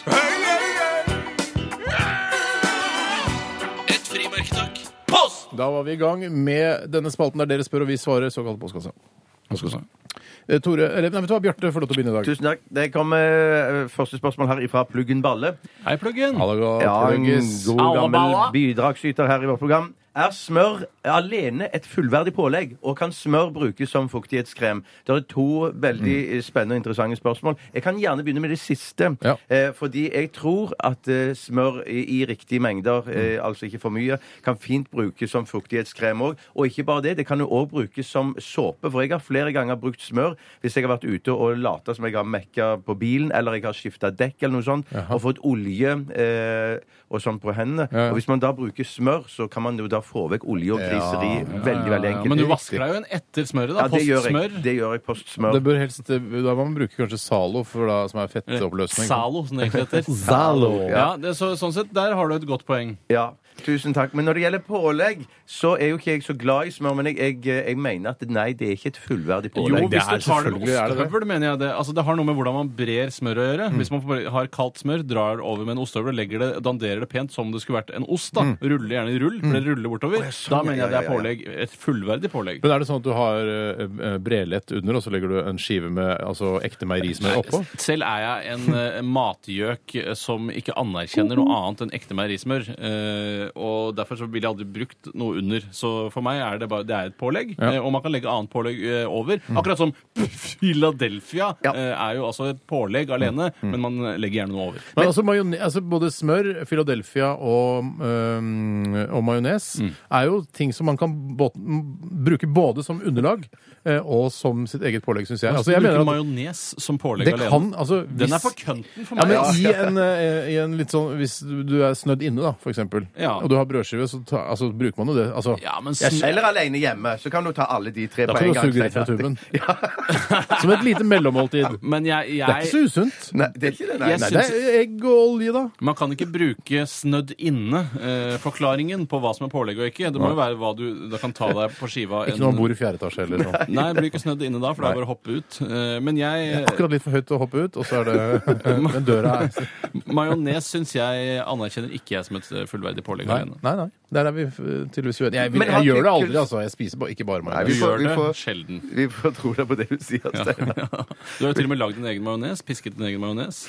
[SPEAKER 6] Et frimerke, takk. Post!
[SPEAKER 2] Da var vi i gang med denne spalten der dere spør og vi svarer såkalt postkassa. Eh, Tore, eller nei, vet du hva, Bjarte får lov til å begynne i dag.
[SPEAKER 4] Tusen takk. Det kommer eh, første spørsmål her ifra Pluggen Balle.
[SPEAKER 3] Hei, pluggen!
[SPEAKER 2] Ha det godt,
[SPEAKER 4] Ja, en
[SPEAKER 2] Røggis.
[SPEAKER 4] god gammel bidragsyter her i vårt program. Er smør alene et fullverdig pålegg, og kan smør brukes som fuktighetskrem? Det er to veldig spennende og interessante spørsmål. Jeg kan gjerne begynne med det siste.
[SPEAKER 2] Ja.
[SPEAKER 4] Eh, fordi jeg tror at eh, smør i, i riktige mengder, eh, altså ikke for mye, kan fint brukes som fuktighetskrem òg. Og ikke bare det, det kan jo òg brukes som såpe. For jeg har flere ganger brukt smør hvis jeg har vært ute og lata som jeg har mekka på bilen, eller jeg har skifta dekk eller noe sånt, og fått olje eh, og sånn på hendene.
[SPEAKER 2] Ja.
[SPEAKER 4] Og hvis man da bruker smør, så kan man jo da få vekk olje og griseri. Veldig, veldig
[SPEAKER 3] Ja,
[SPEAKER 4] enkelt.
[SPEAKER 3] Eh, men du vasker deg jo en etter smøret, da.
[SPEAKER 4] ja, det gjør
[SPEAKER 3] Postsmør.
[SPEAKER 4] jeg. Det gjør jeg post smør.
[SPEAKER 2] Det bør helst, eh, da må man bruke kanskje Zalo, for da, som er fettoppløsning.
[SPEAKER 4] (laughs)
[SPEAKER 3] Zalo, som det egentlig heter.
[SPEAKER 2] Zalo.
[SPEAKER 3] Ja, det, er så, sånn sett, Der har du et godt poeng.
[SPEAKER 4] Ja. Tusen takk. Men når det gjelder pålegg, så er jo ikke jeg så glad i smør. Men jeg, jeg, jeg mener at nei, det er ikke et fullverdig
[SPEAKER 3] Jo,
[SPEAKER 4] pålegg.
[SPEAKER 2] det
[SPEAKER 3] hvis
[SPEAKER 2] er
[SPEAKER 3] du tar det med
[SPEAKER 2] selvfølgelig er det det.
[SPEAKER 3] ostehøvel, mener jeg det. Altså, det har noe med hvordan man brer smør å gjøre. Hvis man bare har kaldt smør, drar det over med en ostehøvel, legger det, danderer det pent som om det skulle vært en ost, da. Ruller gjerne i rull, for det ruller bortover. Da mener jeg det er pålegg, et fullverdig pålegg.
[SPEAKER 2] Men er det sånn at du har eh, eh, brelett under, og så legger du en skive med altså, ekte meierismør oppå?
[SPEAKER 3] Selv er jeg en eh, matgjøk eh, som ikke anerkjenner noe annet enn ekte meierismør. eh, Og derfor så ville jeg aldri brukt noe under. Så for meg er det bare det er et pålegg.
[SPEAKER 2] Ja.
[SPEAKER 3] eh, Og man kan legge annet pålegg eh, over. Akkurat som (laughs) Philadelphia
[SPEAKER 4] Ja.
[SPEAKER 3] eh, er jo altså et pålegg alene, men man eh, legger gjerne noe over.
[SPEAKER 2] Mm. Men, altså, majone- altså Både smør, Philadelphia og, øhm, og majones
[SPEAKER 3] Mm.
[SPEAKER 2] er jo ting som man kan bå- m- bruke både som underlag eh, og som sitt eget pålegg, syns jeg. Altså, jeg
[SPEAKER 3] Bruker
[SPEAKER 2] mener at
[SPEAKER 3] majones som pålegg
[SPEAKER 2] det
[SPEAKER 3] alene.
[SPEAKER 2] kan altså, hvis,
[SPEAKER 3] Den er for kønten for
[SPEAKER 2] ja,
[SPEAKER 3] meg.
[SPEAKER 2] men
[SPEAKER 3] altså.
[SPEAKER 2] i en, eh, i en litt sånn Hvis du du er snødd inne, da, for eksempel,
[SPEAKER 3] Ja.
[SPEAKER 2] og du har brødskive, så ta, altså, bruker man jo det. Altså,
[SPEAKER 3] Ja, men
[SPEAKER 4] Jeg-
[SPEAKER 3] sn-
[SPEAKER 4] Eller alene hjemme. Så kan du ta alle de tre
[SPEAKER 2] da
[SPEAKER 4] på
[SPEAKER 2] kan
[SPEAKER 4] en
[SPEAKER 2] du
[SPEAKER 4] gang.
[SPEAKER 2] suge rett fra tuben.
[SPEAKER 3] (laughs)
[SPEAKER 2] Som et lite mellommåltid.
[SPEAKER 3] men jeg,
[SPEAKER 2] Det er
[SPEAKER 3] jeg
[SPEAKER 2] ikke så usunt.
[SPEAKER 4] Nei, det er ikke det, nei.
[SPEAKER 3] Jeg
[SPEAKER 4] nei.
[SPEAKER 2] Det er egg og olje, da.
[SPEAKER 3] Man kan ikke bruke snødd inne-forklaringen på hva som er pålegg og ikke. Det må jo være hva du da kan ta deg på skiva.
[SPEAKER 2] Ikke når man bor i fjerde etasje sånn. eller noe.
[SPEAKER 3] Nei, det blir ikke snødd inne da, for det er bare å hoppe ut. Eh, Men jeg
[SPEAKER 2] Akkurat litt for høyt til å hoppe ut, og så er det Men døra er
[SPEAKER 3] Majones syns jeg anerkjenner ikke jeg som et eh, fullverdig pålegg
[SPEAKER 2] Nei,
[SPEAKER 3] alene.
[SPEAKER 2] nei. nei. Der er vi eh, tydeligvis uenige. Jeg,
[SPEAKER 4] Men
[SPEAKER 2] jeg,
[SPEAKER 4] har
[SPEAKER 2] gjør det
[SPEAKER 4] ikke-
[SPEAKER 2] aldri, altså. Jeg spiser bare, ikke bare
[SPEAKER 4] Nei,
[SPEAKER 2] majones.
[SPEAKER 3] Du
[SPEAKER 4] vi får-
[SPEAKER 3] gjør
[SPEAKER 4] vi
[SPEAKER 3] det
[SPEAKER 4] får- (laughs)
[SPEAKER 3] sjelden.
[SPEAKER 4] Vi får tro deg på det du sier,
[SPEAKER 3] (laughs)
[SPEAKER 4] Steinar.
[SPEAKER 3] Du har jo til og med lagd din egen majones. Pisket din egen majones.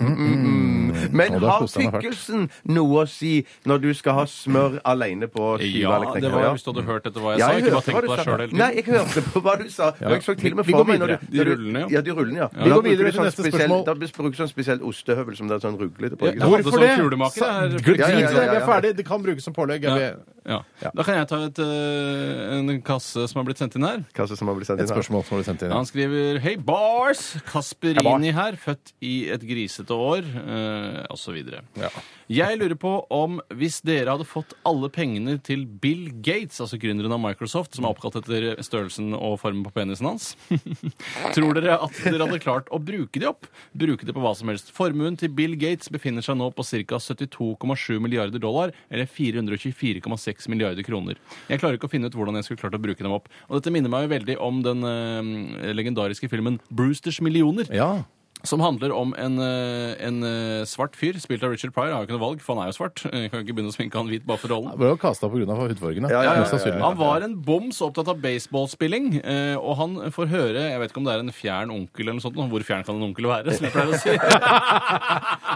[SPEAKER 4] Men
[SPEAKER 2] Og da
[SPEAKER 4] har
[SPEAKER 2] koste han meg fælt.
[SPEAKER 4] tykkelsen noe å si når du skal ha smør alene på skiva?
[SPEAKER 3] Ja,
[SPEAKER 4] eller
[SPEAKER 3] det
[SPEAKER 4] knekkebrød?
[SPEAKER 3] var hvis du hadde hørt etter hva jeg
[SPEAKER 4] Ja,
[SPEAKER 3] sa.
[SPEAKER 4] jeg
[SPEAKER 3] Ikke bare
[SPEAKER 4] hørte hva
[SPEAKER 3] tenkt
[SPEAKER 4] du
[SPEAKER 3] på deg
[SPEAKER 4] sa.
[SPEAKER 3] sjøl hele
[SPEAKER 4] Nei,
[SPEAKER 3] tiden.
[SPEAKER 4] jeg hørte på hva du sa. Og jeg så til og med
[SPEAKER 2] Vi- vi
[SPEAKER 4] for
[SPEAKER 2] går
[SPEAKER 4] meg når du,
[SPEAKER 2] videre.
[SPEAKER 3] De
[SPEAKER 4] når du-
[SPEAKER 3] rullene, ja.
[SPEAKER 4] ja. de rullene, ja.
[SPEAKER 2] Vi
[SPEAKER 4] Da
[SPEAKER 2] går
[SPEAKER 4] bruker
[SPEAKER 2] videre
[SPEAKER 4] du
[SPEAKER 2] til
[SPEAKER 4] sånn
[SPEAKER 2] neste
[SPEAKER 4] spesiell-
[SPEAKER 2] spørsmål.
[SPEAKER 4] Da bruker du sånn spesiell ostehøvel som det er sånn ruglete på. ikke
[SPEAKER 3] Ja,
[SPEAKER 4] sant?
[SPEAKER 3] hadde sånn kulemaker
[SPEAKER 2] Sa-
[SPEAKER 3] her.
[SPEAKER 2] Drit i
[SPEAKER 4] Ja, ja, ja,
[SPEAKER 2] det, vi er
[SPEAKER 4] ja.
[SPEAKER 2] ferdig. Det kan brukes som pålegg.
[SPEAKER 3] Ja.
[SPEAKER 2] eller-
[SPEAKER 3] Ja. Da kan jeg ta et, eh, en kasse som har blitt sendt inn her.
[SPEAKER 4] Hva som har blitt sendt
[SPEAKER 2] Et
[SPEAKER 4] inn her?
[SPEAKER 2] spørsmål som har blitt sendt inn.
[SPEAKER 3] Han skriver Hei, bars! Kasperini her, født i et grisete år, eh, og så videre.
[SPEAKER 2] Ja.
[SPEAKER 3] Jeg lurer på om hvis dere hadde fått alle pengene til Bill Gates, altså gründeren av Microsoft, som er oppkalt etter størrelsen og formen på penisen hans, (laughs) tror dere at dere hadde klart å bruke de opp? Bruke det på hva som helst. Formuen til Bill Gates befinner seg nå på ca. 72,7 milliarder dollar, eller 424,6 milliarder kroner. Jeg klarer ikke å finne ut hvordan jeg skulle klart å bruke dem opp. Og dette minner meg jo veldig om den eh, legendariske filmen Brewsters millioner.
[SPEAKER 2] Ja.
[SPEAKER 3] Som handler om en, eh, en eh, svart fyr, spilt av Richard Pryor. Jeg har jo ikke noe valg, for han er jo svart. Jeg kan ikke begynne å sminke han hvit bare for rollen.
[SPEAKER 2] Ble jo kasta pga. hudfargene.
[SPEAKER 4] ja, ja, ja, ja.
[SPEAKER 2] mest sannsynlig.
[SPEAKER 3] Han var en bom så opptatt av baseballspilling, eh, og han får høre Jeg vet ikke om det er en fjern onkel eller noe sånt. Hvor fjern kan en onkel være? som jeg pleier å si. (laughs)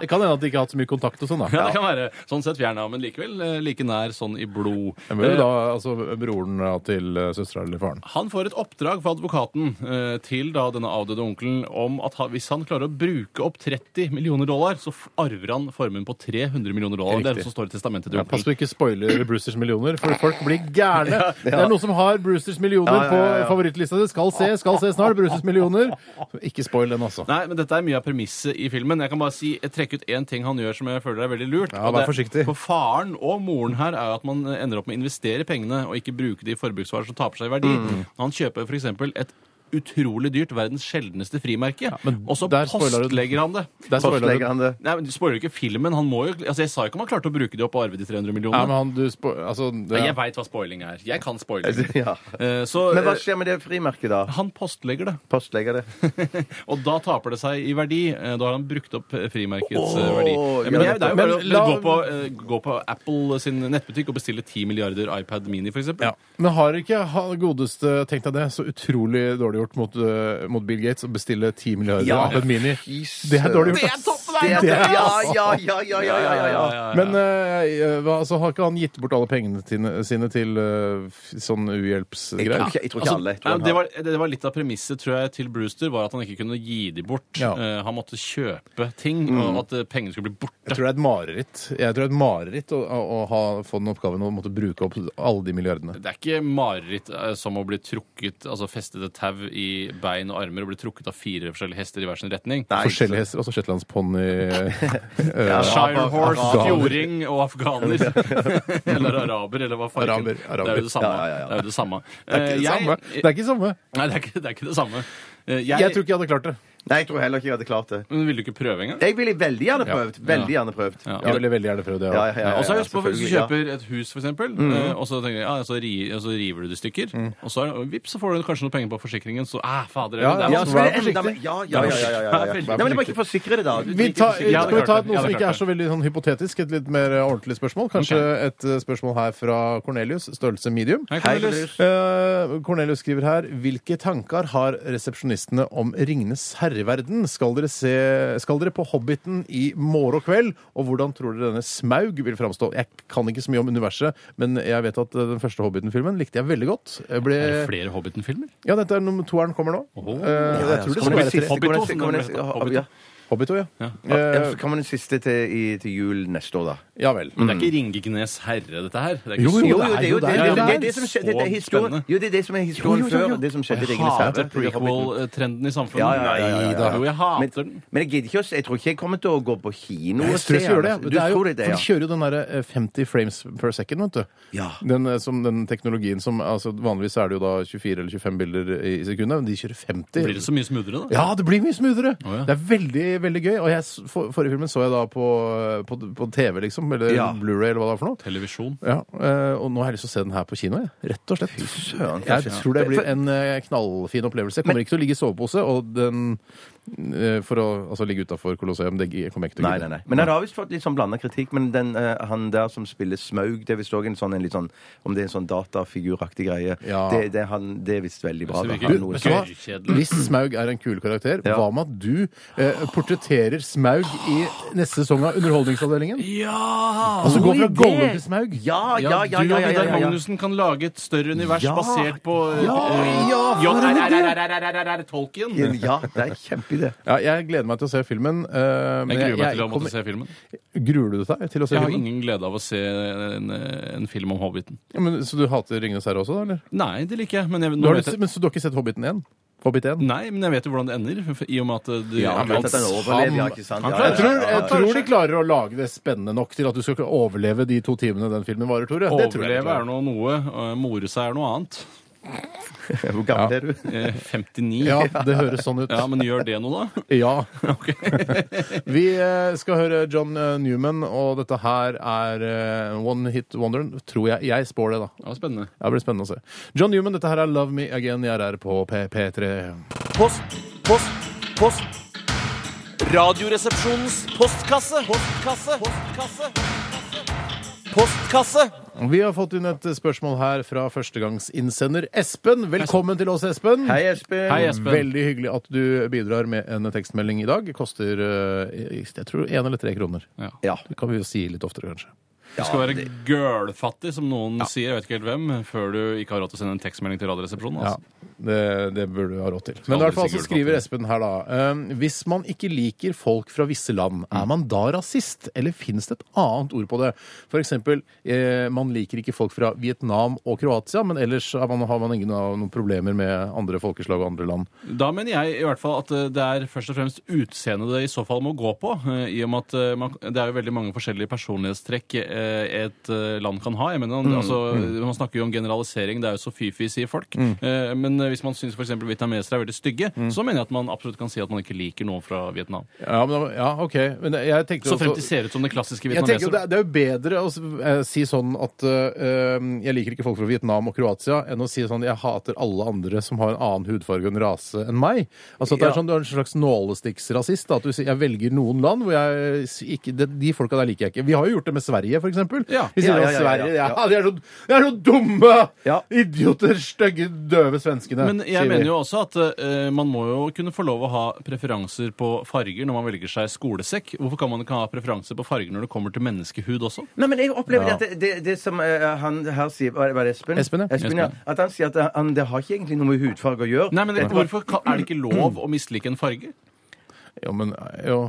[SPEAKER 2] Det kan hende at de ikke har hatt så mye kontakt og sånn, da.
[SPEAKER 3] Ja, det kan være. Sånn sett fjern, ja, men likevel eh, like nær sånn i blod.
[SPEAKER 2] Det var jo
[SPEAKER 3] Eh,
[SPEAKER 2] da altså, broren ja, til eh, søstera eller faren.
[SPEAKER 3] Han får et oppdrag fra advokaten eh, til da denne avdøde onkelen om at han, hvis han klarer å bruke opp 30 millioner dollar, så f- arver han formuen på 300 millioner dollar. Det er det som står i testamentet til
[SPEAKER 2] Ja, pass
[SPEAKER 3] onkelen.
[SPEAKER 2] på ikke
[SPEAKER 4] (clears throat)
[SPEAKER 2] spoiler Brewsters millioner, for folk blir gærne. Det er noen som har Brewsters millioner
[SPEAKER 4] Ja, ja, ja, ja.
[SPEAKER 2] på favorittlista di. Skal se, skal se snart. Brewsters millioner. Så Ikke spoil den, altså.
[SPEAKER 3] Nei, men dette er mye av premisset i filmen. Jeg kan bare si, jeg trekke ut én ting han gjør som jeg føler er veldig lurt.
[SPEAKER 2] Ja,
[SPEAKER 3] Og
[SPEAKER 2] vær
[SPEAKER 3] det-
[SPEAKER 2] forsiktig.
[SPEAKER 3] For faren og moren her er jo at man eh, ender opp med å investere pengene og ikke bruke de i forbruksvarer som taper seg i verdi.
[SPEAKER 2] Mm.
[SPEAKER 3] Han kjøper f.eks. et utrolig dyrt, verdens sjeldneste frimerke,
[SPEAKER 2] men
[SPEAKER 3] og så
[SPEAKER 2] der spoiler du-
[SPEAKER 3] postlegger han det.
[SPEAKER 2] Der spoiler
[SPEAKER 4] Postlegger
[SPEAKER 2] du.
[SPEAKER 4] han det?
[SPEAKER 3] Nei, men Du spoiler jo ikke filmen. han må jo... Altså, Jeg sa jo ikke om han klarte å bruke de opp og arve de 300
[SPEAKER 2] Ja,
[SPEAKER 3] millionene.
[SPEAKER 2] men han, du spo... Altså, det,
[SPEAKER 3] Nei, Jeg veit hva spoiling er. Jeg kan spoiling.
[SPEAKER 2] (laughs)
[SPEAKER 4] Ja.
[SPEAKER 3] Eh, Så
[SPEAKER 4] Men hva
[SPEAKER 3] eh,
[SPEAKER 4] skjer med det frimerket, da?
[SPEAKER 3] han postlegger (laughs) det,
[SPEAKER 4] Postlegger det?
[SPEAKER 3] og da taper det seg i verdi. Eh, Da har han brukt opp eh, frimerkets eh, verdi.
[SPEAKER 4] Åh,
[SPEAKER 3] Men det
[SPEAKER 4] ja,
[SPEAKER 3] er- det er jo
[SPEAKER 2] men
[SPEAKER 3] bare å
[SPEAKER 2] la-
[SPEAKER 3] gå, på, eh, gå på Apple sin nettbutikk og bestille 10 milliarder iPad Mini, f.eks.
[SPEAKER 2] ja. Men har ikke han godeste tenkt deg det? Så utrolig dårlig gjort mot, eh, mot Bill Gates å bestille 10 milliarder
[SPEAKER 4] Ja.
[SPEAKER 2] av en mini.
[SPEAKER 4] Jesus.
[SPEAKER 2] Det er dårlig gjort. ass.
[SPEAKER 4] Det er- Ja, ja, ja, ja, ja, ja, ja, ja.
[SPEAKER 2] Men eh, hva- altså, har ikke han gitt bort alle pengene tine- sine til eh, f- sånn
[SPEAKER 4] Jeg tror
[SPEAKER 2] uhjelpsgreier?
[SPEAKER 4] ikke, jeg tror ikke alle. Jeg tror
[SPEAKER 3] Nei,
[SPEAKER 4] han
[SPEAKER 3] Altså, det,
[SPEAKER 4] har-
[SPEAKER 3] var, det var litt av premisset tror jeg, til Brewster, var at han ikke kunne gi de bort.
[SPEAKER 2] Ja.
[SPEAKER 3] Eh, han måtte kjøpe ting,
[SPEAKER 4] Mm.
[SPEAKER 3] og at eh, pengene skulle bli borte.
[SPEAKER 2] Jeg tror det er et mareritt Jeg tror det er et mareritt å, å, å ha, få den oppgaven å måtte bruke opp alle de milliardene.
[SPEAKER 3] Det er ikke mareritt eh, som å bli trukket, altså festet et tau i bein og armer og bli trukket av fire forskjellige hester i hver sin retning.
[SPEAKER 4] Nei,
[SPEAKER 2] Forskjellige hester, også
[SPEAKER 3] (laughs)
[SPEAKER 2] shetlandsponni
[SPEAKER 3] Shire horse,
[SPEAKER 2] Afghaner.
[SPEAKER 3] fjording og
[SPEAKER 4] (laughs)
[SPEAKER 3] afghaner. eller araber, eller hva fargen
[SPEAKER 2] Araber, araber.
[SPEAKER 3] Det er jo det samme.
[SPEAKER 4] Ja, ja, ja.
[SPEAKER 3] Det er jo det samme.
[SPEAKER 2] Det er ikke det
[SPEAKER 3] Eh, jeg-
[SPEAKER 2] samme. Det er ikke det samme.
[SPEAKER 3] Nei, det er ikke det, er ikke det samme. Eh,
[SPEAKER 2] Jeg tror ikke jeg hadde klart det.
[SPEAKER 4] Nei, jeg tror heller ikke jeg hadde klart det.
[SPEAKER 3] Men ville du ikke prøve engang?
[SPEAKER 4] Jeg ville veldig gjerne prøvd. Veldig gjerne prøvd.
[SPEAKER 3] Ja.
[SPEAKER 2] Jeg ville veldig gjerne prøvd det.
[SPEAKER 4] Ja,
[SPEAKER 2] Ja.
[SPEAKER 4] ja, ja,
[SPEAKER 3] Ja, og så er det på, Hvis du
[SPEAKER 4] selvfølgelig, ja. Mm.
[SPEAKER 3] kjøper et hus, for eksempel, eh, og så tenker jeg, ja, så, ri, og så river du det i stykker, og så, er det- vips, så får du kanskje noen penger på forsikringen, så ah, fader,
[SPEAKER 2] Ja,
[SPEAKER 3] det er
[SPEAKER 4] Ja,
[SPEAKER 2] altså,
[SPEAKER 4] så
[SPEAKER 3] vanskelig.
[SPEAKER 4] blir det
[SPEAKER 2] vær
[SPEAKER 4] enda mer- ja, ja, ja, ja, ja, ja, ja.
[SPEAKER 3] Vær
[SPEAKER 4] Nei, men det var ikke forsikre det, da. Du
[SPEAKER 2] Vi
[SPEAKER 4] driter i
[SPEAKER 2] tar,
[SPEAKER 4] forsikring.
[SPEAKER 3] Ja,
[SPEAKER 2] skal vi ta
[SPEAKER 3] klart
[SPEAKER 2] et,
[SPEAKER 3] det.
[SPEAKER 2] noe
[SPEAKER 3] Ja,
[SPEAKER 2] som
[SPEAKER 3] det
[SPEAKER 2] ikke er
[SPEAKER 3] klart
[SPEAKER 2] så veldig sånn hypotetisk, et litt mer eh, ordentlig spørsmål? Kanskje et eh, spørsmål her fra Cornelius, størrelse medium?
[SPEAKER 3] Hei,
[SPEAKER 4] Hei,
[SPEAKER 3] Cornelius.
[SPEAKER 2] Eh, Cornelius skriver her Hvilke tanker har resepsjonistene om Ringenes herreverden? Skal dere, se, skal dere på Hobbiten i morgen kveld? Og hvordan tror dere denne Smaug vil framstå? Jeg kan ikke så mye om universet, men jeg vet at eh, den første Hobbiten-filmen likte jeg veldig godt. Jeg ble,
[SPEAKER 3] Er det Eh, flere Hobbiten-filmer?
[SPEAKER 2] ja, dette er nummer toeren kommer nå. Eh,
[SPEAKER 4] mm.
[SPEAKER 2] jeg tror det
[SPEAKER 4] Kommer
[SPEAKER 2] skal
[SPEAKER 4] den
[SPEAKER 2] være
[SPEAKER 4] siste-
[SPEAKER 2] tre.
[SPEAKER 3] Hobbit
[SPEAKER 4] kommer den-
[SPEAKER 3] også,
[SPEAKER 4] kommer den-
[SPEAKER 3] den heter.
[SPEAKER 4] ja,
[SPEAKER 3] Hobbit.
[SPEAKER 4] ja.
[SPEAKER 2] Hobbit òg, ja.
[SPEAKER 4] Ja,
[SPEAKER 2] Eh,
[SPEAKER 4] så kommer den siste til, i, til jul neste år, da.
[SPEAKER 2] ja vel.
[SPEAKER 3] Men det er ikke Ringegnes herre, dette her. Det er
[SPEAKER 2] Jo, jo,
[SPEAKER 3] ikke
[SPEAKER 4] Jo,
[SPEAKER 3] så-
[SPEAKER 4] jo, det er jo
[SPEAKER 2] der.
[SPEAKER 4] det, det, er jo det, det, er det
[SPEAKER 3] Det er
[SPEAKER 4] som skjedde. Det er
[SPEAKER 3] så
[SPEAKER 4] historien,
[SPEAKER 3] spennende.
[SPEAKER 4] jo, det er det som er
[SPEAKER 2] Jo,
[SPEAKER 4] historien
[SPEAKER 2] jo, jo, jo.
[SPEAKER 4] før, og det som skjedde i
[SPEAKER 3] Jeg
[SPEAKER 4] Ringenes herre.
[SPEAKER 3] hater prequel-trenden i samfunnet.
[SPEAKER 4] Ja, ja, ja, ja, ja, ja.
[SPEAKER 3] Jo, jeg hater
[SPEAKER 4] Men,
[SPEAKER 3] den.
[SPEAKER 4] men jeg gidder ikke å se- Jeg tror ikke jeg kommer til å gå på kino
[SPEAKER 2] Jeg
[SPEAKER 4] og
[SPEAKER 2] tror
[SPEAKER 4] se
[SPEAKER 2] jeg skal gjøre det. ja.
[SPEAKER 4] den. Du
[SPEAKER 2] det er jo,
[SPEAKER 4] tror det,
[SPEAKER 2] for
[SPEAKER 4] ja.
[SPEAKER 2] de kjører jo den der eh, 50 frames per second, vet du.
[SPEAKER 4] Ja.
[SPEAKER 2] Den, eh, som, den teknologien som altså, Vanligvis er det jo da 24 eller 25 bilder i i sekundet, men de kjører 50.
[SPEAKER 3] Blir det så mye smoothere, da?
[SPEAKER 2] ja, det blir mye smoothere!
[SPEAKER 3] ja.
[SPEAKER 2] Det er veldig veldig gøy. Og jeg, s- for, forrige filmen så jeg da på, eh, på, på TV, liksom. Eller
[SPEAKER 4] Ja.
[SPEAKER 2] Blu-ray, eller hva det var for noe.
[SPEAKER 3] Televisjon.
[SPEAKER 2] Ja, eh, Og nå har jeg lyst til å se den her på kino, jeg. rett og slett.
[SPEAKER 4] søren,
[SPEAKER 2] jeg
[SPEAKER 4] kanskje.
[SPEAKER 2] tror det blir en eh, knallfin opplevelse. Jeg kommer ikke til å ligge i sovepose, og den eh, For å altså, ligge utafor Colosseum, det gi- kommer jeg ikke til å
[SPEAKER 4] Nei,
[SPEAKER 2] gidde.
[SPEAKER 4] nei, nei. Men han har visst fått litt sånn blanda kritikk. Men den, eh, han der som spiller Smaug, det er visst òg en sånn en litt sånn Om det er en sånn datafiguraktig greie.
[SPEAKER 2] Ja.
[SPEAKER 4] Det, det, er han, det er visst veldig bra.
[SPEAKER 3] Så
[SPEAKER 4] Da.
[SPEAKER 3] virker-
[SPEAKER 4] Han,
[SPEAKER 3] Du,
[SPEAKER 4] noe
[SPEAKER 3] vet
[SPEAKER 2] Så hva?
[SPEAKER 4] sånn-
[SPEAKER 3] Kjedelig.
[SPEAKER 2] Hvis Smaug er en kul karakter,
[SPEAKER 4] Ja.
[SPEAKER 2] hva med at du eh, portretterer Smaug i neste sesong av Underholdningsavdelingen?
[SPEAKER 3] Ja!
[SPEAKER 2] Altså gå
[SPEAKER 4] God
[SPEAKER 2] fra
[SPEAKER 4] idé!
[SPEAKER 2] Gollum til Smaug?
[SPEAKER 3] Ja,
[SPEAKER 4] ja,
[SPEAKER 3] du
[SPEAKER 4] ja, ja, ja,
[SPEAKER 3] og
[SPEAKER 4] ja, ja,
[SPEAKER 3] Vidar
[SPEAKER 4] ja, ja.
[SPEAKER 3] Magnussen kan lage et større univers
[SPEAKER 4] Ja.
[SPEAKER 3] basert på eh,
[SPEAKER 4] Ja,
[SPEAKER 3] eh,
[SPEAKER 4] ja, for en idé!
[SPEAKER 3] J.R.R.R.R.R.R. Tolkien. Jeg
[SPEAKER 4] Ja, det er en kjempeidé.
[SPEAKER 2] Ja, jeg gleder meg til å se filmen. eh, men
[SPEAKER 3] gruer meg til å
[SPEAKER 2] kommer-
[SPEAKER 3] måtte se filmen.
[SPEAKER 2] Gruer du deg til å se
[SPEAKER 3] Jeg har
[SPEAKER 2] filmen?
[SPEAKER 3] ingen glede av å se en, en film om Hobbiten.
[SPEAKER 2] Ja, men, så du hater 'Ringenes herre' også, da? eller?
[SPEAKER 3] Nei, det liker jeg. Men jeg,
[SPEAKER 2] Du
[SPEAKER 3] nå
[SPEAKER 2] har,
[SPEAKER 3] vet
[SPEAKER 2] du-
[SPEAKER 3] jeg,
[SPEAKER 2] men, så du har ikke sett 'Hobbiten 1'? Hobbit 1?
[SPEAKER 3] nei, men jeg vet jo hvordan det ender. for- I og med at eh, du,
[SPEAKER 4] Ja, men
[SPEAKER 3] han-
[SPEAKER 4] dette er en overlever, ja, ikke sant?
[SPEAKER 3] Han
[SPEAKER 4] Ja,
[SPEAKER 3] klarer-
[SPEAKER 2] Jeg tror,
[SPEAKER 4] ja, ja,
[SPEAKER 2] jeg
[SPEAKER 4] ja.
[SPEAKER 2] tror de klarer å lage det spennende nok til at du skal ikke overleve de to timene den filmen varer, Tore. Det tror jeg de
[SPEAKER 3] overleve
[SPEAKER 2] klarer.
[SPEAKER 3] er noe, noe eh, more seg er noe annet.
[SPEAKER 4] Hvor gammel er du?
[SPEAKER 3] Eh,
[SPEAKER 2] (laughs)
[SPEAKER 3] 59.
[SPEAKER 2] Ja, det høres sånn ut.
[SPEAKER 3] Ja, men gjør det noe, da?
[SPEAKER 2] Ja. (laughs) vi eh, skal høre John eh, Newman, og dette her er eh, One Hit Wonder. Tror jeg. Jeg spår det, da.
[SPEAKER 3] Det var spennende.
[SPEAKER 2] Det blir spennende å se. John Newman, dette her er Love Me Again. Jeg er på P P3.
[SPEAKER 6] Post, post, post. Radioresepsjonens postkasse. Postkasse. Postkasse. Postkasse.
[SPEAKER 2] Vi har fått inn et spørsmål her fra førstegangsinnsender Espen. Velkommen til oss, Espen.
[SPEAKER 4] Hei, Espen.
[SPEAKER 3] Hei, Espen.
[SPEAKER 2] Veldig hyggelig at du bidrar med en tekstmelding i dag. Koster eh, jeg tror én eller tre kroner.
[SPEAKER 3] Ja.
[SPEAKER 4] Ja.
[SPEAKER 2] Det kan vi jo si litt oftere, kanskje.
[SPEAKER 3] Du skal være girlfattig, som noen sier, jeg vet ikke helt hvem, før du ikke har råd til å sende en tekstmelding til Radioresepsjonen.
[SPEAKER 2] Ja,
[SPEAKER 3] Altså.
[SPEAKER 2] det, det burde du ha råd til. Men i
[SPEAKER 3] aldri
[SPEAKER 2] hvert fall
[SPEAKER 3] si
[SPEAKER 2] så
[SPEAKER 3] gult
[SPEAKER 2] skriver
[SPEAKER 3] kort.
[SPEAKER 2] Espen her, da. ehm, Hvis man ikke liker folk fra visse land, er man da rasist, eller fins det et annet ord på det? For eksempel, eh, man liker ikke folk fra Vietnam og Kroatia, men ellers er man, har man ingen av noen problemer med andre folkeslag og andre land.
[SPEAKER 3] Da mener jeg i hvert fall at eh, det er først og fremst utseendet det i så fall må gå på. eh, I og med at eh, man, det er jo veldig mange forskjellige personlighetstrekk eh, et eh, land kan ha. Jeg mener,
[SPEAKER 2] Mm,
[SPEAKER 3] altså, Man snakker jo om generalisering, det er jo så fy-fy, sier folk.
[SPEAKER 2] Mm.
[SPEAKER 3] Eh, Men eh, hvis man syns f.eks. vietnamesere er veldig stygge, så mener jeg at man absolutt kan si at man ikke liker noen fra Vietnam.
[SPEAKER 2] Ja, men, da- ja OK. Men jeg tenkte
[SPEAKER 3] Så frem
[SPEAKER 2] også-
[SPEAKER 3] til ser ut som den klassiske
[SPEAKER 2] Jeg tenker jo
[SPEAKER 3] vietnameser.
[SPEAKER 2] det, er- det er jo bedre å s- eh, si sånn at eh, eh, jeg liker ikke folk fra Vietnam og Kroatia, enn å si sånn jeg hater alle andre som har en annen hudfarge og en rase enn meg. Altså at det er sånn, Du er en slags nålestikksrasist. da, At du sier jeg velger noen land hvor jeg s- ikke, det, De folka der liker jeg ikke. Vi har jo gjort det med Sverige, for eksempel.
[SPEAKER 3] Ja.
[SPEAKER 2] Vi sier
[SPEAKER 4] Ja, ja,
[SPEAKER 2] at
[SPEAKER 4] ja, ja, ja.
[SPEAKER 2] Sverige, ja, de, er så, de er så dumme!
[SPEAKER 4] Ja.
[SPEAKER 2] Idioter, stygge, døve svenskene.
[SPEAKER 3] Men
[SPEAKER 2] sier
[SPEAKER 3] jeg
[SPEAKER 2] vi.
[SPEAKER 3] mener jo også at eh, man må jo kunne få lov å ha preferanser på farger når man velger seg skolesekk. Hvorfor kan man ikke ha preferanser på farger når det kommer til menneskehud også?
[SPEAKER 4] Nei, men jeg opplever det at det, det, det som eh, han her sier Var det- var det Espen?
[SPEAKER 2] Espen, ja.
[SPEAKER 4] ja. At han sier at eh, han, det har ikke egentlig noe med hudfarge å gjøre.
[SPEAKER 3] Nei, men hvorfor kan, Er det ikke lov å mislike en farge?
[SPEAKER 2] Jo, men jo.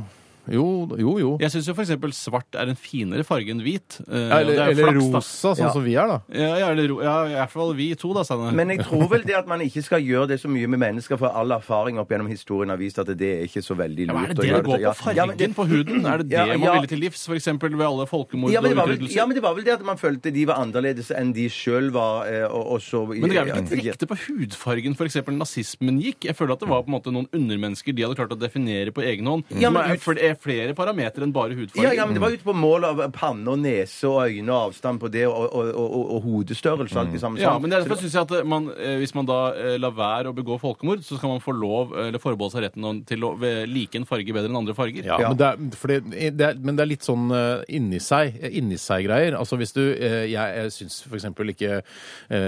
[SPEAKER 2] Jo, jo. jo.
[SPEAKER 3] Jeg syns jo f.eks. svart er en finere farge enn hvit. Eh,
[SPEAKER 2] Ja,
[SPEAKER 3] og det
[SPEAKER 2] eller
[SPEAKER 3] er jo
[SPEAKER 2] eller
[SPEAKER 3] flaks, da.
[SPEAKER 2] rosa, sånn
[SPEAKER 4] Ja.
[SPEAKER 2] som vi er, da.
[SPEAKER 3] Ja, ja, eller, ro- ja, i hvert fall vi to, da, Steinar.
[SPEAKER 4] Men jeg tror vel det at man ikke skal gjøre det så mye med mennesker, for all erfaring opp gjennom historien har vist at det er ikke så veldig
[SPEAKER 3] Ja, men er
[SPEAKER 4] lurt å
[SPEAKER 3] det det
[SPEAKER 4] gjøre
[SPEAKER 3] det går på?
[SPEAKER 4] Ja. Ja, men
[SPEAKER 3] Fargen
[SPEAKER 4] det-
[SPEAKER 3] på huden? Er det det
[SPEAKER 4] Ja, ja.
[SPEAKER 3] man ville til livs? F.eks. ved alle folkemord
[SPEAKER 4] Ja men, det
[SPEAKER 3] og
[SPEAKER 4] var vel,
[SPEAKER 3] utryddelser?
[SPEAKER 4] ja, men det var vel det at man følte de var annerledes enn de sjøl var. eh, Og, og så,
[SPEAKER 3] Men det er vel ikke direkte på hudfargen f.eks. nazismen gikk? Jeg føler at det var på en måte noen undermennesker de hadde klart å definere på egen hånd.
[SPEAKER 4] Ja,
[SPEAKER 3] som
[SPEAKER 4] men
[SPEAKER 3] er,
[SPEAKER 4] ut-
[SPEAKER 3] for det er flere parametere enn bare hudfargen.
[SPEAKER 4] Ja, ja, men det var ute på mål av panne og nese og øyne og avstand på det, og, og, og, og, og hodestørrelse og alt det
[SPEAKER 2] Mm.
[SPEAKER 4] samme.
[SPEAKER 3] Ja,
[SPEAKER 4] sånn.
[SPEAKER 3] men
[SPEAKER 4] Så
[SPEAKER 3] derfor
[SPEAKER 4] det-
[SPEAKER 3] synes jeg at eh, man, eh, Hvis man da eh, lar være å begå folkemord, så skal man få lov, eh, eller forbeholde seg retten å- til å eh, like en farge bedre enn andre farger.
[SPEAKER 2] Ja, Men, det er, for det, det er, men det er litt sånn eh, inni seg inni seg greier. Altså hvis du eh, Jeg, jeg syns for eksempel ikke eh,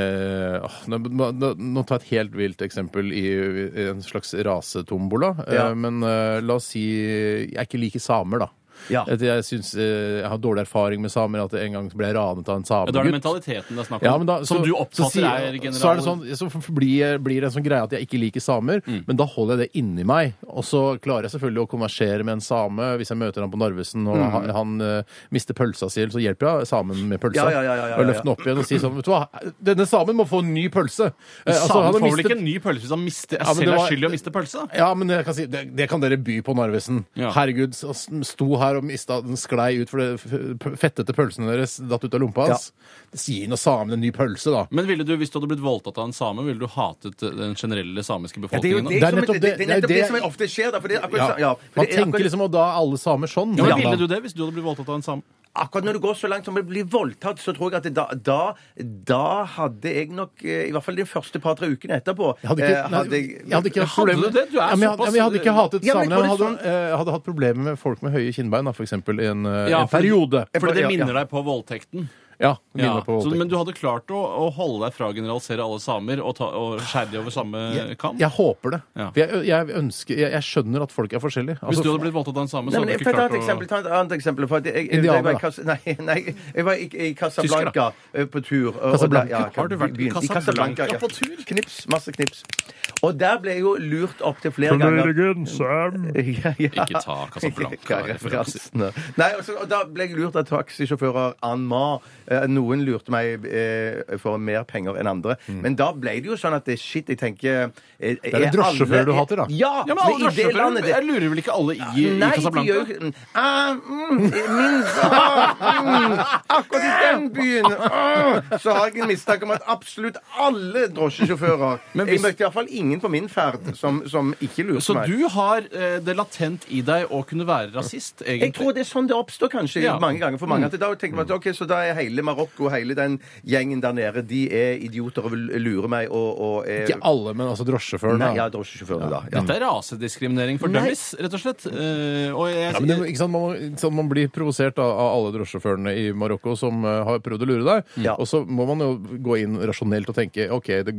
[SPEAKER 2] åh, nå, nå, nå- nå ta et helt vilt eksempel i, i en slags rasetombola. eh,
[SPEAKER 4] Ja.
[SPEAKER 2] Men eh, la oss si Jeg er ikke like samer, da.
[SPEAKER 4] Ja.
[SPEAKER 2] At jeg, synes, eh, jeg har dårlig erfaring med samer. At jeg en gang ble jeg ranet av en
[SPEAKER 3] Ja, Da er det
[SPEAKER 2] samegutt.
[SPEAKER 3] mentaliteten det er snakk om.
[SPEAKER 2] Ja, men da,
[SPEAKER 3] som
[SPEAKER 2] så-
[SPEAKER 3] du
[SPEAKER 2] så
[SPEAKER 3] oppfatter
[SPEAKER 2] sier-
[SPEAKER 3] er general...
[SPEAKER 2] Så, er det sånn, så f- blir, blir det en sånn greie at jeg ikke liker samer,
[SPEAKER 3] Mm.
[SPEAKER 2] men da holder jeg det inni meg. Og så klarer jeg selvfølgelig å konversere med en same hvis jeg møter han på Narvesen
[SPEAKER 3] Mm.
[SPEAKER 2] og han, han eh, mister pølsa si, så hjelper jeg samen med pølsa.
[SPEAKER 4] Ja, ja, ja, ja, ja,
[SPEAKER 2] og løfter den opp igjen og sier sånn Vet du hva, denne samen må få en ny pølse. Eh, altså, han har
[SPEAKER 3] Samen får vel
[SPEAKER 2] mistet-
[SPEAKER 3] ikke en ny pølse hvis han mister,
[SPEAKER 2] Ja, men det
[SPEAKER 3] selv
[SPEAKER 2] var-
[SPEAKER 3] er skyld i å miste pølse? da?
[SPEAKER 2] ja, men jeg kan si, det, det kan dere by på Narvesen.
[SPEAKER 3] Ja.
[SPEAKER 2] Herregud, så s- sto her og mista den sklei ut for det f- p- fettete pølsene deres datt ut av lompa hans. Gi nå samen en ny pølse, da.
[SPEAKER 3] Men ville du, Hvis du hadde blitt voldtatt av en same, ville du hatet eh, den generelle samiske
[SPEAKER 4] Ja, det er jo
[SPEAKER 3] befolkningen? da?
[SPEAKER 4] det,
[SPEAKER 2] Det er
[SPEAKER 4] som,
[SPEAKER 2] nettopp
[SPEAKER 4] det,
[SPEAKER 2] det-
[SPEAKER 4] det, er
[SPEAKER 2] det er
[SPEAKER 4] nettopp det,
[SPEAKER 2] det-
[SPEAKER 4] som er ofte skjer, da. For det er akkurat,
[SPEAKER 2] Ja.
[SPEAKER 4] sa- ja, for
[SPEAKER 2] Man
[SPEAKER 4] det er
[SPEAKER 2] tenker
[SPEAKER 4] akkurat,
[SPEAKER 2] liksom at da er alle samer sånn.
[SPEAKER 3] Ja, men
[SPEAKER 2] Ja.
[SPEAKER 3] Ville du det hvis du hadde blitt voldtatt av en same?
[SPEAKER 4] akkurat når du går så langt som å bli voldtatt, så tror jeg at det, da, da, da hadde jeg nok eh, I hvert fall de første par-tre ukene etterpå
[SPEAKER 2] Jeg hadde ikke,
[SPEAKER 4] eh,
[SPEAKER 2] nei,
[SPEAKER 4] hadde jeg-
[SPEAKER 2] jeg hadde ikke hatt problemer
[SPEAKER 3] Hadde du det? Du er
[SPEAKER 2] ja, men jeg, hadde-
[SPEAKER 3] såpass-
[SPEAKER 2] ja, men jeg hadde ikke hatet
[SPEAKER 4] Ja, men
[SPEAKER 2] samene. Jeg
[SPEAKER 4] jeg tror
[SPEAKER 2] hadde,
[SPEAKER 4] det er sånn-
[SPEAKER 2] eh, jeg hadde hatt problemer med folk med høye kinnbein, da, for eksempel, i en, eh, en
[SPEAKER 3] for-
[SPEAKER 2] periode.
[SPEAKER 3] Fordi det
[SPEAKER 4] Ja, ja.
[SPEAKER 3] minner deg på voldtekten.
[SPEAKER 2] Ja, minner
[SPEAKER 3] Ja.
[SPEAKER 2] meg på
[SPEAKER 3] Så,
[SPEAKER 2] voldtekt.
[SPEAKER 3] men du hadde klart å, å holde deg fra å generalisere alle samer og, ta, og skjære de over samme kam?
[SPEAKER 2] jeg håper det.
[SPEAKER 3] Ja.
[SPEAKER 2] For jeg, jeg, ønsker, jeg, jeg skjønner at folk er forskjellige.
[SPEAKER 3] Hvis
[SPEAKER 2] Altså,
[SPEAKER 3] du hadde blitt voldtatt av en same,
[SPEAKER 4] Nei,
[SPEAKER 3] så
[SPEAKER 4] men
[SPEAKER 3] hadde
[SPEAKER 4] jeg,
[SPEAKER 3] du
[SPEAKER 4] får
[SPEAKER 3] ikke
[SPEAKER 4] ta et
[SPEAKER 3] klart å
[SPEAKER 4] eksempel, ta et annet eksempel. For at jeg, jeg, jeg,
[SPEAKER 2] Indianer,
[SPEAKER 4] var i
[SPEAKER 2] da.
[SPEAKER 4] Cas- nei, (laughs) nei, jeg var i, i Casablanca
[SPEAKER 3] Tyskere.
[SPEAKER 4] eh, på tur. og- og
[SPEAKER 2] Casablanca.
[SPEAKER 4] ble- ja,
[SPEAKER 3] Har du vært i
[SPEAKER 4] byen-
[SPEAKER 3] Casablanca
[SPEAKER 4] ja.
[SPEAKER 3] på tur?
[SPEAKER 4] Knips. Masse knips. Og der ble jeg jo lurt opptil flere ganger. (laughs) Ja, ja.
[SPEAKER 3] Ikke ta
[SPEAKER 4] (laughs)
[SPEAKER 3] Casablanca-referansene.
[SPEAKER 4] Ja, referansene. Nei, altså, og da ble jeg lurt av taxisjåfører en masse. Eh, Noen lurte meg eh, for mer penger enn andre.
[SPEAKER 3] Mm.
[SPEAKER 4] Men da ble det jo sånn at det shit, jeg tenker eh, Det
[SPEAKER 2] er det drosjesjåfører du hater, da.
[SPEAKER 4] Ja,
[SPEAKER 3] ja, men alle
[SPEAKER 4] men i det landet
[SPEAKER 3] drosjesjåfører
[SPEAKER 4] det-
[SPEAKER 3] jeg lurer vel ikke alle i,
[SPEAKER 4] Nei,
[SPEAKER 3] i
[SPEAKER 4] de gjør
[SPEAKER 3] Casablanca?
[SPEAKER 4] jo ikke ah, mm, min, ah, mm, Akkurat i den byen ah, så har jeg en mistanke om at absolutt alle drosjesjåfører
[SPEAKER 3] Men
[SPEAKER 4] Jeg
[SPEAKER 3] hvis-
[SPEAKER 4] møtte iallfall ingen på min ferd som, som ikke lurte
[SPEAKER 3] Så
[SPEAKER 4] meg.
[SPEAKER 3] du har eh, det latent i deg å kunne være rasist, egentlig?
[SPEAKER 4] Jeg tror det er sånn det oppstår kanskje
[SPEAKER 3] Ja. Mm.
[SPEAKER 4] mange ganger for mange. At da tenker man at ok, så da er hele Marokko, hele den gjengen der nede, de er idioter og vil lure meg og, og er,
[SPEAKER 2] ikke alle, men altså drosjesjåføren.
[SPEAKER 4] Nei,
[SPEAKER 2] da.
[SPEAKER 4] ja, drosjesjåførene, da. Ja.
[SPEAKER 3] Dette er rasediskriminering for dummies, rett og slett. Eh, og jeg,
[SPEAKER 2] Ja, men det, ikke sant? Man, må- ikke sant? man blir provosert av, av alle drosjesjåførene i Marokko som eh, har prøvd å lure deg.
[SPEAKER 4] Ja.
[SPEAKER 2] Og så må man jo gå inn rasjonelt og tenke OK, det,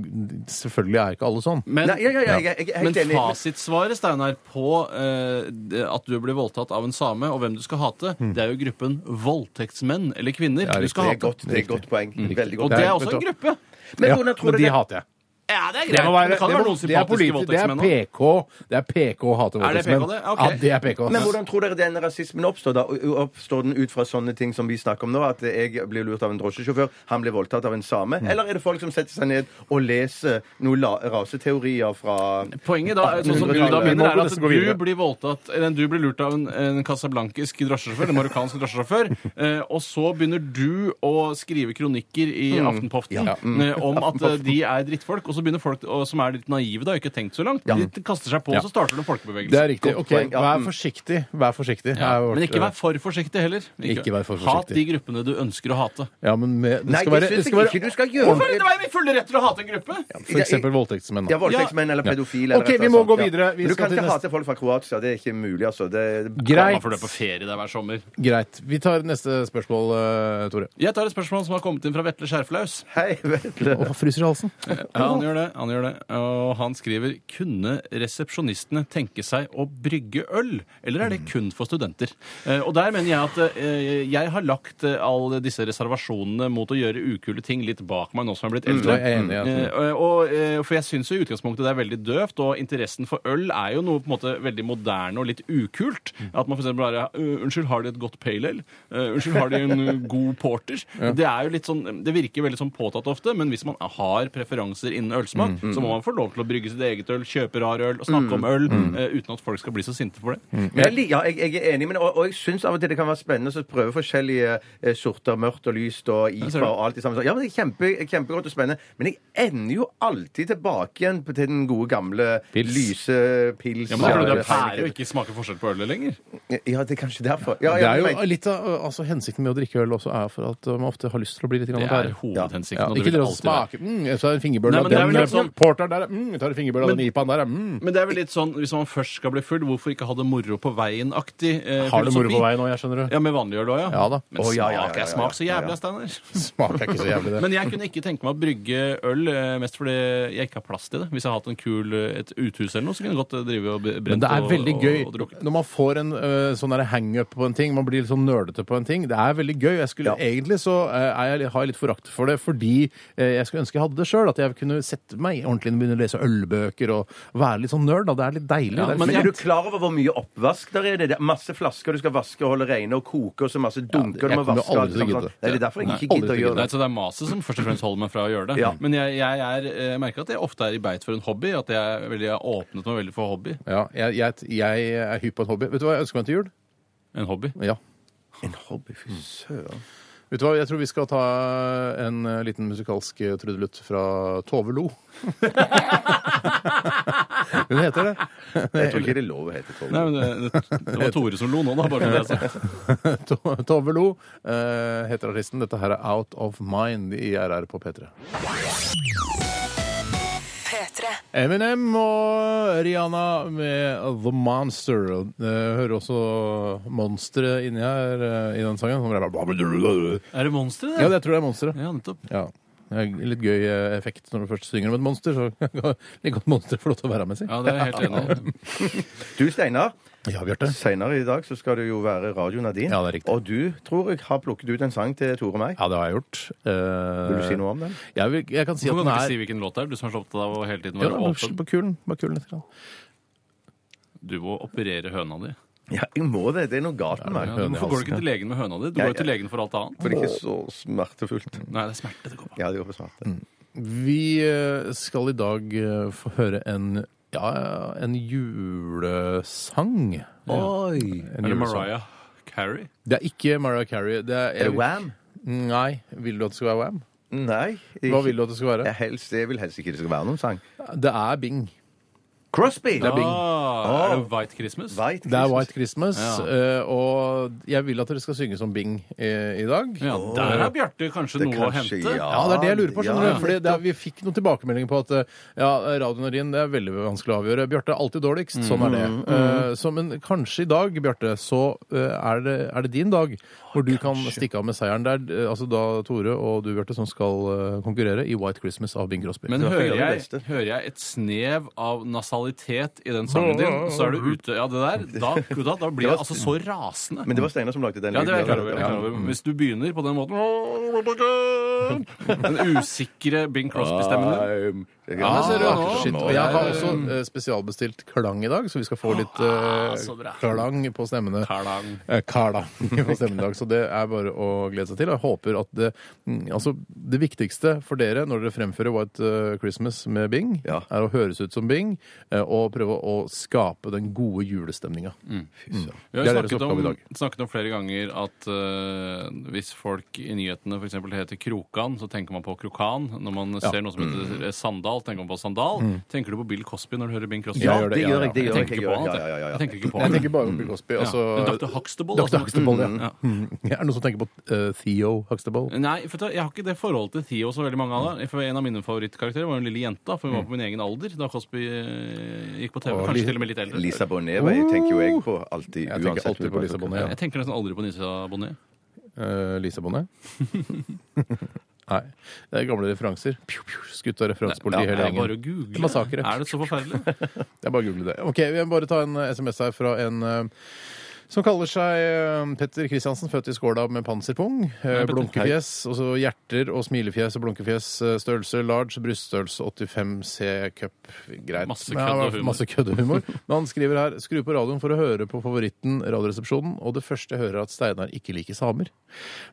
[SPEAKER 2] selvfølgelig er ikke alle sånn.
[SPEAKER 3] men,
[SPEAKER 4] Nei, ja, ja, ja, jeg, jeg, jeg er
[SPEAKER 3] Men
[SPEAKER 4] helt enig.
[SPEAKER 3] fasitsvaret, Steinar, på eh, det- at du blir voldtatt av en same, og hvem du skal hate, det er jo gruppen voldtektsmenn eller -kvinner du skal
[SPEAKER 4] Hmm. Det er
[SPEAKER 3] hate.
[SPEAKER 4] godt, det er et godt poeng. Veldig
[SPEAKER 3] Mm. Og
[SPEAKER 4] godt.
[SPEAKER 3] det er
[SPEAKER 2] Nei,
[SPEAKER 3] også
[SPEAKER 2] vet
[SPEAKER 3] en
[SPEAKER 2] du hva?
[SPEAKER 3] gruppe.
[SPEAKER 4] Men
[SPEAKER 2] Ja,
[SPEAKER 4] hvordan tror
[SPEAKER 2] men
[SPEAKER 4] du
[SPEAKER 2] de
[SPEAKER 4] det-
[SPEAKER 2] hater jeg.
[SPEAKER 3] Ja, det er greit.
[SPEAKER 2] Det, må
[SPEAKER 3] men
[SPEAKER 2] være,
[SPEAKER 3] det kan jo
[SPEAKER 2] det, må,
[SPEAKER 3] være noen
[SPEAKER 2] det er
[SPEAKER 3] sympatiske
[SPEAKER 2] politi- det er
[SPEAKER 3] voldtektsmenn òg.
[SPEAKER 2] PK Det er PK å hate
[SPEAKER 3] Er det
[SPEAKER 2] voldtektsmenn.
[SPEAKER 3] PK det? Ok.
[SPEAKER 2] Ja, det er PK.
[SPEAKER 4] Men hvordan tror dere den rasismen oppstår? da? Oppstår den ut fra sånne ting som vi snakker om nå? At jeg blir lurt av en drosjesjåfør, han blir voldtatt av en same?
[SPEAKER 2] Mm.
[SPEAKER 4] Eller er det folk som setter seg ned og leser noen la- raseteorier fra
[SPEAKER 3] Poenget da, sånn som du da
[SPEAKER 4] 1800-tallet.
[SPEAKER 3] mener, er at
[SPEAKER 2] Vi må nesten gå videre.
[SPEAKER 3] du blir voldtatt Eller du blir lurt av en, en casablankisk drosjesjåfør, en marokkansk
[SPEAKER 2] (laughs)
[SPEAKER 3] drosjesjåfør, eh, og så begynner du å skrive kronikker i
[SPEAKER 2] Mm.
[SPEAKER 3] Aftenpoften eh, om at eh, de er drittfolk, og så begynner folk å- som er litt naive da, og ikke tenkt så langt, de kaster seg på,
[SPEAKER 2] Ja.
[SPEAKER 3] og så starter
[SPEAKER 2] Det
[SPEAKER 3] det en
[SPEAKER 2] er
[SPEAKER 3] folkebevegelse.
[SPEAKER 2] riktig.
[SPEAKER 4] Godt
[SPEAKER 2] Ok,
[SPEAKER 4] poeng, ja.
[SPEAKER 2] vær
[SPEAKER 4] Mm.
[SPEAKER 2] forsiktig. Vær forsiktig.
[SPEAKER 3] Ja.
[SPEAKER 2] Er vårt- eh,
[SPEAKER 3] Men ikke vær for forsiktig heller.
[SPEAKER 2] Ikke vær for
[SPEAKER 3] Hat
[SPEAKER 2] forsiktig.
[SPEAKER 3] de gruppene du ønsker å hate.
[SPEAKER 2] Ja, men med, det
[SPEAKER 4] Nei,
[SPEAKER 2] skal være,
[SPEAKER 4] det
[SPEAKER 2] det
[SPEAKER 4] syns
[SPEAKER 2] skal
[SPEAKER 4] jeg
[SPEAKER 2] være
[SPEAKER 4] ikke du skal gjøre.
[SPEAKER 3] Hvorfor er det meg i full rett til å hate en gruppe?
[SPEAKER 2] for eksempel voldtektsmenn.
[SPEAKER 4] Ja,
[SPEAKER 2] da.
[SPEAKER 4] voldtektsmenn eller
[SPEAKER 2] Ja.
[SPEAKER 4] pedofile.
[SPEAKER 2] Ok,
[SPEAKER 4] eller et
[SPEAKER 2] vi
[SPEAKER 4] eller
[SPEAKER 2] må
[SPEAKER 4] annet
[SPEAKER 2] gå
[SPEAKER 4] sånt, ja.
[SPEAKER 2] videre. Vi
[SPEAKER 4] Men du
[SPEAKER 2] skal
[SPEAKER 4] kan
[SPEAKER 2] til
[SPEAKER 4] ikke
[SPEAKER 2] neste-
[SPEAKER 4] hate folk fra Kroatia. Det er ikke mulig, altså. Det...
[SPEAKER 3] Man
[SPEAKER 2] Greit.
[SPEAKER 3] får det på ferie der hver sommer.
[SPEAKER 2] Greit. Vi tar neste spørsmål, eh, Tore.
[SPEAKER 3] Jeg tar et spørsmål som har kommet inn fra Vetle Skjerflaus.
[SPEAKER 4] Hei, vet du.
[SPEAKER 2] Å, fryser i halsen. (laughs)
[SPEAKER 3] Ja, han gjør det. han gjør det. Og han skriver kunne resepsjonistene tenke seg å brygge øl, eller
[SPEAKER 2] Mm.
[SPEAKER 3] er det kun for studenter? Eh, Og der mener jeg at eh, jeg har lagt eh, alle disse reservasjonene mot å gjøre ukule ting litt bak meg nå som jeg er blitt
[SPEAKER 2] Mm,
[SPEAKER 3] eldre.
[SPEAKER 2] jeg er enig i at-
[SPEAKER 3] Eh, og, og, eh, for jeg syns jo i utgangspunktet det er veldig døvt, og interessen for øl er jo noe på en måte veldig moderne og litt ukult. At man for eksempel bare «Øh, Unnskyld, har de et godt pale ale? Øh, Unnskyld, har de en øh, god porter? Det er jo litt sånn, det virker veldig sånn påtatt ofte, men hvis man har preferanser innen ølsmak, så må man få lov til å brygge sitt eget øl, kjøpe rar øl og snakke om øl eh, uten at folk skal bli så sinte for det.
[SPEAKER 4] Men jeg, lik- ja, jeg, jeg er enig, men, og, og jeg syns av og til det kan være spennende å prøve forskjellige eh, sorter. Mørkt og lyst og
[SPEAKER 3] ser
[SPEAKER 4] IPA
[SPEAKER 3] du.
[SPEAKER 4] og alt det samme. Ja, men det er kjempe, Kjempegodt og spennende. Men jeg ender jo alltid tilbake igjen på- til den gode, gamle
[SPEAKER 2] Pils.
[SPEAKER 4] lyse pils.
[SPEAKER 3] Ja, men
[SPEAKER 4] Ja,
[SPEAKER 3] tror du det
[SPEAKER 4] eller
[SPEAKER 3] er pære
[SPEAKER 4] Heineken.
[SPEAKER 3] og ikke smaker forskjell på ølet lenger?
[SPEAKER 4] Ja, det er kanskje derfor. Ja,
[SPEAKER 2] Det
[SPEAKER 4] ja,
[SPEAKER 2] er
[SPEAKER 4] men-
[SPEAKER 2] jo litt av, altså, Hensikten med å drikke øl også er for at eh, man ofte har lyst til å bli litt
[SPEAKER 3] Det
[SPEAKER 2] grann
[SPEAKER 3] er
[SPEAKER 2] pære.
[SPEAKER 3] hovedhensikten.
[SPEAKER 2] Ja,
[SPEAKER 3] og det
[SPEAKER 2] ikke
[SPEAKER 3] vil
[SPEAKER 2] det å
[SPEAKER 3] alltid være.
[SPEAKER 2] smake mm, Jeg tar en fingerbøl
[SPEAKER 3] Nei,
[SPEAKER 2] av
[SPEAKER 3] men det er
[SPEAKER 2] den,
[SPEAKER 3] vel
[SPEAKER 2] eh,
[SPEAKER 3] litt sånn-
[SPEAKER 2] porteren der mm, Jeg tar en fingerbøl av den
[SPEAKER 3] Men-
[SPEAKER 2] IPA-en der mm.
[SPEAKER 3] Men det er vel litt sånn, hvis man først skal bli full, hvorfor ikke ha det moro på veien-aktig eh,
[SPEAKER 2] Har du moro på
[SPEAKER 3] filosofi?
[SPEAKER 2] veien nå, jeg skjønner du?
[SPEAKER 3] Ja, med vanlig øl òg, ja.
[SPEAKER 2] Ja da.
[SPEAKER 3] Men
[SPEAKER 4] Å, ja, ja, ja,
[SPEAKER 3] smak
[SPEAKER 4] ja,
[SPEAKER 3] er smak så
[SPEAKER 4] ja, ja.
[SPEAKER 3] jævlig, Steinar.
[SPEAKER 2] Smaker ikke så jævlig, det.
[SPEAKER 3] Men jeg kunne ikke tenke meg å brygge øl, eh, mest fordi jeg ikke har plass til det. Hvis jeg har hatt en kul, eh, et uthus eller noe, så kunne jeg godt eh, drive og b- brent
[SPEAKER 2] Men det er
[SPEAKER 3] og-
[SPEAKER 2] veldig
[SPEAKER 3] og-
[SPEAKER 2] gøy
[SPEAKER 3] og drukket.
[SPEAKER 2] når man får en øh, sånn der hang-up på en ting, man blir litt sånn nerdete på en ting. Det er veldig gøy. Jeg skulle,
[SPEAKER 4] Ja.
[SPEAKER 2] Egentlig så øh, er jeg, har jeg litt forakt for det, fordi øh, jeg skulle ønske jeg hadde det sjøl. At jeg kunne sette meg ordentlig inn og begynne å lese ølbøker og være litt sånn nerd. Da. Det er litt deilig.
[SPEAKER 3] Ja,
[SPEAKER 2] det er
[SPEAKER 3] men
[SPEAKER 4] Men
[SPEAKER 2] litt-
[SPEAKER 4] er
[SPEAKER 3] jeg-
[SPEAKER 4] du klar over hvor mye oppvask der er? Det er masse flasker du skal vaske og holde rene og koke, og så masse dunker
[SPEAKER 2] jeg
[SPEAKER 4] du må
[SPEAKER 2] kommer aldri
[SPEAKER 4] vaske. og alt
[SPEAKER 2] til å
[SPEAKER 4] sånt.
[SPEAKER 2] gidde.
[SPEAKER 4] Nei, det er derfor jeg
[SPEAKER 2] Nei,
[SPEAKER 4] ikke
[SPEAKER 2] aldri
[SPEAKER 4] gidder å
[SPEAKER 2] til å
[SPEAKER 4] gjøre
[SPEAKER 3] Nei,
[SPEAKER 4] det.
[SPEAKER 3] så Det er maset som først og fremst holder meg fra å gjøre det.
[SPEAKER 4] Ja.
[SPEAKER 3] Men jeg, jeg, er, eh, merker at jeg ofte er i beit for en hobby. At jeg, er veldig, jeg har åpnet meg veldig for hobby.
[SPEAKER 2] ja, jeg, jeg, jeg er hypp på en hobby. Vet du hva jeg ønsker meg til jul?
[SPEAKER 3] En hobby.
[SPEAKER 2] Ja.
[SPEAKER 4] En hobby, fy søren.
[SPEAKER 2] Vet du hva, Jeg tror vi skal ta en øh, liten musikalsk øh, trudelutt fra Tove Lo. (laughs) Hun heter det.
[SPEAKER 4] Jeg tror ikke det er lov å hete Tove.
[SPEAKER 3] Nei, men det, det, det var Tore som lo nå, da. Bare med det, altså.
[SPEAKER 2] (laughs) To- Tove Lo eh, heter artisten. Dette her er Out of Mind i RR på P3.
[SPEAKER 5] P3.
[SPEAKER 2] Eminem og Rihanna med The Monster. Eh, hører også monsteret inni her eh, i den sangen. Som bare bare-
[SPEAKER 3] Er det monster, det?
[SPEAKER 2] Ja, det tror jeg er monsteret.
[SPEAKER 3] Ja, nettopp.
[SPEAKER 2] Ja. Det er litt gøy eh, effekt når du først synger om et monster. Så (laughs) kan like godt monster få lov til å være med, si.
[SPEAKER 3] Ja, det er jeg helt enig i.
[SPEAKER 4] Du, Steinar,
[SPEAKER 2] Ja, Bjarte.
[SPEAKER 4] senere i dag så skal det jo være Radio Nadine.
[SPEAKER 2] Ja, det er riktig.
[SPEAKER 4] Og du tror jeg har plukket ut en sang til Tore og meg.
[SPEAKER 2] Ja, det har jeg gjort. Eh,
[SPEAKER 4] Vil du si noe om den?
[SPEAKER 2] Jeg, vil, jeg kan si at
[SPEAKER 3] Hvorfor
[SPEAKER 2] den
[SPEAKER 3] kan du ikke si
[SPEAKER 2] er
[SPEAKER 3] hvilken låt det er? Du som er så opptatt av å hele tiden
[SPEAKER 2] ja,
[SPEAKER 3] være
[SPEAKER 2] da,
[SPEAKER 3] åpen.
[SPEAKER 2] På kulen. På kulen litt. Grann.
[SPEAKER 3] Du må operere høna di.
[SPEAKER 4] Ja, jeg må det. Det er noe galt
[SPEAKER 3] Ja,
[SPEAKER 4] med meg.
[SPEAKER 3] du-
[SPEAKER 2] høne i
[SPEAKER 3] hvorfor går du ikke til legen med høna di? Du
[SPEAKER 4] Ja,
[SPEAKER 3] går jo til
[SPEAKER 4] ja.
[SPEAKER 3] legen for alt annet.
[SPEAKER 4] For det er ikke så smertefullt.
[SPEAKER 3] Nei, det er smerte det går på.
[SPEAKER 4] Ja, det går på smerte.
[SPEAKER 2] Vi eh, skal i dag eh, få høre en, ja, en julesang.
[SPEAKER 4] Oi!
[SPEAKER 2] En
[SPEAKER 3] Er det
[SPEAKER 2] julesang.
[SPEAKER 3] Mariah Carey?
[SPEAKER 2] Det er ikke Mariah Carey. Det er,
[SPEAKER 4] Er det Wham?
[SPEAKER 2] Nei. Vil du at det skal være Wham?
[SPEAKER 4] Nei.
[SPEAKER 2] Hva vil du at det skal være?
[SPEAKER 4] Jeg, helst, jeg vil helst ikke det skal være noen sang.
[SPEAKER 2] Det er Bing.
[SPEAKER 4] Crosby!
[SPEAKER 2] Det er Bing.
[SPEAKER 3] Ah, er det White Christmas?
[SPEAKER 4] White
[SPEAKER 2] Det er
[SPEAKER 4] Christmas.
[SPEAKER 2] White Christmas,
[SPEAKER 3] Ja.
[SPEAKER 2] eh, og jeg vil at dere skal synge som Bing eh, i dag.
[SPEAKER 3] Ja, der har Bjarte kanskje noe å
[SPEAKER 4] kanskje,
[SPEAKER 3] hente.
[SPEAKER 4] ja.
[SPEAKER 2] Ja, det er det jeg lurer på. skjønner
[SPEAKER 4] Ja.
[SPEAKER 2] du? Fordi det er, Vi fikk noen tilbakemeldinger på at eh, ja, radioen din det er veldig vanskelig å avgjøre. Bjarte er alltid dårligst.
[SPEAKER 3] Mm.
[SPEAKER 2] Sånn er det. Eh, så, men kanskje i dag, Bjarte, så eh, er, det, er det din dag hvor du kan stikke av med seieren. Det er eh, altså da Tore og du, Bjarte, som skal eh, konkurrere i White Christmas av Bing Crosby.
[SPEAKER 3] Men
[SPEAKER 4] Du får
[SPEAKER 3] hører
[SPEAKER 4] gjøre det
[SPEAKER 3] jeg, hører jeg et snev av nasalitet i den sangen din, så er du ute Ja, det der, da, da, da blir jeg altså så rasende.
[SPEAKER 4] Men det var Steinar som lagde den.
[SPEAKER 3] Ja, det er jeg
[SPEAKER 4] lyden.
[SPEAKER 3] klar over. jeg er klar over. Hvis du begynner på den måten Den usikre Bing Crosby-stemmen din.
[SPEAKER 4] Ja,
[SPEAKER 3] men ser du nå?
[SPEAKER 2] Ah, shit. Og jeg har også eh, spesialbestilt klang i dag, så vi skal få litt eh,
[SPEAKER 3] Ah, så bra.
[SPEAKER 2] klang på stemmene.
[SPEAKER 3] Karlang.
[SPEAKER 2] Eh, (laughs) Kala på stemmedag. Så det er bare å glede seg til. Jeg håper at det, mm, altså, det viktigste for dere når dere fremfører White eh, Christmas med Bing,
[SPEAKER 4] Ja.
[SPEAKER 2] er å høres ut som Bing eh, og prøve å skape den gode julestemninga.
[SPEAKER 3] Mm. Vi har
[SPEAKER 2] Det
[SPEAKER 3] jo
[SPEAKER 2] er deres
[SPEAKER 3] snakket
[SPEAKER 2] oppgave i
[SPEAKER 3] om,
[SPEAKER 2] dag.
[SPEAKER 3] snakket om flere ganger at eh, hvis folk i nyhetene f.eks. heter Krokan, så tenker man på Krokan. Når man ser noe som heter eh, Sandal, tenker man på Sandal. Tenker du på Bill Cosby når du hører Bing Crosby?
[SPEAKER 2] Ja,
[SPEAKER 4] det gjør jeg. det
[SPEAKER 3] Jeg
[SPEAKER 4] gjør jeg.
[SPEAKER 3] tenker ikke på han.
[SPEAKER 4] Ja,
[SPEAKER 3] vet du.
[SPEAKER 4] ja, ja, ja, ja.
[SPEAKER 3] Jeg tenker ikke på
[SPEAKER 2] Jeg
[SPEAKER 3] han.
[SPEAKER 2] tenker bare på Bill Cosby.
[SPEAKER 3] Ja.
[SPEAKER 2] Altså,
[SPEAKER 3] Men Dr. Huxtable,
[SPEAKER 2] Dr.
[SPEAKER 3] altså.
[SPEAKER 2] Huxtable, ja.
[SPEAKER 3] Mm, ja.
[SPEAKER 2] Mm. Er det noen som tenker på eh, Theo Huxtable?
[SPEAKER 3] Nei, for jeg har ikke det forholdet til Theo så veldig mange av det. For En av mine favorittkarakterer var en lille jenta, for hun var på min egen alder da Cosby eh, gik på TV.
[SPEAKER 2] Og
[SPEAKER 3] Kanskje
[SPEAKER 2] Li-
[SPEAKER 3] til og med litt eldre.
[SPEAKER 4] Lisa Bonnet var- jeg tenker jo jeg på alltid.
[SPEAKER 2] Jeg tenker
[SPEAKER 4] uansett
[SPEAKER 2] alltid på
[SPEAKER 4] hvilken
[SPEAKER 2] Lisa Bonnet.
[SPEAKER 4] person.
[SPEAKER 2] Ja.
[SPEAKER 3] (laughs) Jeg tenker nesten aldri på Nissa Bonnet.
[SPEAKER 2] Eh, Lisa Bonnet? eh, Nei. Det er gamle referanser. Pju, pju, Skutt av
[SPEAKER 3] Ja,
[SPEAKER 2] referansepolitiet
[SPEAKER 3] det
[SPEAKER 2] hele
[SPEAKER 3] er bare å
[SPEAKER 2] gjengen.
[SPEAKER 3] google.
[SPEAKER 2] Massakre.
[SPEAKER 3] Er det så forferdelig?
[SPEAKER 2] Det er bare å google det. Ok, Vi må bare ta en eh, SMS her fra en eh, som kaller seg eh, Petter Kristiansen, født i Skåla med panserpung. eh,
[SPEAKER 3] Petter.
[SPEAKER 2] Blunkefjes, og så hjerter og smilefjes og blunkefjes. eh, Størrelse large, bryststørrelse 85 C cup. Greit.
[SPEAKER 3] Masse
[SPEAKER 2] Men han
[SPEAKER 3] kødd og
[SPEAKER 2] har
[SPEAKER 3] humor.
[SPEAKER 2] Masse kødd og humor. Men han skriver her skru på radioen for å høre på favoritten Radioresepsjonen, og det første jeg hører er at Steinar ikke liker samer.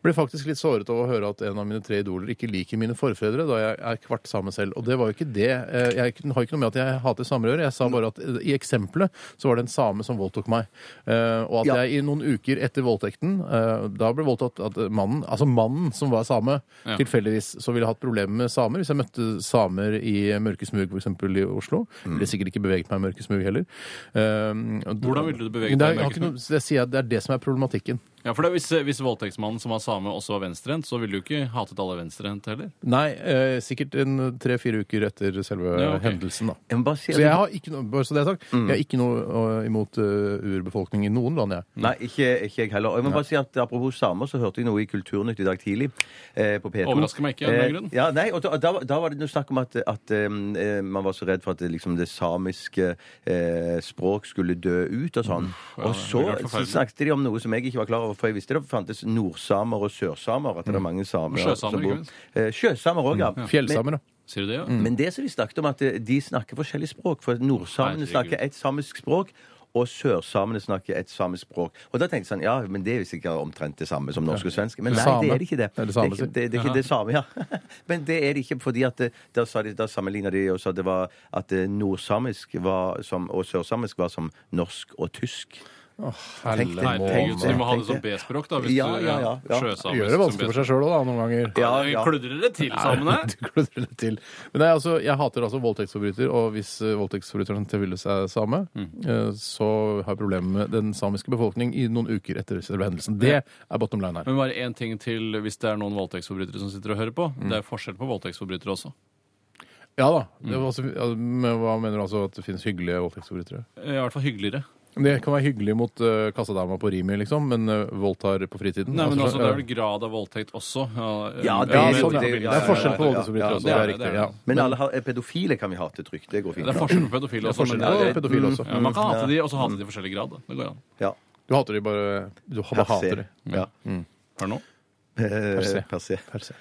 [SPEAKER 2] Ble faktisk litt såret av å høre at en av mine tre idoler ikke liker mine forfedre, da jeg er kvart same selv. Og det var jo ikke det. Eh, Jeg har ikke noe med at jeg hater samer å gjøre. Jeg sa bare at eh, i eksempelet (laughs) så var det en same som voldtok meg. Eh, Og at
[SPEAKER 4] Ja.
[SPEAKER 2] jeg i noen uker etter voldtekten, eh, da ble voldtatt at mannen, altså mannen som var same,
[SPEAKER 3] Ja.
[SPEAKER 2] tilfeldigvis så ville jeg hatt problemer med samer. Hvis jeg møtte samer i mørke smug, for eksempel i Oslo, ville jeg sikkert ikke beveget meg i mørke smug heller. Hvordan
[SPEAKER 3] Hvordan ville du beveget
[SPEAKER 2] det
[SPEAKER 3] deg i
[SPEAKER 2] er, jeg har
[SPEAKER 3] mørke
[SPEAKER 2] ikke noe- Det sier jeg, det er det som er problematikken.
[SPEAKER 3] Ja, for det, er hvis, hvis voldtektsmannen som var same, også var venstrehendt, så ville du ikke hatet alle venstrehendt heller.
[SPEAKER 2] Nei, eh, sikkert en tre-fire uker etter selve
[SPEAKER 3] Ja, ok.
[SPEAKER 2] hendelsen, da.
[SPEAKER 4] Jeg må bare si at
[SPEAKER 2] Så jeg har ikke noe, bare så det er sagt, jeg har ikke noe eh, imot eh, urbefolkning i noen land, jeg.
[SPEAKER 4] Nei, ikke, ikke jeg heller. Og Jeg må bare si at Apropos samer, så hørte jeg noe i Kulturnytt i dag tidlig. Eh, på P2.
[SPEAKER 3] Overrasker meg ikke, av den grunn.
[SPEAKER 4] Eh, ja, nei, og da, da, da var det noe snakk om at, at eh, man var så redd for at det, liksom, det samiske eh, språk skulle dø ut og sånn. og så,
[SPEAKER 3] det er
[SPEAKER 4] så
[SPEAKER 3] forferdelig.
[SPEAKER 4] snakket de om noe som jeg ikke var klar over, for jeg visste det fantes nordsamer og sørsamer. At det er mange samer
[SPEAKER 3] Mm. Sjøsamer,
[SPEAKER 4] som
[SPEAKER 3] ikke
[SPEAKER 4] bor
[SPEAKER 3] minst. Mm,
[SPEAKER 4] eh, Sjøsamer òg, ja.
[SPEAKER 2] Fjellsamer, da.
[SPEAKER 3] Sier du det, ja?
[SPEAKER 4] Men det som de snakket om, at eh, de snakker forskjellig språk. For nordsamene
[SPEAKER 3] Herregud.
[SPEAKER 4] snakker et samisk språk. Og sørsamene snakker et samisk språk. Og da tenkte jeg sånn, ja, men det er jo sikkert omtrent det samme som norsk og svensk. Men nei,
[SPEAKER 2] Same.
[SPEAKER 4] det er det ikke det.
[SPEAKER 2] Det er det samme,
[SPEAKER 4] ikke, det, det, er ikke det samme, ja. Men det er det ikke, fordi at det, da, sa de, da sammenligna de og sa det var at eh, nordsamisk var som, og sørsamisk var som norsk og tysk. Tenk det,
[SPEAKER 3] Herregud, så du må ha det som
[SPEAKER 4] Tenk det.
[SPEAKER 3] B-språk, da? Hvis
[SPEAKER 4] Ja,
[SPEAKER 3] du
[SPEAKER 4] ja, ja, ja.
[SPEAKER 3] sjøsamisk
[SPEAKER 2] Gjør det
[SPEAKER 3] som
[SPEAKER 2] vanskelig for seg sjøl òg, da, noen ganger. (laughs)
[SPEAKER 4] Ja,
[SPEAKER 3] B-språk.
[SPEAKER 4] ja.
[SPEAKER 3] Kludrer dere til samene?
[SPEAKER 2] Du kludrer litt til. Men det er altså, jeg hater altså voldtektsforbryter, og hvis eh, voldtektsforbryteren til ville seg same, eh, så har jeg problemer med den samiske befolkning i noen uker etter selve hendelsen. Det er bottom line her.
[SPEAKER 3] Men bare én ting til hvis det er noen voldtektsforbrytere som sitter og hører på. Det er forskjell på voldtektsforbrytere også.
[SPEAKER 2] Ja da. Det var altså, ja, men hva mener du altså at det finnes hyggelige voldtektsforbrytere?
[SPEAKER 3] Eh, I hvert fall hyggeligere.
[SPEAKER 2] Det kan være hyggelig mot eh, kassadama på Rimi, liksom, men eh, voldtar på fritiden.
[SPEAKER 3] Nei, men
[SPEAKER 2] Altså,
[SPEAKER 3] altså, Det er
[SPEAKER 2] eh,
[SPEAKER 3] vel grad av voldtekt også.
[SPEAKER 4] Ja, det
[SPEAKER 2] ja,
[SPEAKER 4] er jo-
[SPEAKER 2] sånn, ja.
[SPEAKER 4] det-
[SPEAKER 2] Det er forskjell på
[SPEAKER 4] ja, ja, ja.
[SPEAKER 2] voldtektsforbrytere også. Det er riktig. ja.
[SPEAKER 4] Men alle har, eh, pedofile kan vi hate trygt. Det går fint.
[SPEAKER 3] Det er forskjell på pedofile også.
[SPEAKER 2] Forskjell
[SPEAKER 3] skjønner
[SPEAKER 2] på
[SPEAKER 3] jeg.
[SPEAKER 2] pedofile også.
[SPEAKER 3] Ja, man kan hate de, og så hate de i forskjellig grad. da. Det går an.
[SPEAKER 4] Ja.
[SPEAKER 2] Du hater de bare Du bare hater de.
[SPEAKER 4] Ja.
[SPEAKER 3] Hør nå.
[SPEAKER 4] Per
[SPEAKER 2] se.
[SPEAKER 4] se. Per se.
[SPEAKER 2] Per se.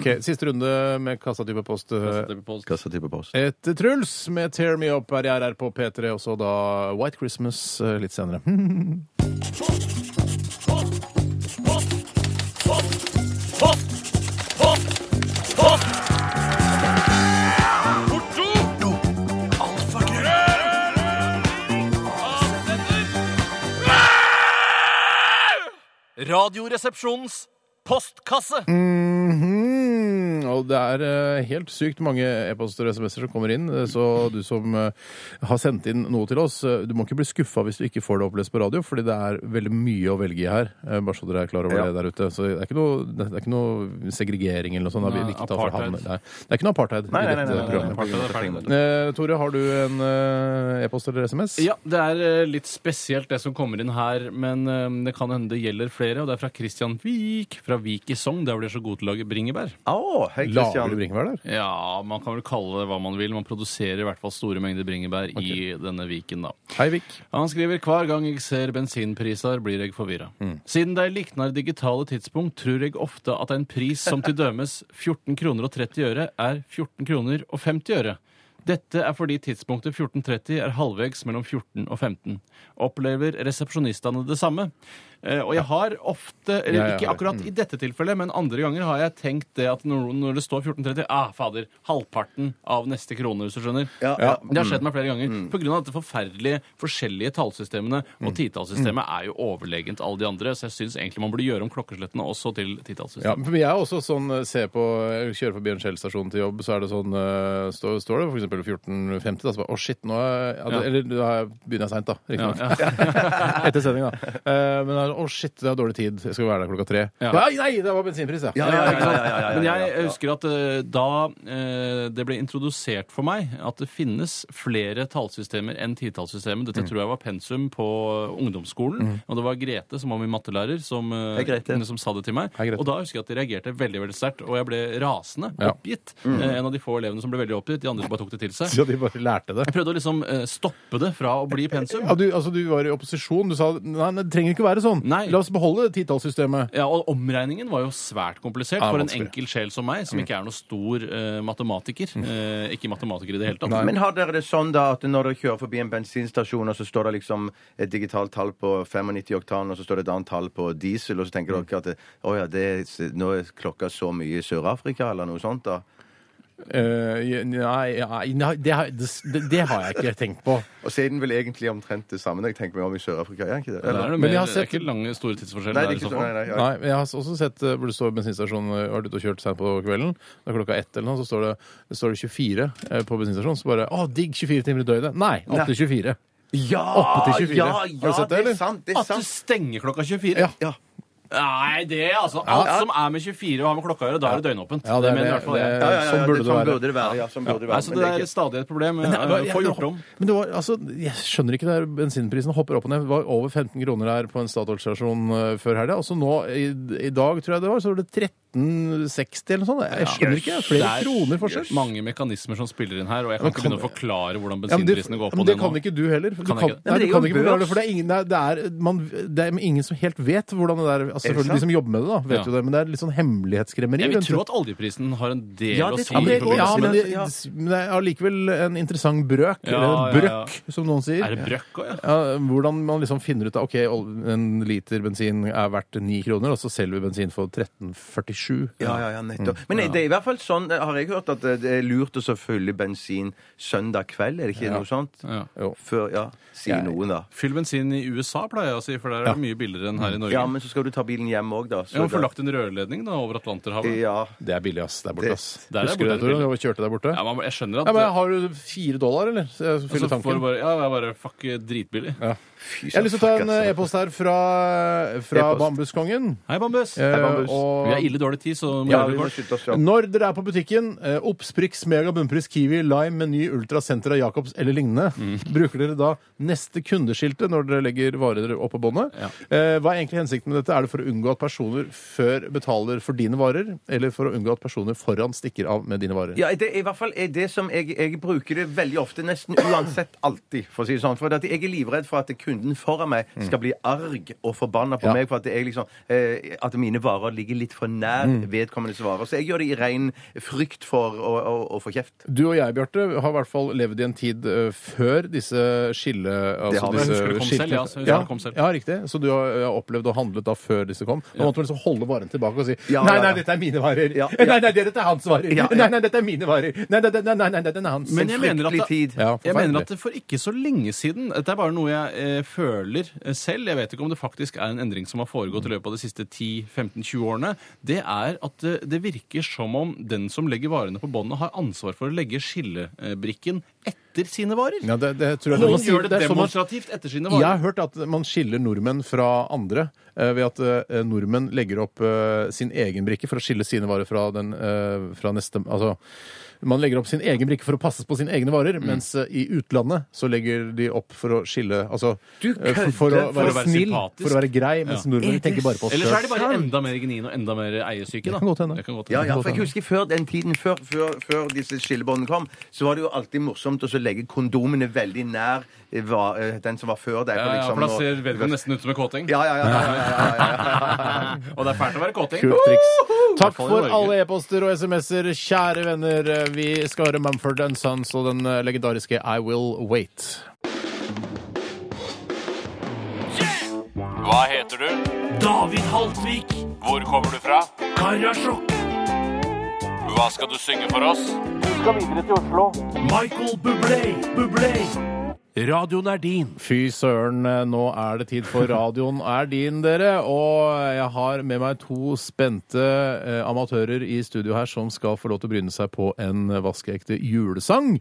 [SPEAKER 2] Ok, Siste runde med kassatype post.
[SPEAKER 3] Setter vi på oss.
[SPEAKER 4] Hva slags type post?
[SPEAKER 2] Etter Truls med 'Tear Me Up' er jeg her på P3, og så da White Christmas eh, litt senere.
[SPEAKER 6] Radioresepsjonens postkasse.
[SPEAKER 2] Mhm. Og det er eh, helt sykt mange e-poster og SMS-er som kommer inn, eh, så du som eh, har sendt inn noe til oss, eh, du må ikke bli skuffa hvis du ikke får det opplest på radio, fordi det er veldig mye å velge i her. eh, Bare så dere er klar over
[SPEAKER 4] Ja.
[SPEAKER 2] det der ute. Så det er ikke noe, det er ikke noe segregering eller noe sånt. da. Vi-
[SPEAKER 3] Nei,
[SPEAKER 2] vi ikke tar fra
[SPEAKER 3] apartheid.
[SPEAKER 2] havnet. Nei, det er ikke noe apartheid
[SPEAKER 4] Nei, nei,
[SPEAKER 2] i
[SPEAKER 4] nei,
[SPEAKER 2] dette
[SPEAKER 4] nei, nei, nei,
[SPEAKER 2] programmet.
[SPEAKER 4] nei.
[SPEAKER 2] Eh, Tore, har du en eh, e-post eller SMS?
[SPEAKER 3] Ja, det er eh, litt spesielt det som kommer inn her, men eh, det kan hende det gjelder flere. Og det er fra Christian Vik fra Vik i Sogn, der hvor de er så gode til å lage bringebær.
[SPEAKER 4] Å, hei,
[SPEAKER 2] Lager
[SPEAKER 4] Christian.
[SPEAKER 2] du bringebær der?
[SPEAKER 3] Ja, man kan vel kalle det hva man vil. Man produserer i hvert fall store mengder bringebær i denne Viken, da.
[SPEAKER 2] Hei, Vik.
[SPEAKER 3] Han skriver hver gang jeg ser bensinpriser, blir jeg forvirra.
[SPEAKER 2] Mm.
[SPEAKER 3] Siden de likner digitale tidspunkt, tror jeg ofte at en pris som til dømes 14 kroner og 30 øre, er 14 kroner og 50 øre. Dette er fordi tidspunktet 14.30 er halvvegs mellom 14 og 15. Opplever resepsjonistene det samme? Eh, og jeg har ofte, eller
[SPEAKER 2] Ja, ja, Mm.
[SPEAKER 3] ikke
[SPEAKER 2] ja.
[SPEAKER 3] akkurat i dette tilfellet, men andre ganger har jeg tenkt det at når, når det står 14.30 Ah, fader! Halvparten av neste krone, hvis du skjønner.
[SPEAKER 4] Ja, ja.
[SPEAKER 3] Det har skjedd meg flere ganger.
[SPEAKER 4] Mm.
[SPEAKER 3] På grunn av dette forferdelige forskjellige tallsystemene. Og titallssystemet
[SPEAKER 4] Mm.
[SPEAKER 3] er jo overlegent alle de andre, så jeg syns egentlig man burde gjøre om klokkeslettene også til
[SPEAKER 2] Ja,
[SPEAKER 3] titallssystemet.
[SPEAKER 2] men jeg er også sånn eh, se på, jeg kjører forbi en Shell-stasjon til jobb, så er det sånn eh, står, står det for eksempel 14.50, da, så bare, å shit, nå er, jeg- ja, det-
[SPEAKER 3] Ja.
[SPEAKER 2] eller da er- begynner jeg sent da, riktig (laughs)
[SPEAKER 3] Ja,
[SPEAKER 2] nok. Etter sending da. Eh, men da er Å, shit, det er dårlig tid. Jeg skal være der klokka tre. Ja.
[SPEAKER 3] Ja.
[SPEAKER 2] nei, det var bensinpris, ja.
[SPEAKER 4] Ja, ja, ja, ja, ja, ja, ja.
[SPEAKER 3] Men jeg husker at eh, da eh, det ble introdusert for meg at det finnes flere tallsystemer enn titallsystemet
[SPEAKER 4] Mm.
[SPEAKER 3] Dette tror jeg var pensum på ungdomsskolen. Og det var Grete, som var min mattelærer, som, eh,
[SPEAKER 4] Hei, Grete.
[SPEAKER 3] som sa det til meg.
[SPEAKER 2] Hei, Grete.
[SPEAKER 3] og da husker jeg at de reagerte veldig veldig sterkt, og jeg ble rasende.
[SPEAKER 2] Ja.
[SPEAKER 3] Oppgitt.
[SPEAKER 4] Mm.
[SPEAKER 3] Eh, en av de få elevene som ble veldig oppgitt. De andre bare tok det til
[SPEAKER 4] (laughs)
[SPEAKER 3] seg.
[SPEAKER 2] (laughs) Så de bare lærte det.
[SPEAKER 3] Jeg prøvde å liksom eh, stoppe det fra å bli pensum.
[SPEAKER 2] Ja, du, altså, du var i opposisjon. Du sa nei, det trenger ikke være sånn.
[SPEAKER 3] Nei.
[SPEAKER 2] La oss beholde titallssystemet.
[SPEAKER 3] Ja, og Omregningen var jo svært komplisert
[SPEAKER 2] Ja,
[SPEAKER 3] for en
[SPEAKER 2] vanskelig. Mm.
[SPEAKER 3] enkel sjel som meg, som ikke er noe stor eh, matematiker. Eh, ikke matematiker i det hele tatt.
[SPEAKER 4] Men har dere det sånn da at når dere kjører forbi en bensinstasjon, og så står det liksom et digitalt tall på 95 oktan, og så står det et annet tall på diesel, og så tenker dere at det, å ja, det, er- nå er klokka så mye i Sør-Afrika, eller noe sånt da?
[SPEAKER 2] Eh, nei, nei, nei det, har, det, det har jeg ikke tenkt
[SPEAKER 3] (laughs)
[SPEAKER 2] på.
[SPEAKER 4] Og så er den vel egentlig omtrent det samme når jeg tenker meg om i Sør-Afrika, er den ikke det?
[SPEAKER 3] Det er,
[SPEAKER 4] Eller?
[SPEAKER 3] det
[SPEAKER 2] Men jeg
[SPEAKER 3] mer,
[SPEAKER 2] har sett-
[SPEAKER 3] det er ikke lange, store tidsforskjeller
[SPEAKER 4] Nei, det
[SPEAKER 3] der
[SPEAKER 4] er
[SPEAKER 3] i
[SPEAKER 4] ikke
[SPEAKER 3] så
[SPEAKER 4] sånn.
[SPEAKER 3] fall.
[SPEAKER 4] Nei, nei, nei.
[SPEAKER 2] Nei, men jeg har også sett eh, hvor det står bensinstasjon eh, Vært ute og kjørt sent på kvelden. Det er klokka ett eller noe, så står det, det, står det 24 eh, på bensinstasjonen. Så bare Å, digg! 24 timer i døgnet. Nei, opp til 24.
[SPEAKER 4] Ja,
[SPEAKER 2] Oppe til 24.
[SPEAKER 4] ja,
[SPEAKER 2] Har du
[SPEAKER 4] ja,
[SPEAKER 2] sett det,
[SPEAKER 4] det,
[SPEAKER 2] eller?
[SPEAKER 4] er sant, det er
[SPEAKER 3] At du
[SPEAKER 4] sant.
[SPEAKER 3] stenger klokka 24?
[SPEAKER 2] Ja.
[SPEAKER 4] Ja.
[SPEAKER 3] Nei, det er altså Alt som er med 24 og har med klokka å gjøre, da er det døgnåpent.
[SPEAKER 2] Ja, det
[SPEAKER 3] det,
[SPEAKER 2] er
[SPEAKER 3] mener i
[SPEAKER 2] det-
[SPEAKER 3] hvert fall jeg.
[SPEAKER 2] det-
[SPEAKER 4] Ja, ja, ja,
[SPEAKER 2] Sånn
[SPEAKER 4] ja,
[SPEAKER 2] burde
[SPEAKER 4] det-
[SPEAKER 2] det være.
[SPEAKER 4] burde det være. Ja, sånn burde det være.
[SPEAKER 3] Nei, så
[SPEAKER 4] Men
[SPEAKER 3] det
[SPEAKER 4] det er
[SPEAKER 3] er
[SPEAKER 4] ikke-
[SPEAKER 3] stadig et problem.
[SPEAKER 2] Men det,
[SPEAKER 3] eh,
[SPEAKER 2] jeg,
[SPEAKER 3] Få gjort om.
[SPEAKER 2] men det var, altså, jeg skjønner ikke det her bensinprisen hopper opp og ned. Det var over 15 kroner her på en Statoil-stasjon eh, før helga. Og så nå i, i dag, tror jeg det var, så var det 13,60 eller noe sånt. Jeg skjønner ikke. Flere
[SPEAKER 3] Det er
[SPEAKER 2] kroner forskjell.
[SPEAKER 3] Mange mekanismer som spiller inn her, og jeg kan
[SPEAKER 2] Men
[SPEAKER 3] ikke
[SPEAKER 2] kan-
[SPEAKER 3] begynne å forklare hvordan
[SPEAKER 2] Ja, men det,
[SPEAKER 3] bensinprisene går opp
[SPEAKER 2] men
[SPEAKER 3] og
[SPEAKER 2] det
[SPEAKER 3] ned
[SPEAKER 2] kan
[SPEAKER 3] nå.
[SPEAKER 2] ikke du heller. Du
[SPEAKER 3] Kan
[SPEAKER 2] kan,
[SPEAKER 3] jeg ikke?
[SPEAKER 4] Nei, men
[SPEAKER 2] nei, du
[SPEAKER 4] det er
[SPEAKER 2] kan
[SPEAKER 4] jo
[SPEAKER 2] ikke forklare
[SPEAKER 4] børs.
[SPEAKER 2] det, for det er ingen, det er, det er, man, det er ingen som helt vet hvordan det er. Altså, selvfølgelig
[SPEAKER 4] sant?
[SPEAKER 2] de som jobber med det, da, vet
[SPEAKER 3] Ja.
[SPEAKER 2] jo det, men det er litt sånn hemmelighetskremmeri.
[SPEAKER 3] Jeg vil
[SPEAKER 2] rundt
[SPEAKER 3] tro
[SPEAKER 2] det.
[SPEAKER 3] at oljeprisen har en del
[SPEAKER 4] Ja,
[SPEAKER 3] å
[SPEAKER 4] det
[SPEAKER 3] si.
[SPEAKER 4] tror
[SPEAKER 2] ja, men,
[SPEAKER 3] i
[SPEAKER 2] det,
[SPEAKER 4] tror jeg
[SPEAKER 2] ja,
[SPEAKER 3] forbindelse med
[SPEAKER 2] men det,
[SPEAKER 3] det.
[SPEAKER 4] Ja.
[SPEAKER 2] men det er allikevel en interessant brøk, eller
[SPEAKER 3] Ja,
[SPEAKER 2] en
[SPEAKER 3] ja,
[SPEAKER 2] brøkk,
[SPEAKER 3] ja.
[SPEAKER 2] som noen (laughs) sier.
[SPEAKER 3] Er det brøkk òg, ja?
[SPEAKER 2] Ja, hvordan man liksom finner ut av ok, ol- en liter bensin er verdt 9 kroner, og så selger vi bensin for 13,47.
[SPEAKER 4] Ja, ja, ja, nettopp. Men det er i hvert fall sånn, eh, har jeg hørt, at det er lurt å så fylle bensin søndag kveld, er det ikke noe sånt?
[SPEAKER 3] ja.
[SPEAKER 2] Jo.
[SPEAKER 4] Før, ja, sier noen da.
[SPEAKER 3] Fyll bensin i USA, pleier jeg å si, for der er det mye billigere enn her i Norge.
[SPEAKER 4] Ja, men så skal du ta bilen hjem òg, da. så
[SPEAKER 3] Ja, men Få
[SPEAKER 4] da-
[SPEAKER 3] lagt en rørledning da over Atlanterhavet. Ja.
[SPEAKER 4] Ja.
[SPEAKER 2] Det er billig, ass. Der borte, ass.
[SPEAKER 3] Der er
[SPEAKER 2] Husker du
[SPEAKER 3] borte
[SPEAKER 2] det, Tore?
[SPEAKER 3] billig.
[SPEAKER 2] når vi Kjørte der borte? Ja,
[SPEAKER 3] men jeg skjønner at
[SPEAKER 2] men Har du fire dollar, eller? Så jeg fyller
[SPEAKER 3] altså, får
[SPEAKER 2] tanken.
[SPEAKER 3] du bare, Ja, jeg bare Fuck, eh, dritbillig.
[SPEAKER 4] Fy,
[SPEAKER 2] Jeg har lyst til å ta en
[SPEAKER 4] fuck,
[SPEAKER 2] eh,
[SPEAKER 4] altså.
[SPEAKER 2] e-post her fra, eh, fra
[SPEAKER 4] E-post.
[SPEAKER 2] Bambuskongen.
[SPEAKER 3] Hei, Bambus.
[SPEAKER 2] Eh,
[SPEAKER 4] Bambus.
[SPEAKER 3] Vi har
[SPEAKER 2] og
[SPEAKER 3] ille dårlig tid, så må
[SPEAKER 4] Ja,
[SPEAKER 3] vi
[SPEAKER 4] vi må
[SPEAKER 3] gjøre det kort.
[SPEAKER 4] skynde oss, ja.
[SPEAKER 2] når dere er på butikken, eh, Obsprix, Mega Bunnpris, Kiwi, Lime, Meny, Ultra, Senter av Jacobs eller lignende,
[SPEAKER 4] Mm.
[SPEAKER 2] bruker dere da neste kundeskiltet når dere legger varer opp på båndet?
[SPEAKER 3] Ja.
[SPEAKER 2] Eh, Hva er egentlig hensikten med dette? Er det for å unngå at personer før betaler for dine varer, eller for å unngå at personer foran stikker av med dine varer?
[SPEAKER 4] Ja, det er i hvert fall er det som jeg, jeg bruker det veldig ofte, nesten uansett alltid, for å si det sånn. For at jeg er livredd for at kunden foran meg skal bli arg og forbanna på
[SPEAKER 2] Ja.
[SPEAKER 4] meg for at, jeg liksom, eh, at mine varer ligger litt for nær vedkommendes varer. Så jeg gjør det i ren frykt for å, å, å få kjeft.
[SPEAKER 2] Du og jeg, Bjarte, har i hvert fall levd i en tid eh, før disse skille... Altså
[SPEAKER 4] har vi.
[SPEAKER 2] disse
[SPEAKER 3] Jeg husker det kom
[SPEAKER 2] skiltene.
[SPEAKER 3] selv, ja, så jeg husker
[SPEAKER 2] ja,
[SPEAKER 3] det kom selv.
[SPEAKER 2] ja, riktig. Så du har, har opplevd og handlet da før disse kom. Nå måtte man liksom holde varen tilbake og si
[SPEAKER 4] Ja,
[SPEAKER 2] Nei,
[SPEAKER 4] ja,
[SPEAKER 2] nei,
[SPEAKER 4] ja.
[SPEAKER 2] dette er mine varer.
[SPEAKER 4] Ja, ja.
[SPEAKER 2] (laughs) Nei, nei, dette er hans varer.
[SPEAKER 4] Ja, ja.
[SPEAKER 2] Nei, nei, dette er mine varer. Nei, nei, nei, nei, nei, nei den er hans.
[SPEAKER 3] Men jeg mener at det-
[SPEAKER 4] Fryktelig tid.
[SPEAKER 2] Ja,
[SPEAKER 3] Jeg
[SPEAKER 2] forferdelig.
[SPEAKER 3] mener at det for ikke så lenge siden Dette er bare noe jeg eh, føler eh, selv. Jeg vet ikke om det faktisk er en endring som har foregått i løpet av de siste 10-15-20 årene. Det er at det, det virker som om den som legger varene på båndet, har ansvar for å legge skillebrikken etter sine varer.
[SPEAKER 2] ja, det, det tror jeg
[SPEAKER 3] Noen
[SPEAKER 2] man sier-
[SPEAKER 3] gjør det
[SPEAKER 2] er sånn man-
[SPEAKER 3] demonstrativt etter sine
[SPEAKER 2] Jeg har
[SPEAKER 3] varer.
[SPEAKER 2] hørt at man skiller nordmenn fra andre eh, ved at eh, nordmenn legger opp eh, sin egen brikke for å skille sine varer fra den eh, fra neste Altså, man legger opp sin egen brikke for å passe på sine egne varer, mens eh, i utlandet så legger de opp for å skille Altså
[SPEAKER 4] Du
[SPEAKER 2] eh, for,
[SPEAKER 4] kødder,
[SPEAKER 2] for, å,
[SPEAKER 4] for
[SPEAKER 2] være
[SPEAKER 3] å være
[SPEAKER 2] snill,
[SPEAKER 3] sympatisk.
[SPEAKER 2] for å være grei, mens nordmenn tenker bare på oss
[SPEAKER 3] Eller så er de
[SPEAKER 2] sjøl.
[SPEAKER 3] bare enda mer gnien og enda mer eiesyke.
[SPEAKER 2] Det
[SPEAKER 3] da.
[SPEAKER 2] kan godt hende.
[SPEAKER 3] Det kan godt
[SPEAKER 4] Ja,
[SPEAKER 3] hende.
[SPEAKER 4] ja, for jeg husker før den tiden, før, før, før disse skillebåndene kom, så var det jo alltid morsomt å så legge kondomene veldig nær eh, hva- eh, den som var før deg.
[SPEAKER 3] Ja, ja,
[SPEAKER 4] liksom
[SPEAKER 3] for da
[SPEAKER 4] å-
[SPEAKER 3] ser vedkommende nesten ut som en kåting.
[SPEAKER 4] ja, ja, ja, ja, ja, ja, ja, ja.
[SPEAKER 3] (laughs) og det er fælt å være kåting.
[SPEAKER 2] Kult triks. Takk
[SPEAKER 3] Hvertfall i
[SPEAKER 2] for
[SPEAKER 3] Norge.
[SPEAKER 2] alle e-poster og SMS-er, kjære venner. eh, Vi skal høre Mumford Sons og den eh, legendariske I Will Wait.
[SPEAKER 6] Hva heter du? David Haltvik. Hvor kommer du fra? Karasjok. Hva skal du synge for oss? Du skal videre til Oslo. Michael Bublé, Bublé. Radioen er din.
[SPEAKER 2] Fy søren, eh, nå er det tid for radioen er din, dere. Og jeg har med meg to spente eh, amatører i studio her som skal få lov til å bryne seg på en vaskeekte julesang.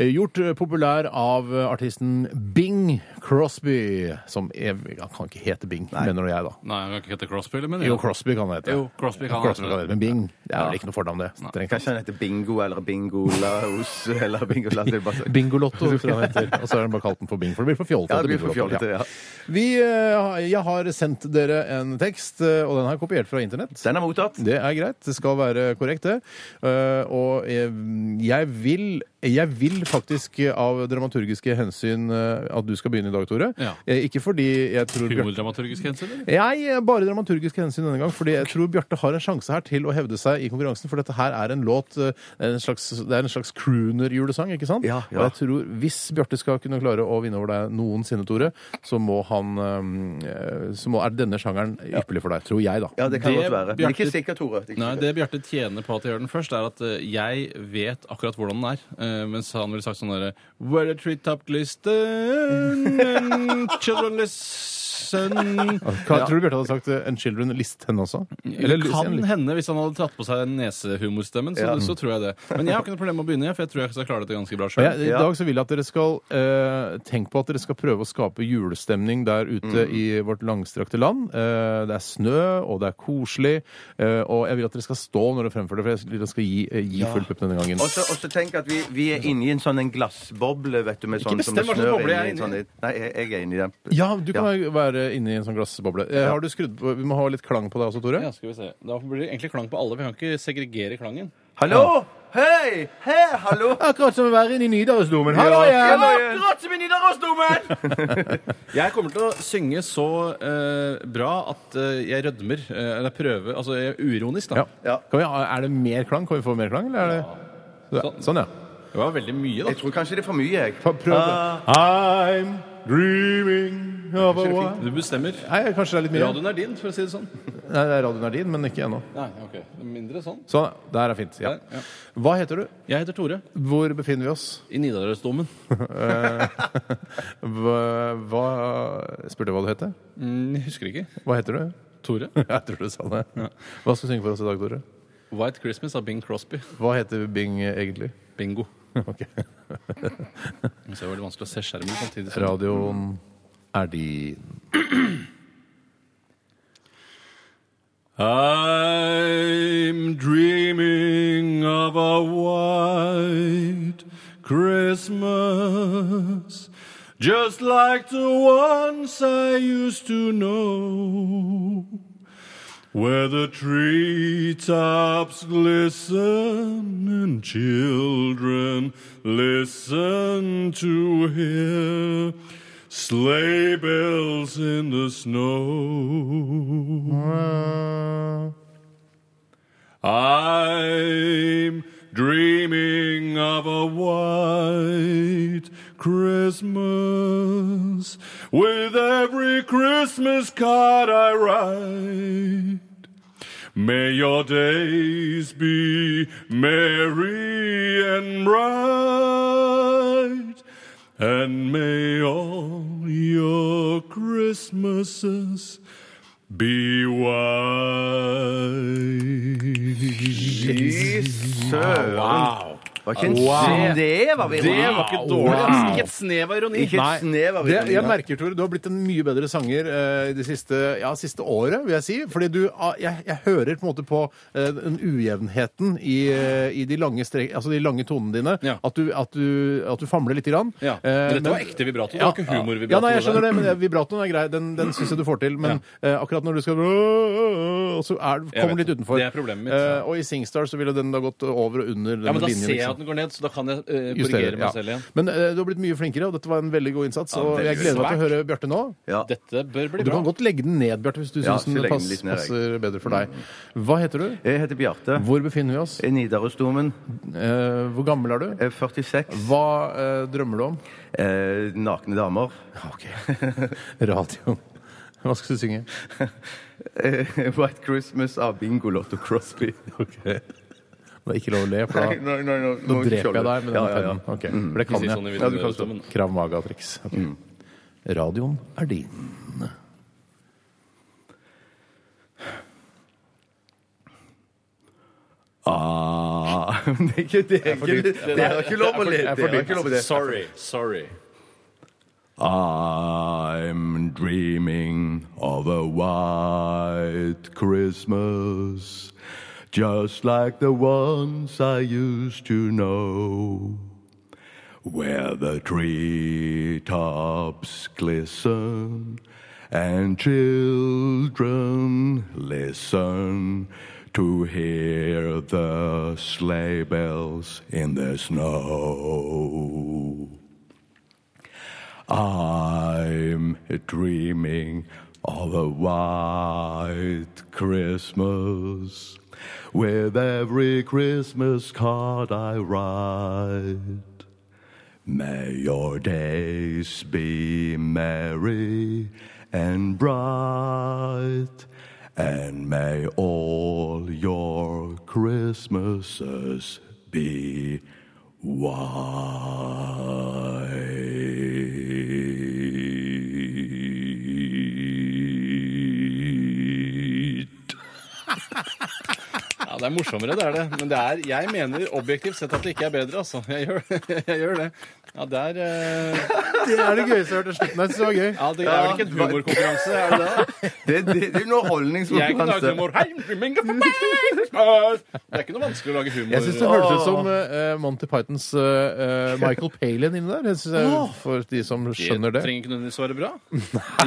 [SPEAKER 2] eh, Gjort eh, populær av eh, artisten Bing Crosby. Som er, han kan ikke hete Bing, mener jeg, da.
[SPEAKER 3] Nei, han kan ikke hete Crosby, eller? men-
[SPEAKER 2] Jo, Crosby kan han hete.
[SPEAKER 3] Jo, Crosby kan han
[SPEAKER 2] Crosby
[SPEAKER 3] hete.
[SPEAKER 2] kan han hete. Men Bing det er vel ikke noe fornavn, det. Strengt tatt.
[SPEAKER 4] Kanskje han heter Bingo eller Bingolaos eller Bingolaos.
[SPEAKER 2] Bingolotto, tror jeg den heter. (laughs) Og så har den bare kalt den for Bing, for det blir for fjollete.
[SPEAKER 4] Ja, det blir for
[SPEAKER 2] Bingolotto,
[SPEAKER 4] fjollete, ja.
[SPEAKER 2] Vi, eh, jeg har sendt dere en tekst, eh, og den har jeg kopiert fra internett.
[SPEAKER 4] Den er mottatt.
[SPEAKER 2] Det er greit. Det skal være korrekt, det. Eh, Og eh, jeg vil jeg vil faktisk eh, av dramaturgiske hensyn eh, at du skal begynne i dag, Tore.
[SPEAKER 3] Ja.
[SPEAKER 2] Eh, Ikke fordi jeg tror Bjarte-
[SPEAKER 3] Humordramaturgisk hensyn, eller?
[SPEAKER 2] jeg, eh, bare dramaturgiske hensyn denne gang, fordi jeg tror Bjarte har en sjanse her til å hevde seg i konkurransen, for dette her er en låt eh, en slags, Det er en slags crooner-julesang, ikke sant?
[SPEAKER 4] Ja, ja.
[SPEAKER 2] Og jeg tror hvis Bjarte skal kunne klare å vinne over deg noensinne, Tore, så må han eh, Så må, er denne sjangeren ypperlig for deg. Tror jeg, da.
[SPEAKER 4] Ja, det kan
[SPEAKER 3] Det
[SPEAKER 4] godt være. Men ikke
[SPEAKER 3] Bjarte-
[SPEAKER 4] sikker, Tore. Det er ikke
[SPEAKER 3] Nei,
[SPEAKER 4] sikker.
[SPEAKER 3] Det Bjarte tjener på at jeg gjør den først, er at eh, jeg vet akkurat hvordan den er. Eh, Mens han ville sagt sånn derre Where the tree top listen and children (laughs) listen
[SPEAKER 2] Hva, Tror du Bjarte hadde sagt eh, 'En children list' henne også?
[SPEAKER 4] Mm,
[SPEAKER 2] Eller
[SPEAKER 3] det
[SPEAKER 2] Lucy
[SPEAKER 3] kan
[SPEAKER 2] en list?
[SPEAKER 3] hende, hvis han hadde tatt på seg den nesehumorstemmen. Så, så tror jeg det. Men jeg har ikke noe problem med å begynne, for jeg tror jeg skal klare dette ganske bra
[SPEAKER 2] Og
[SPEAKER 3] sjøl.
[SPEAKER 2] jeg, I
[SPEAKER 4] Ja.
[SPEAKER 2] dag så vil jeg at dere skal eh, tenke på at dere skal prøve å skape julestemning der
[SPEAKER 4] Mm.
[SPEAKER 2] ute i vårt langstrakte land. Eh, det er snø, og det er koselig. eh, og jeg vil at dere skal stå når dere fremfører det, for jeg vil at dere skal gi, eh, gi full pupp denne gangen.
[SPEAKER 4] Og så- og så tenk at vi, vi er inni en sånn en glassboble, vet du, med sånn som
[SPEAKER 3] bestem hva slags boble jeg er
[SPEAKER 4] inni en
[SPEAKER 3] inni.
[SPEAKER 4] sånn- Nei, jeg, jeg er inni den.
[SPEAKER 2] Ja, du kan være inne i en sånn glassboble. Eh, Har du skrudd på, Vi må ha litt klang på deg også, Tore.
[SPEAKER 3] Ja, skal vi se. Da blir det egentlig klang på alle. Vi kan ikke segregere klangen.
[SPEAKER 4] Hallo! Hei! Hei, hallo!
[SPEAKER 2] Akkurat som å være inne i Nidarosdomen.
[SPEAKER 4] Hallo igjen!
[SPEAKER 3] som i
[SPEAKER 4] (laughs)
[SPEAKER 3] Nidarosdomen! jeg kommer til å synge så eh, bra at eh, jeg rødmer. eh, Eller prøver Altså jeg er uironisk, da.
[SPEAKER 2] Ja. Kan vi, ha- er det mer klang? Kan vi få mer klang, eller er det
[SPEAKER 3] Sånn.
[SPEAKER 2] Sånn, ja.
[SPEAKER 3] Det var veldig mye,
[SPEAKER 4] Jeg
[SPEAKER 3] da.
[SPEAKER 4] tror kanskje det er for mye, jeg.
[SPEAKER 2] Prøv det.
[SPEAKER 4] Ah.
[SPEAKER 2] I'm dreaming of a wild
[SPEAKER 3] Du bestemmer.
[SPEAKER 2] Nei, kanskje det er litt mye.
[SPEAKER 3] Radioen er din, for å si det sånn.
[SPEAKER 2] Nei, det er radioen er din, men ikke ennå.
[SPEAKER 3] Nei, ok. Mindre sånn.
[SPEAKER 2] Sånn, der er fint. Ja.
[SPEAKER 3] Der, ja.
[SPEAKER 2] Hva heter du?
[SPEAKER 3] Jeg heter Tore.
[SPEAKER 2] Hvor befinner vi oss?
[SPEAKER 3] I Nidarosdomen.
[SPEAKER 2] Hva, hva Spurte jeg hva du heter?
[SPEAKER 3] Mm, jeg husker ikke.
[SPEAKER 2] Hva heter du? (laughs)
[SPEAKER 3] Tore.
[SPEAKER 2] Jeg tror du sa det. Hva skal du synge for oss i dag, Tore?
[SPEAKER 3] White Christmas av Bing Crosby.
[SPEAKER 2] Hva heter Bing eh, egentlig?
[SPEAKER 3] Bingo.
[SPEAKER 2] Ok.
[SPEAKER 3] Så det er veldig vanskelig å se skjermen samtidig. som-
[SPEAKER 2] Radioen er din.
[SPEAKER 3] I'm dreaming of a white Christmas, just like the ones I used to know, where the treetops glisten and children listen to hear sleigh bells in the snow. I'm dreaming of a white Christmas with every Christmas card I write. May your days be merry and bright, and may all your Christmases be white.
[SPEAKER 4] Fy søren! Var ikke en snev av ironi.
[SPEAKER 3] Det var ikke dårlig. Altså. Ikke et snev av ironi.
[SPEAKER 4] Ikke et snev av
[SPEAKER 2] Det,
[SPEAKER 4] ironi.
[SPEAKER 2] jeg merker, Tore, du har blitt en mye bedre sanger eh, i det siste, ja, siste året, vil jeg si. Fordi du ah, Jeg, jeg hører på en måte på eh, den ujevnheten i, eh, i de lange, strek, altså de lange tonene dine.
[SPEAKER 3] Ja.
[SPEAKER 2] At, du, at, du, at du famler lite grann.
[SPEAKER 3] Ja, men
[SPEAKER 2] Eh,
[SPEAKER 3] dette var ekte vibrato, det var ikke humorvibrato,
[SPEAKER 2] Ja, nei, jeg
[SPEAKER 3] det der.
[SPEAKER 2] skjønner det, men det- vibratoen er grei. Den, den syns jeg du får til. Men eh, akkurat når du skal Og så er,
[SPEAKER 3] Jeg
[SPEAKER 2] kommer du
[SPEAKER 3] vet
[SPEAKER 2] litt
[SPEAKER 3] det.
[SPEAKER 2] utenfor.
[SPEAKER 3] Det er problemet mitt.
[SPEAKER 2] Eh, og i Singstar så ville den da gått over og under denne
[SPEAKER 3] Ja, men da
[SPEAKER 2] linjen.
[SPEAKER 3] ser jeg
[SPEAKER 2] liksom.
[SPEAKER 3] at den går ned, så da kan jeg eh,
[SPEAKER 2] Justerer,
[SPEAKER 3] korrigere meg
[SPEAKER 2] ja.
[SPEAKER 3] selv igjen.
[SPEAKER 2] Men eh, du har blitt mye flinkere, og dette var en veldig god innsats. og
[SPEAKER 4] veldig
[SPEAKER 2] jeg gleder meg til å
[SPEAKER 3] svært.
[SPEAKER 2] høre Bjarte nå.
[SPEAKER 4] Ja.
[SPEAKER 3] Dette bør bli
[SPEAKER 2] Du
[SPEAKER 3] bra.
[SPEAKER 2] kan godt legge den ned, Bjarte, hvis du
[SPEAKER 4] Ja,
[SPEAKER 2] synes
[SPEAKER 4] så
[SPEAKER 2] syns den
[SPEAKER 4] legger den
[SPEAKER 2] pass,
[SPEAKER 4] litt ned, jeg.
[SPEAKER 2] passer bedre for deg. Hva heter du?
[SPEAKER 4] Jeg heter Bjarte.
[SPEAKER 2] Hvor befinner vi oss?
[SPEAKER 4] Jeg er Nidarosdomen.
[SPEAKER 2] Eh, hvor gammel er du?
[SPEAKER 4] Jeg er 46.
[SPEAKER 2] Hva eh, drømmer du om?
[SPEAKER 4] Eh, nakne damer. (laughs)
[SPEAKER 2] Ok. (laughs) Radioen. Hva skal du synge?
[SPEAKER 4] Eh, White Christmas av Bingo Lotto Crosby.
[SPEAKER 2] Det er ikke lov å le, for da,
[SPEAKER 4] Nei, nei, nei,
[SPEAKER 2] da
[SPEAKER 4] må ikke
[SPEAKER 2] dreper jeg
[SPEAKER 4] kjole.
[SPEAKER 2] deg med denne pennen. Ok,
[SPEAKER 4] Mm.
[SPEAKER 2] For det kan
[SPEAKER 3] Ikke si sånn i
[SPEAKER 2] jeg.
[SPEAKER 4] Ja, du kan
[SPEAKER 3] videoen, men-
[SPEAKER 2] Krav maga-triks. Ok.
[SPEAKER 4] Mm.
[SPEAKER 2] Radioen er din.
[SPEAKER 4] Ah, (laughs) men det er ikke det. Er ikke, det er ikke lov å le. Det er ikke lov å le.
[SPEAKER 3] Sorry. Sorry.
[SPEAKER 4] I'm dreaming of a white Christmas, just like the ones I used to know, where the treetops glisten and children listen to hear the sleigh bells in the snow. I'm dreaming of a white Christmas with every Christmas card I write. May your days be merry and bright, and may all your Christmases be white.
[SPEAKER 3] Ja, det er morsommere, det er det. Men det er, jeg mener objektivt sett at det ikke er bedre, altså. Jeg gjør, (laughs) jeg gjør det. Ja, det er eh,
[SPEAKER 2] Det er det gøyeste jeg har hørt i slutten. Jeg synes det var gøy.
[SPEAKER 3] Ja, det er vel ikke en humorkonkurranse, er det det?
[SPEAKER 4] Det, det, det er
[SPEAKER 3] Jeg kan lage
[SPEAKER 4] underholdningskonkurranse.
[SPEAKER 3] humor. Hei, men- Det er ikke noe vanskelig å lage humor.
[SPEAKER 2] Jeg syns det hørtes ut som eh, Monty Pythons
[SPEAKER 3] (laughs)
[SPEAKER 2] eh, eh, Michael Palin inni der. Jeg synes jeg, for de som skjønner det.
[SPEAKER 3] trenger ikke nødvendigvis være bra.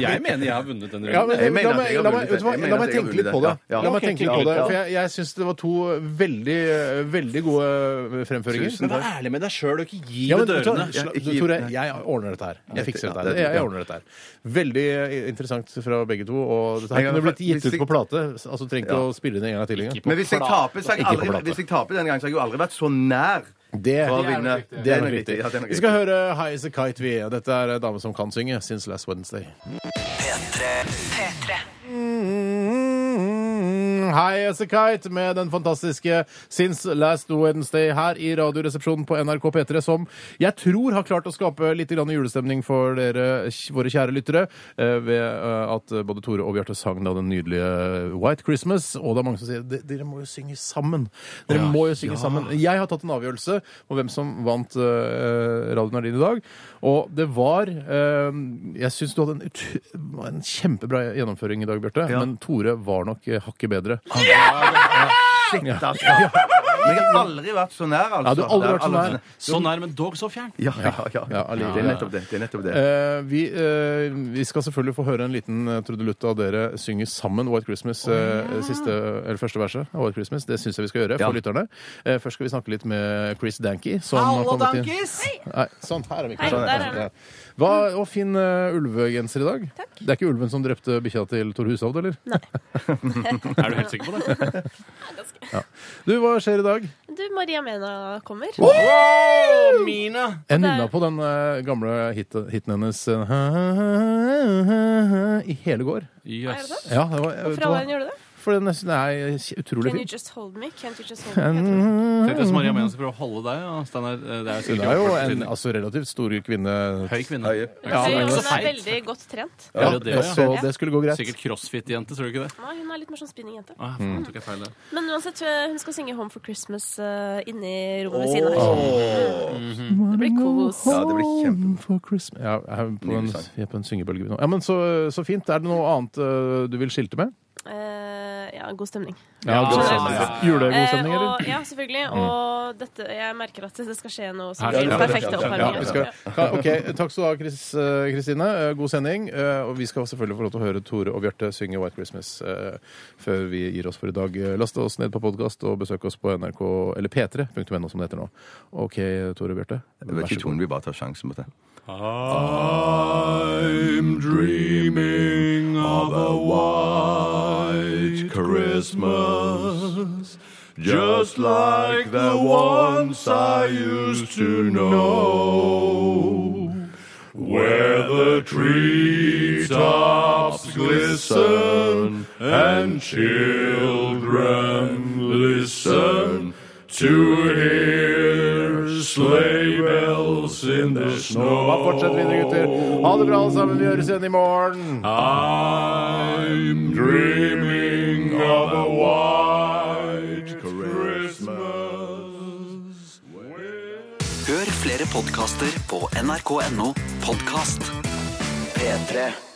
[SPEAKER 3] Jeg mener jeg har vunnet den
[SPEAKER 2] Ja,
[SPEAKER 3] runden.
[SPEAKER 2] men,
[SPEAKER 4] Jeg mener
[SPEAKER 2] la,
[SPEAKER 4] at
[SPEAKER 2] meg,
[SPEAKER 4] jeg har
[SPEAKER 2] la, meg,
[SPEAKER 4] mulighet.
[SPEAKER 2] vet du hva,
[SPEAKER 4] Jeg
[SPEAKER 2] la meg
[SPEAKER 4] mener at jeg har
[SPEAKER 2] tenke litt på det.
[SPEAKER 4] mulighet, ja. Ja.
[SPEAKER 2] La meg
[SPEAKER 3] Ok,
[SPEAKER 2] tenke
[SPEAKER 3] ok,
[SPEAKER 2] litt på det,
[SPEAKER 3] ja.
[SPEAKER 2] For jeg, jeg syns det var to veldig, eh, veldig gode eh, fremføringer.
[SPEAKER 3] Men vær ærlig med deg sjøl og ikke gi
[SPEAKER 2] Ja, men, vet
[SPEAKER 3] med
[SPEAKER 2] du hva,
[SPEAKER 3] dørene.
[SPEAKER 2] sla- du, Tore, jeg ordner dette her. Jeg fikser dette her. Jeg, jeg ordner dette her. Veldig eh, interessant fra begge to. Og dette her kunne blitt gitt ut på plate. Altså trenger ikke å spille inn en gang til engang.
[SPEAKER 4] Men hvis jeg taper, så har jeg
[SPEAKER 2] Ikke på
[SPEAKER 4] aldri,
[SPEAKER 2] plate.
[SPEAKER 4] hvis jeg taper den gangen, så har jeg jo aldri vært så nær
[SPEAKER 2] Det,
[SPEAKER 4] for å vinne.
[SPEAKER 2] det er nok riktig.
[SPEAKER 4] Ja, det er nok
[SPEAKER 2] Vi skal høre High As A Kite, vi. Dette er en dame som kan synge. Since Last Wednesday.
[SPEAKER 1] P3.
[SPEAKER 2] Mm, High As A Kite med den fantastiske Since Last Wednesday her i Radioresepsjonen på NRK P3, som jeg tror har klart å skape litt grann julestemning for dere, våre kjære lyttere, eh, ved eh, at både Tore og Bjarte sang da den nydelige White Christmas. Og det er mange som sier "De- dere må jo synge sammen. Dere må jo synge sammen. Jeg har tatt en avgjørelse på hvem som vant eh, Radio Nardin i dag, og det var eh, Jeg syns du hadde en, ut- en kjempebra gjennomføring i dag, Bjarte, men Tore var nok eh, hakket bedre.
[SPEAKER 4] Shit, altså. Men jeg har aldri vært så nær, altså.
[SPEAKER 2] Ja, du har aldri vært så nær.
[SPEAKER 3] Så nær, men dog så fjern.
[SPEAKER 4] Ja, ja, ja.
[SPEAKER 2] Ja, allikevel.
[SPEAKER 4] Det er nettopp det. det, er nettopp det.
[SPEAKER 2] Eh, vi, eh, vi skal selvfølgelig få høre en liten eh, trudelutt av dere synge sammen White Christmas, eh, siste, eller første verset av White Christmas. Det syns jeg vi skal gjøre for lytterne. Eh, først skal vi snakke litt med Chris Danky. som har
[SPEAKER 3] Hallo,
[SPEAKER 2] kommet inn.
[SPEAKER 3] Dankis!
[SPEAKER 2] Nei, sånn, her er
[SPEAKER 7] Hei, der er
[SPEAKER 2] mikrofonen. Ja. Hva, og fin eh, ulvegenser i dag. Det er ikke ulven som drepte bikkja til Tor Hushovd, eller?
[SPEAKER 3] Er du helt sikker på det?
[SPEAKER 2] Du, hva skjer i dag?
[SPEAKER 7] Du, Maria Mena kommer.
[SPEAKER 3] Å, Mina!
[SPEAKER 2] Jeg
[SPEAKER 7] det er-
[SPEAKER 2] nynna på den eh, gamle hit, hiten hennes eh, i hele går.
[SPEAKER 3] Jøss.
[SPEAKER 2] Ja, det var,
[SPEAKER 7] Hvorfor alle gjør du det?
[SPEAKER 2] For den nesten er utrolig
[SPEAKER 7] Can
[SPEAKER 2] fin.
[SPEAKER 7] you just hold me? Can't you just hold me? heter det.
[SPEAKER 3] Tenk hvis Maria Mena skal prøve å holde deg. Ja. Steinar, eh, det er
[SPEAKER 2] Hun
[SPEAKER 3] sikkert
[SPEAKER 2] er jo
[SPEAKER 3] ikke
[SPEAKER 2] en
[SPEAKER 3] en
[SPEAKER 2] altså, relativt stor kvinne.
[SPEAKER 3] høy kvinne.
[SPEAKER 7] Hun
[SPEAKER 2] men-
[SPEAKER 7] er-
[SPEAKER 3] ikke så
[SPEAKER 7] Hun er
[SPEAKER 3] feit.
[SPEAKER 7] veldig godt trent.
[SPEAKER 3] Ja, det er jo det,
[SPEAKER 2] så det skulle gå
[SPEAKER 3] ja.
[SPEAKER 2] greit.
[SPEAKER 3] Sikkert crossfit-jente, tror du ikke det?
[SPEAKER 7] Nei, hun er litt mer sånn spinningjente.
[SPEAKER 3] Ah, faen, tok jeg feil der.
[SPEAKER 7] Men uansett, eh, hun skal synge Home for Christmas eh, inni rommet ved siden av. Det blir kos.
[SPEAKER 4] Ja, det blir
[SPEAKER 2] Home
[SPEAKER 4] kjempe...
[SPEAKER 2] Mm, for Christmas. Ja, jeg er på en,
[SPEAKER 4] Nydelig sang.
[SPEAKER 2] vi er på en syngebølge vi nå. Ja, men så, så fint. Er det noe annet eh, du vil skilte med?
[SPEAKER 7] Eh, ja, god stemning.
[SPEAKER 2] Ja,
[SPEAKER 3] god stemning.
[SPEAKER 2] Julegod
[SPEAKER 7] Eh,
[SPEAKER 2] stemning, eller?
[SPEAKER 7] og, ja, selvfølgelig. Og dette, jeg merker at det skal skje noe som
[SPEAKER 3] Her-
[SPEAKER 7] blir
[SPEAKER 3] Ja, det-
[SPEAKER 7] den perfekte
[SPEAKER 4] ja, ja,
[SPEAKER 2] Ja,
[SPEAKER 3] altså.
[SPEAKER 7] oppvarmingen.
[SPEAKER 2] vi skal, Ja, ok, Takk skal du ha, Chris- eh, Kristine. Eh, God sending. Eh, Og vi skal selvfølgelig få lov til å høre Tore og Bjarte synge White Christmas eh, før vi gir oss for i dag. Eh, Last oss ned på podkast og besøk oss på NRK eller p3.no, som det heter nå. OK, Tore og Bjarte.
[SPEAKER 4] Det var
[SPEAKER 2] vær så
[SPEAKER 4] ikke
[SPEAKER 2] god.
[SPEAKER 4] tonen vi bare tar sjansen på det.
[SPEAKER 8] I'm dreaming of a white Christmas, just like the ones I used to know, where the treetops glisten and children listen to
[SPEAKER 2] Nå bare fortsett videre, gutter. Ha det bra, alle sammen. Vi høres igjen i morgen.
[SPEAKER 4] I'm dreaming of a white Christmas.
[SPEAKER 1] Hør flere podkaster på nrk.no podkast. P3.